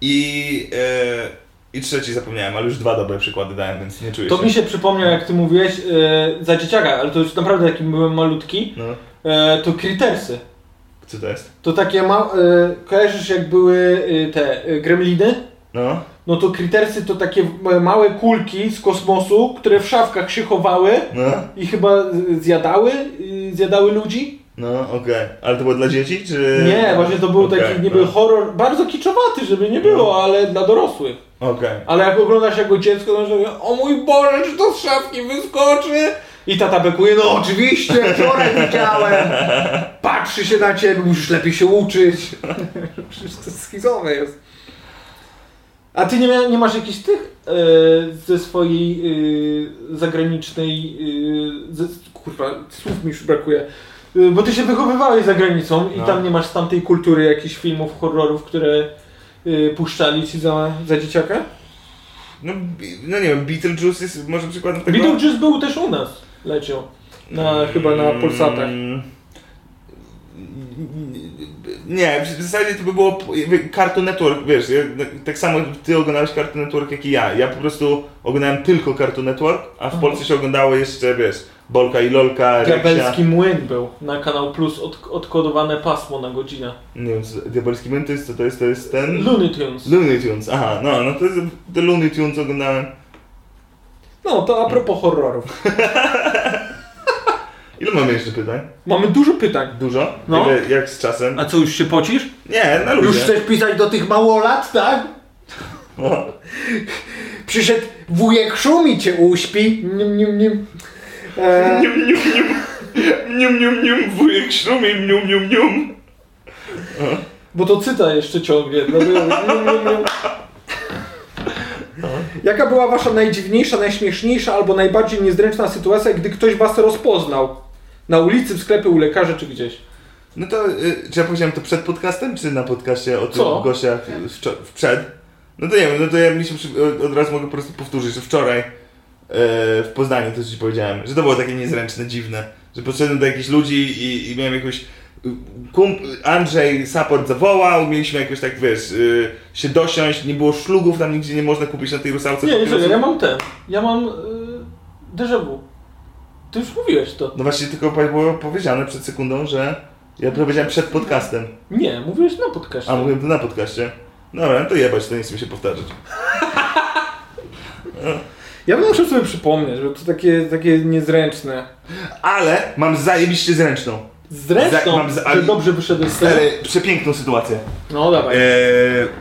S4: I, e, I trzeci zapomniałem, ale już dwa dobre przykłady dałem, więc nie czuję
S5: To
S4: się.
S5: mi się przypomniał, jak ty mówiłeś, e, za dzieciaka, ale to już naprawdę jakim byłem malutki,
S4: No,
S5: e, to Crittersy.
S4: co to jest?
S5: To takie ma... E, kojarzysz jak były e, te e, gremliny?
S4: No,
S5: No to Crittersy to takie e, małe kulki z kosmosu, które w szafkach się chowały
S4: no,
S5: i chyba e, zjadały, e, zjadały ludzi.
S4: no, okej. Ale to było dla dzieci, czy.
S5: Nie, właśnie to był
S4: Okej,
S5: taki niby
S4: no.
S5: horror, bardzo kiczowaty, żeby nie było, ale dla dorosłych.
S4: no, Okej.
S5: Ale jak oglądasz jako dziecko, to mówisz, o mój Boże, czy to z szafki wyskoczy? I tata bekuje, no oczywiście,
S6: Oczywiście, wczoraj widziałem!
S5: patrzy się na ciebie, musisz lepiej się
S17: *laughs*
S5: uczyć.
S17: Wszystko schizowe jest.
S5: A ty nie, mia- nie masz jakichś tych e, ze swojej e, zagranicznej, e, ze, kurwa, słów mi już brakuje, E, bo ty się wychowywałeś za granicą i
S4: No.
S5: tam nie masz z tamtej kultury jakichś filmów, horrorów, które e, puszczali ci za, za dzieciaka?
S4: No, bi- no nie wiem, Beetlejuice jest może przykładem tego.
S5: Beetlejuice był też u nas, leciał, na,
S17: Mm.
S5: chyba na Polsatach.
S4: Mm. Nie, w zasadzie to by było jakby Cartoon Network, wiesz, ja, tak samo ty oglądałeś Cartoon Network jak i ja. Ja po prostu oglądałem tylko Cartoon Network, a w Polsce się oglądało jeszcze, wiesz, Bolka i Lolka, Reksia.
S5: Diabelski młyn był na Kanał Plus, od, odkodowane pasmo na godzinę.
S4: Nie wiem, co- diabelski młyn to jest, co to jest, to jest ten...
S5: Looney Tunes.
S4: Looney Tunes, aha, no, no to jest, te Looney Tunes oglądałem.
S5: No, to a propos horrorów.
S4: Ile mamy jeszcze pytań?
S5: Mamy dużo pytań.
S4: Dużo?
S5: No.
S4: Ile, jak z czasem?
S17: A co, już się pocisz?
S4: Nie, na
S6: Już
S4: luzie.
S6: chcesz pisać do tych małolat, tak?
S4: No.
S6: Przyszedł wujek szumi cię uśpi. Nim, nim, nim. Eee,
S4: Nium, nium, nium. *laughs* Nium, nium, nium, wujek szumi, nium, nium, nium.
S5: Bo to cyta jeszcze ciągnie. Dlatego... nium, nium, nium.
S17: Jaka była wasza najdziwniejsza, najśmieszniejsza albo najbardziej niezręczna sytuacja, gdy ktoś was rozpoznał?
S5: Na ulicy, w sklepie, u lekarza czy gdzieś.
S4: No to, y, czy ja powiedziałem to przed podcastem, czy na podcaście o tych
S5: Co?
S4: gościach wczo- przed? No to nie wiem, no to ja mi się przy, od- od razu mogę po prostu powtórzyć, że wczoraj y, w Poznaniu to ci powiedziałem, że to było takie niezręczne, dziwne, że podszedłem do jakichś ludzi i, i miałem jakąś Kump, Andrzej support zawołał, mieliśmy jakoś tak, wiesz, y, się dosiąść, nie było szlugów, tam nigdzie nie można kupić na tej rusałce.
S5: Nie, nie,
S4: papierosów.
S5: czekaj, ja mam ten. Ja mam yy, déjà vu. Ty już mówiłeś to.
S4: No właśnie, tylko po- było powiedziane przed sekundą, że ja powiedziałem przed podcastem.
S5: Nie, mówiłeś na
S4: A
S5: podcaście.
S4: mówiłem to na podcaście. Dobra, no to jebać, to nie chcę mi się powtarzać.
S5: Ja bym musiał sobie przypomnieć, bo to takie, takie niezręczne.
S4: Ale mam zajebiście zręczną. Za-
S5: Zresztą,
S4: mam za-
S5: że dobrze wyszedłeś z tego.
S4: Stary, przepiękną sytuację.
S5: No
S4: E,
S5: dawaj.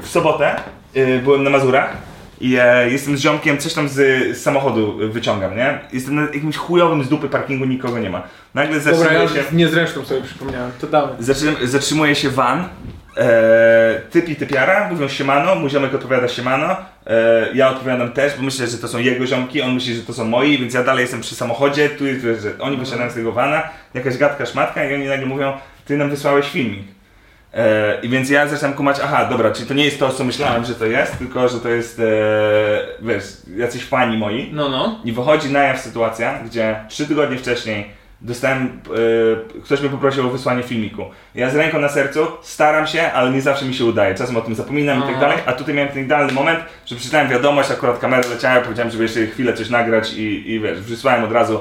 S4: w sobotę e, byłem na Mazurach i e, jestem z ziomkiem, coś tam z, z samochodu wyciągam, nie? Jestem na jakimś chujowym z dupy parkingu, nikogo nie ma. Nagle
S5: Dobra, ja
S4: zatrzymuje się...
S5: niezręczną sobie przypomniałem. To damy.
S4: Zatrzym, zatrzymuje się van. E, typ i typiara mówią siemano, mój ziomek odpowiada siemano, e, ja odpowiadam też, bo myślę, że to są jego ziomki, on myśli, że to są moi, więc ja dalej jestem przy samochodzie, tu jest, wiesz, że oni wysiadają z tego vana, jakaś gadka szmatka i oni nagle mówią, ty nam wysłałeś filmik. E, I więc ja zaczynam kumać, aha, dobra, czyli to nie jest to, co myślałem, że to jest, tylko że to jest, e, wiesz, jacyś fani moi.
S5: No, no.
S4: I wychodzi na jaw sytuacja, gdzie trzy tygodnie wcześniej dostałem, e, ktoś mnie poprosił o wysłanie filmiku. Ja z ręką na sercu staram się, ale nie zawsze mi się udaje. Czasem o tym zapominam i tak
S5: Aha.
S4: dalej, a tutaj miałem ten idealny moment, że przeczytałem wiadomość, akurat kamera leciała, powiedziałem, żeby jeszcze chwilę coś nagrać i, i wiesz, wysłałem od razu,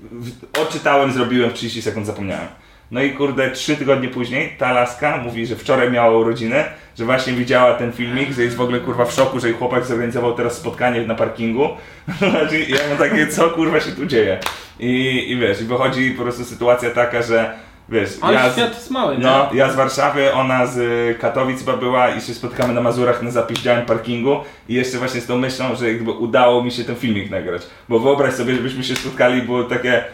S4: w- odczytałem, zrobiłem, w 30 sekund zapomniałem. No i kurde, trzy tygodnie później ta laska mówi, że wczoraj miała urodziny, że właśnie widziała ten filmik, że jest w ogóle kurwa w szoku, że jej chłopak zorganizował teraz spotkanie na parkingu. *laughs* Znaczy, ja mam takie, co kurwa się tu dzieje? I, i wiesz, i wychodzi po prostu sytuacja taka, że wiesz,
S5: Ale
S4: ja z-
S5: świat jest mały, nie?
S4: no, ja z Warszawy, ona z y, Katowic chyba była i się spotkamy na Mazurach na zapiździałym parkingu i jeszcze właśnie z tą myślą, że jakby udało mi się ten filmik nagrać. Bo wyobraź sobie, żebyśmy się spotkali, było takie...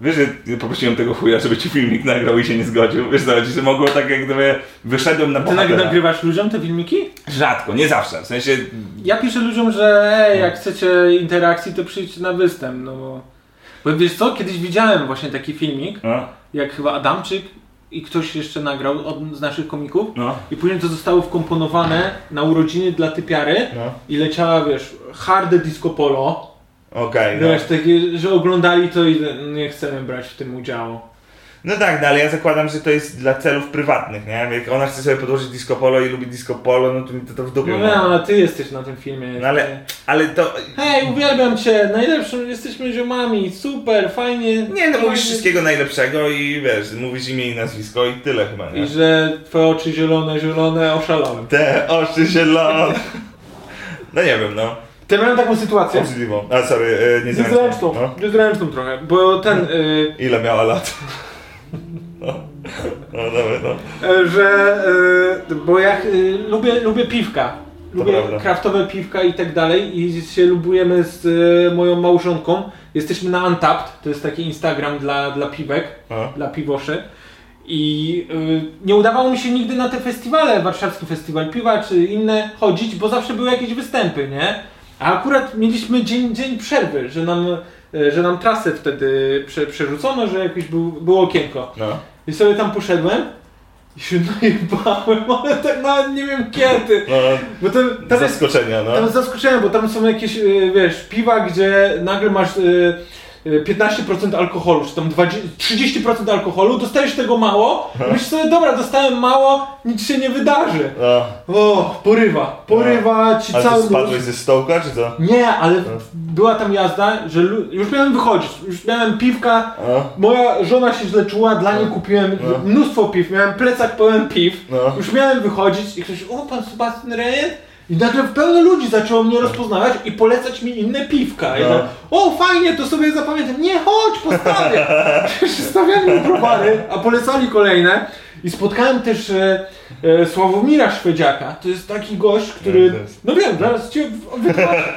S4: Wiesz, że poprosiłem tego chuja, żeby ci filmik nagrał i się nie zgodził. Wiesz co, chodzi, że mogło tak jak gdyby wyszedłem na
S5: Ty nag-
S4: bohatera.
S5: nagrywasz ludziom te filmiki?
S4: Rzadko, nie zawsze. W sensie,
S5: Ja piszę ludziom, że ej,
S4: No.
S5: jak chcecie interakcji, to przyjdźcie na występ, no bo... Bo wiesz co, kiedyś widziałem właśnie taki filmik,
S4: no,
S5: jak chyba Adamczyk i ktoś jeszcze nagrał od, z naszych komików.
S4: no.
S5: I później to zostało wkomponowane na urodziny dla typiary
S2: No.
S5: i leciała, wiesz, harde disco polo.
S2: Okej, no.
S5: Wiesz, takie, że oglądali to i nie chcemy brać w tym udziału.
S4: No tak, no, ale ja zakładam, że to jest dla celów prywatnych, nie? Jak ona chce sobie podłożyć disco polo i lubi disco polo, no to mi to, to w dupie.
S5: No
S4: ma.
S5: nie, ale ty jesteś na tym filmie.
S4: No ale, ale to...
S5: Hej, uwielbiam cię, najlepszym jesteśmy ziomami, super, fajnie.
S4: Nie, no mówisz wszystkiego najlepszego i wiesz, mówisz imię i nazwisko i tyle chyba, nie?
S5: I że twoje oczy zielone, zielone, oszalałem.
S4: Te oczy zielone. No nie wiem, no.
S5: Ty miałem taką sytuację.
S4: Obrzydliwą. A, sorry, e, nie
S5: Niezręczną,
S4: No.
S5: niezręczną trochę, bo ten, y,
S4: Ile miała lat? No, no dobra, no.
S5: E, że, e, bo ja e, lubię, lubię piwka. Lubię
S4: prawda.
S5: kraftowe piwka i tak dalej i się lubujemy z e, moją małżonką. Jesteśmy na Untapped, to jest taki Instagram dla, dla piwek,
S4: A.
S5: dla piwoszy. I e, nie udawało mi się nigdy na te festiwale, warszawski festiwal piwa czy inne chodzić, bo zawsze były jakieś występy, nie? A akurat mieliśmy dzień, dzień przerwy, że nam, e, że nam trasę wtedy prze, przerzucono, że jakieś był, było okienko.
S4: No.
S5: I sobie tam poszedłem i się *laughs* najebałem, ale tak nawet nie wiem kiedy.
S4: no.
S5: Bo to, tam jest
S4: Zaskoczenia,
S5: tam
S4: no.
S5: zaskoczenie, bo tam są jakieś, y, wiesz, piwa, gdzie nagle masz y, y, 15% alkoholu, czy tam 20, 30% alkoholu, dostajesz tego mało, myślisz sobie, dobra, dostałem mało, nic się nie wydarzy.
S4: no.
S5: O, porywa, porywa ci
S4: A
S5: cały...
S4: ty spadłeś ze stołka, czy co?
S5: Nie, ale była tam jazda, że lu- już miałem wychodzić, już miałem piwka,
S4: No.
S5: Moja żona się źle czuła, dla niej kupiłem mnóstwo piw, miałem plecak pełen piw,
S4: No.
S5: już miałem wychodzić i ktoś, o pan Sebastian Rejent? I nagle pełno ludzi zaczęło mnie rozpoznawać i polecać mi inne piwka. I
S4: No.
S5: tak, o fajnie, to sobie zapamiętam, nie chodź, postawię. Stawiali mi browary, a polecali kolejne. I spotkałem też e, e, Sławomira Szwedziaka, to jest taki gość, który,
S4: to jest-
S5: no wiem, zaraz cię w- wytłumaczę.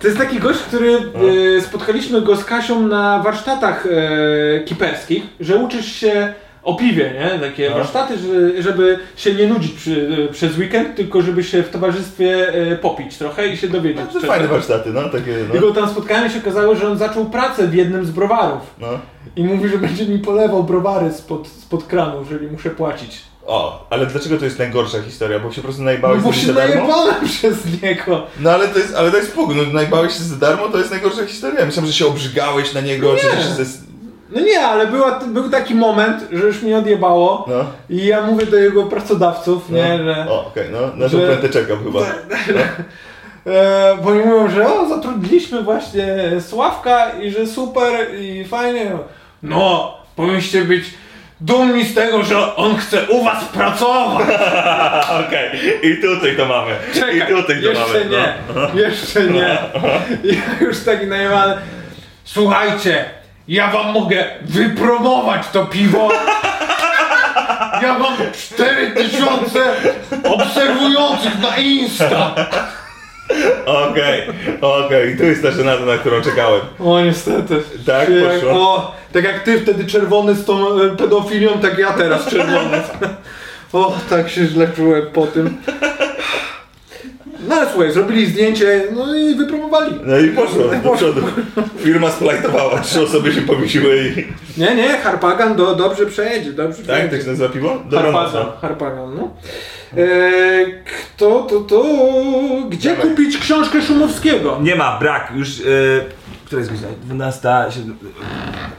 S5: To jest taki gość, który e, spotkaliśmy go z Kasią na warsztatach e, kiperskich, że uczysz się o piwie, nie? Takie warsztaty, że, żeby się nie nudzić przy, e, przez weekend, tylko żeby się w towarzystwie e, popić trochę i się dowiedzieć.
S4: To
S5: czegoś.
S4: fajne warsztaty, no, takie,
S5: I
S4: no.
S5: go tam spotkałem i się okazało, że on zaczął pracę w jednym z browarów.
S4: no.
S5: I mówi, że będzie mi polewał browary spod, spod kranu, jeżeli muszę płacić.
S4: O, ale dlaczego to jest najgorsza historia? Bo się po prostu najbałeś
S5: No bo
S4: z
S5: się
S4: za darmo?
S5: najebałem *laughs* przez niego.
S4: No ale to jest, ale to jest puk, no najbałeś się za darmo, to jest najgorsza historia. Myślałem, że się obrzygałeś na niego, że się ze...
S5: No nie, ale była, był taki moment, że już mnie odjebało.
S4: No.
S5: I ja mówię do jego pracodawców, nie,
S4: no.
S5: że.
S4: O, okej, no, na
S5: że-
S4: tą pętę czekam
S5: *laughs*
S4: chyba.
S5: E, bo oni mówią, że o, zatrudniliśmy właśnie Sławka i że super i fajnie. No, powinniście być dumni z tego, że on chce u was pracować.
S4: Okej, i tutaj to mamy.
S5: Czekaj,
S4: *laughs* I tutaj to
S5: jeszcze
S4: mamy. no.
S5: nie, *laughs* jeszcze
S4: *laughs*
S5: nie. Ja już taki najmany. Słuchajcie, ja wam mogę wypromować to
S4: *laughs*
S5: piwo. Ja mam 4000 obserwujących na Insta.
S4: No. Okej, okej, i tu jest ta żenada, na którą czekałem.
S5: O niestety.
S4: Tak
S5: Czyli jak,
S4: poszło.
S5: e, o, tak jak ty wtedy czerwony z tą e, pedofilią, tak ja teraz czerwony. O, *laughs* tak się źle czułem po tym. No ale słuchaj, zrobili zdjęcie, no i wypromowali.
S4: No i poszło do przodu. Firma splajtowała, trzy osoby się powiesiły i...
S5: Nie, nie, Harpagan do, dobrze przejedzie, dobrze
S4: Tak?
S5: przejedzie.
S4: Tak się nazywa piwo?
S5: Harpagan, Harpagan, no. E, kto, to, to, gdzie
S4: Dawaj.
S5: kupić książkę Szumowskiego?
S18: Nie ma, brak, już... E,
S4: y,
S18: która jest godzina? 12, 7,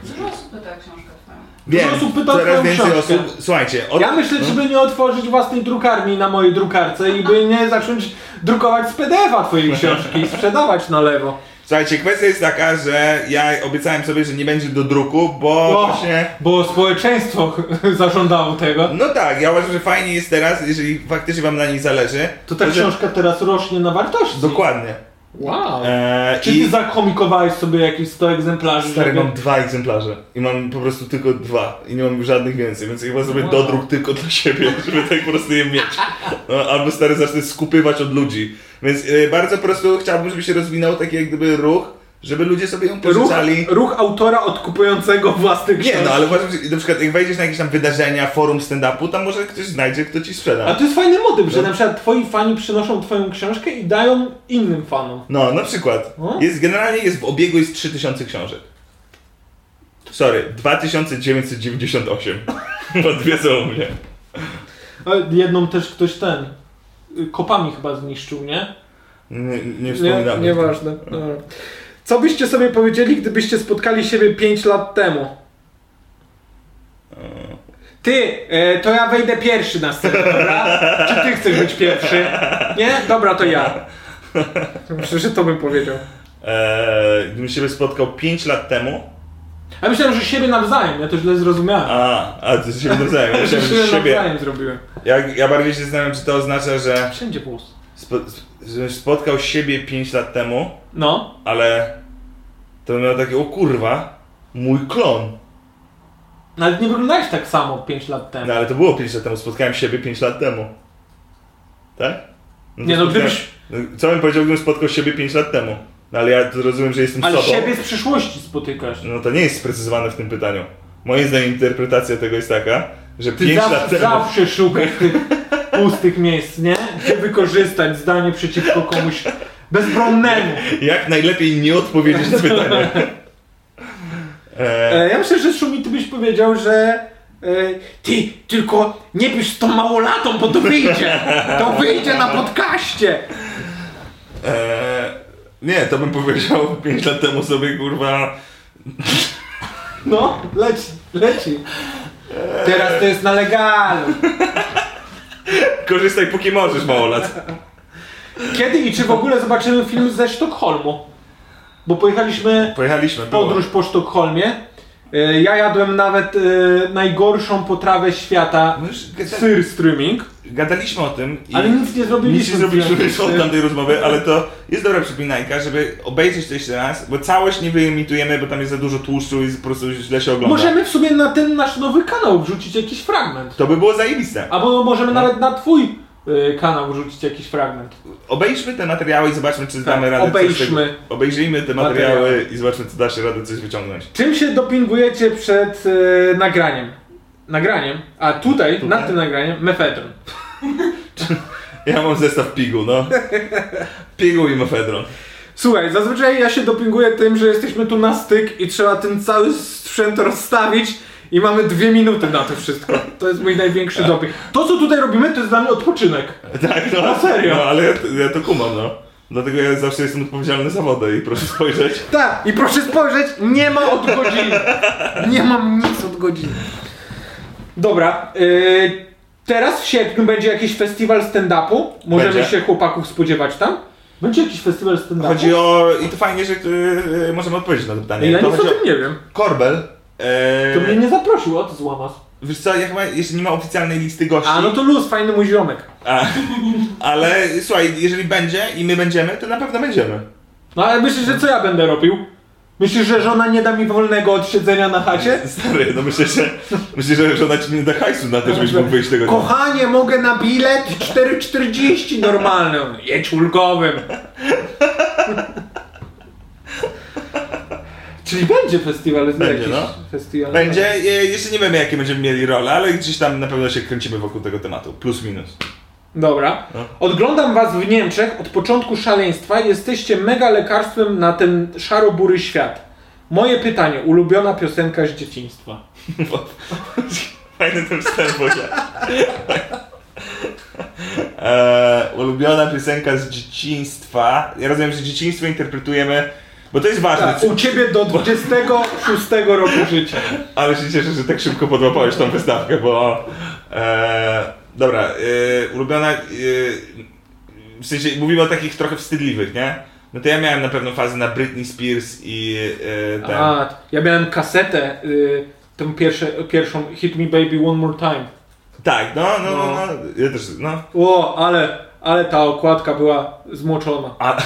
S7: Dużo osób pyta książkę twoją.
S4: Wiem,
S5: Dużo osób pyta o
S4: coraz
S5: twoją
S4: więcej
S5: książkę.
S4: osób... Słuchajcie, od...
S5: Ja myślę, czy by nie otworzyć własnej drukarni na mojej drukarce i by nie zacząć drukować z PDF-a twojej książki i sprzedawać na lewo.
S4: Słuchajcie, kwestia jest taka, że ja obiecałem sobie, że nie będzie do druku, bo
S5: O,
S4: właśnie...
S5: bo społeczeństwo *laughs* zażądało tego.
S4: No tak, ja uważam, że fajnie jest teraz, jeżeli faktycznie wam na niej zależy.
S5: To ta
S4: że-
S5: książka teraz rośnie na wartości.
S4: Dokładnie.
S5: Wow.
S4: Eee,
S5: Czy ty zakomikowałeś sobie jakieś 100 egzemplarzy?
S4: Stary,
S5: żeby-
S4: mam dwa egzemplarze i mam po prostu tylko dwa i nie mam żadnych więcej, więc chyba zrobię
S5: Wow.
S4: dodruk tylko dla siebie, *laughs* żeby tak po prostu je mieć. No, albo stary zacznę skupywać od ludzi. Więc e, bardzo po prostu chciałbym, żeby się rozwinął taki jak gdyby ruch, żeby ludzie sobie ją
S5: Ruch,
S4: pożyczali.
S5: ruch autora odkupującego własne książki.
S4: Nie, no ale uważam, że na przykład jak wejdziesz na jakieś tam wydarzenia, forum stand-upu, tam może ktoś znajdzie, kto ci
S5: A
S4: sprzeda.
S5: to jest fajny motyw,
S4: No.
S5: że na przykład twoi fani przynoszą twoją książkę i dają innym fanom.
S4: No, na przykład.
S5: No.
S4: Jest, generalnie jest w obiegu jest 3000 książek. Sorry, *laughs* 2998. Bo dwie są u mnie.
S5: Ale E, Jedną też ktoś ten... y, Kopami chyba zniszczył, nie?
S4: Nie, nie
S5: Nie,
S4: wspominamy.
S5: nieważne. Dobra. Co byście sobie powiedzieli, gdybyście spotkali siebie 5 lat temu? Ty, e, to ja wejdę pierwszy na scenę, dobra? Czy ty chcesz być pierwszy? Nie? Dobra, to ja. Myślę, że to bym powiedział.
S4: Eee, gdybym siebie spotkał 5 lat temu.
S5: Ja myślałem, że siebie nawzajem, ja to źle zrozumiałem.
S4: A, a to się nawzajem.
S5: Że
S4: Myślałem,
S5: siebie
S4: że siebie.
S5: nawzajem zrobiłem.
S4: Ja, ja bardziej się zastanawiam, czy to oznacza, że,
S5: Wszędzie głos.
S4: spo, że spotkał siebie 5 lat temu,
S5: No.
S4: ale to bym miał takie, o kurwa, mój klon.
S5: Nawet nie wyglądałeś tak samo 5 lat temu.
S4: No ale to było 5 lat temu, spotkałem siebie 5 lat temu. Tak? to
S5: Nie, no
S4: spotkałem-
S5: gdybyś-
S4: no, Co bym powiedział, gdybym spotkał siebie 5 lat temu? No ale ja to rozumiem, że jestem
S5: Ale
S4: sobą.
S5: siebie z przyszłości spotykasz.
S4: No to nie jest sprecyzowane w tym pytaniu. Moim zdaniem interpretacja tego jest taka, że
S5: Ty
S4: 5 lat
S5: zawsze,
S4: temu...
S5: zawsze szukasz tych pustych miejsc, nie? Gdzie wykorzystać zdanie przeciwko komuś bezbronnemu.
S4: Jak najlepiej nie odpowiedzieć na
S5: *laughs*
S4: pytanie. E,
S5: E, ja myślę, że Szumi, ty byś powiedział, że e, ty tylko nie pisz z tą małolatą, bo to wyjdzie. To wyjdzie na podcaście.
S4: e, nie, to bym powiedział 5 lat temu sobie, kurwa...
S5: No, leci, leci. Teraz to jest na legalu.
S4: Korzystaj póki możesz, małolat.
S5: Kiedy i czy w ogóle zobaczymy film ze Sztokholmu? Bo pojechaliśmy
S4: Pojechaliśmy, było.
S5: podróż po Sztokholmie. E, Ja jadłem nawet e, najgorszą potrawę świata,
S4: No już gada-
S5: syr streaming,
S4: Gadaliśmy o tym i...
S5: ale nic nie zrobiliśmy.
S4: Nic nie zrobiliśmy
S5: w
S4: już
S5: związku z
S4: od
S5: tym.
S4: tamtej rozmowy, ale to jest dobra przypominajka, żeby obejrzeć to jeszcze raz, bo całość nie wyemitujemy, bo tam jest za dużo tłuszczu i po prostu źle się ogląda.
S5: Możemy w sumie na ten nasz nowy kanał wrzucić jakiś fragment.
S4: To by było zajebiste.
S5: Albo
S4: Tak.
S5: możemy nawet na twój e, kanał wrzucić jakiś fragment.
S4: Obejrzmy te materiały i zobaczmy, czy damy radę coś z
S5: Tak, obejrzmy.
S4: tego. Obejrzyjmy te materiały, i zobaczmy, czy da się radę coś wyciągnąć.
S5: Czym się dopingujecie przed e, nagraniem? Nagraniem? A tutaj, nad tym nagraniem, mefedron.
S4: Ja mam zestaw pigu,
S5: *laughs*
S4: no. Pigu i mefedron.
S5: Słuchaj, zazwyczaj ja się dopinguję tym, że jesteśmy tu na styk i trzeba ten cały sprzęt rozstawić i mamy dwie minuty na to wszystko. To jest mój największy doping. To, co tutaj robimy, to jest dla mnie odpoczynek.
S4: Tak, no.
S5: Na serio?
S4: No, ale ja, ja to kumam, no. Dlatego ja zawsze jestem odpowiedzialny za wodę i proszę spojrzeć.
S5: Tak, i proszę spojrzeć, nie ma od godziny. Nie mam nic od godziny. Dobra, yy, teraz w sierpniu będzie jakiś festiwal stand-upu. Możemy
S4: Będzie.
S5: się chłopaków spodziewać tam? Będzie jakiś festiwal stand-upu?
S4: Chodzi o... I to fajnie, że y, y, możemy odpowiedzieć na to pytanie.
S5: Ja
S4: to
S5: nic o
S4: chodzi
S5: tym nie wiem.
S4: Korbel. e,
S5: To mnie nie zaprosił, o ty złamas.
S4: Wiesz co, ja chyba jeszcze nie ma oficjalnej listy gości.
S5: A, no to luz, fajny mój ziomek.
S4: A, ale słuchaj, jeżeli będzie i my będziemy, to na pewno będziemy.
S5: No ale myślisz, że co ja będę robił? Myślisz, że żona nie da mi wolnego od siedzenia na chacie?
S4: Stary, no myślę, że, myślę, że żona ci nie da hajsu na to, żebyś mógł wyjść tego dnia.
S5: Kochanie, mogę na bilet 4,40 normalny.
S4: *laughs*
S5: Jedź ulgowym. Czyli będzie festiwal,
S4: Będzie,
S5: jakiś
S4: no.
S5: festiwal.
S4: Będzie, e, jeszcze nie wiemy jakie będziemy mieli role, ale gdzieś tam na pewno się kręcimy wokół tego tematu, plus minus.
S5: Dobra.
S4: No.
S5: Odglądam was w Niemczech od początku szaleństwa. Jesteście mega lekarstwem na ten szaro-bury świat. Moje pytanie, ulubiona piosenka z dzieciństwa.
S4: Fajny ten wstęp, bo ja. Eee, ulubiona piosenka z dzieciństwa. Ja rozumiem, że dzieciństwo interpretujemy, bo to jest ważne.
S5: Tak, u ciebie do 26 roku życia.
S4: Ale się cieszę, że tak szybko podłapałeś tą wystawkę, bo... E, dobra, e, ulubiona... E, w sensie mówimy o takich trochę wstydliwych, nie? No to ja miałem na pewno fazę na Britney Spears i e, ten...
S5: A, ja miałem kasetę, y, tą pierwsze, pierwszą Hit Me Baby One More Time.
S4: Tak, no, no, no, no, ja też, no.
S5: O, ale, ale ta okładka była zmoczona.
S4: A,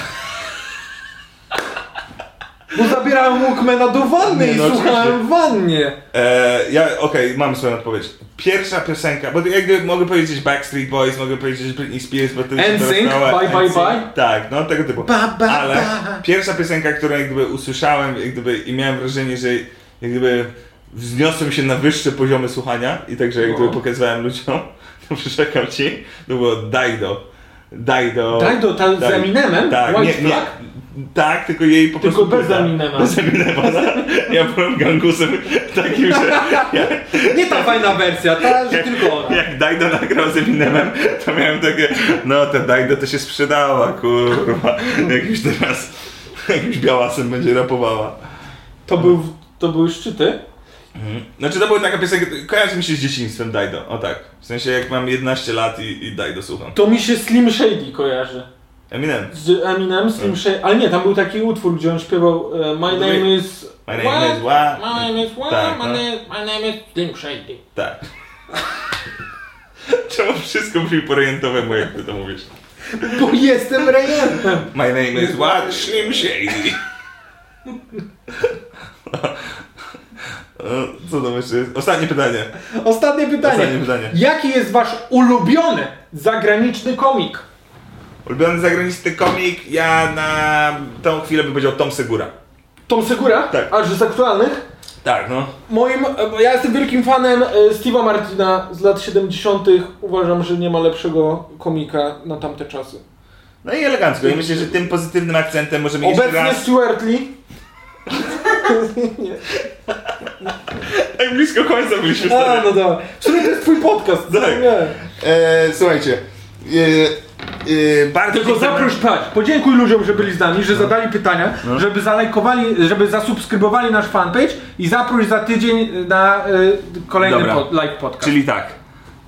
S5: Bo zabierałem Walkmana do wanny
S4: Nie,
S5: i
S4: no
S5: słuchałem
S4: oczywiście.
S5: w wannie.
S4: e, ja, okej, mam swoją odpowiedź. Pierwsza piosenka, bo jakby mogę powiedzieć Backstreet Boys, mogę powiedzieć Britney Spears, bo to już się
S5: NSYNC,
S4: dorosnąłem.
S5: Bye Bye
S4: NSYNC,
S5: Bye.
S4: Tak, no tego typu.
S19: Ba, ba,
S4: Ale
S19: ba.
S4: pierwsza piosenka, którą jak gdyby usłyszałem jak gdyby, i miałem wrażenie, że jak gdyby wzniosłem się na wyższe poziomy słuchania i także jak
S5: No.
S4: gdyby pokazywałem ludziom, *laughs* to przyrzekam ci, to było Dajdo. Dajdo.
S5: Dajdo, ta z Eminem?
S4: Tak,
S5: White
S4: nie, nie,
S5: Flag?
S4: tak, tylko jej po
S5: Tylko
S4: prostu...
S5: bez
S4: nuda.
S5: Eminema.
S4: Bez Eminema, no. *laughs* Ja byłem gangusem takim, że
S5: *laughs* Nie ta fajna wersja, ta, że tylko ona.
S4: jak Dajdo nagrał z Eminemem, to miałem takie, no ta Dajdo to się sprzedała, kurwa. Jakiś teraz, jakimś białasem będzie rapowała.
S5: To, był, to były szczyty?
S4: Znaczy to była taka piosenka, kojarzy mi się z dzieciństwem Dajdo, o tak. W sensie jak mam 11 lat i, i Dajdo słucham.
S5: To mi się Slim Shady kojarzy.
S4: Eminem.
S5: Z Eminem,
S4: Mm.
S5: Slim Shady, ale nie, tam był taki utwór, gdzie on śpiewał e, My name is...
S4: No My name is Wa.
S5: My name is what?
S4: Tak,
S5: my,
S4: no.
S5: name, my name is Slim Shady.
S4: Tak. *laughs* Czemu wszystko brzmi po rejentowemu, jak ty to mówisz?
S5: Bo jestem rejentem.
S4: My name is What Slim Shady. No, Co tam jeszcze jest? Ostatnie pytanie.
S5: Ostatnie pytanie.
S4: Ostatnie pytanie.
S5: Jaki jest wasz ulubiony zagraniczny komik?
S4: Ulubiony zagraniczny komik, ja na tą chwilę bym powiedział Tom Segura.
S5: Tom Segura?
S4: Tak.
S5: Aż z aktualnych?
S4: Tak, no.
S5: Moim, e, bo ja jestem wielkim fanem e, Steve'a Martina z lat 70. Uważam, że nie ma lepszego komika na tamte czasy.
S4: No i elegancko. I myślę, że tym pozytywnym akcentem możemy jeszcze
S5: Obecnie
S4: raz...
S5: Stuart Lee. Nie.
S4: Tak blisko końca byliśmy
S5: A, no dobra. W sumie to jest twój podcast.
S4: Tak.
S5: Nie.
S4: Eee, słuchajcie. Eee, eee, bardzo
S5: Tylko zaproś, patrz, podziękuj ludziom, że byli z nami,
S20: No.
S5: że zadali pytania, żeby zalajkowali, żeby zasubskrybowali nasz fanpage i zaproś za tydzień na y, kolejny
S20: Dobra.
S5: pod, live podcast.
S20: Czyli tak.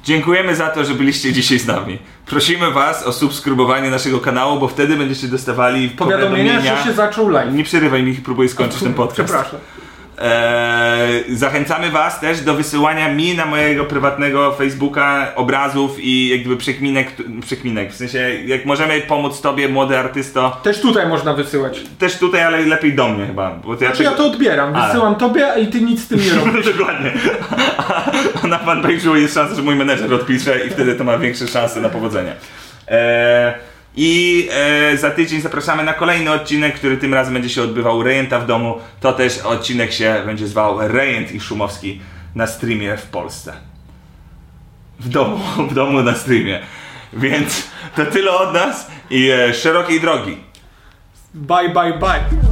S20: Dziękujemy za to, że byliście dzisiaj z nami. Prosimy Was o subskrybowanie naszego kanału, bo wtedy będziecie dostawali
S5: powiadomienia,
S20: powiadomienia.
S5: że się zaczął live.
S20: Nie przerywaj mi, próbuję skończyć ten podcast.
S5: Przepraszam.
S20: Eee, zachęcamy Was też do wysyłania mi na mojego prywatnego Facebooka obrazów i jakby przekminek, przekminek. W sensie, jak możemy pomóc Tobie, młody artysto,
S5: Też tutaj można wysyłać.
S20: też tutaj, ale lepiej do mnie chyba. Bo to ja
S5: Czy Znaczy, ja to odbieram,
S20: Ale.
S5: wysyłam tobie i ty nic z tym nie
S20: *laughs*
S5: robisz.
S20: Dokładnie. A na fanpage'u jest szansa, że mój menedżer odpisze i wtedy to ma większe szanse na powodzenie. Eee, I e, za tydzień zapraszamy na kolejny odcinek, który tym razem będzie się odbywał Rejenta w domu. To też odcinek się będzie zwał Rejent i Szumowski na streamie w Polsce. W domu, *laughs* w domu na streamie. Więc to tyle od nas i e, szerokiej drogi.
S5: Bye, bye, bye.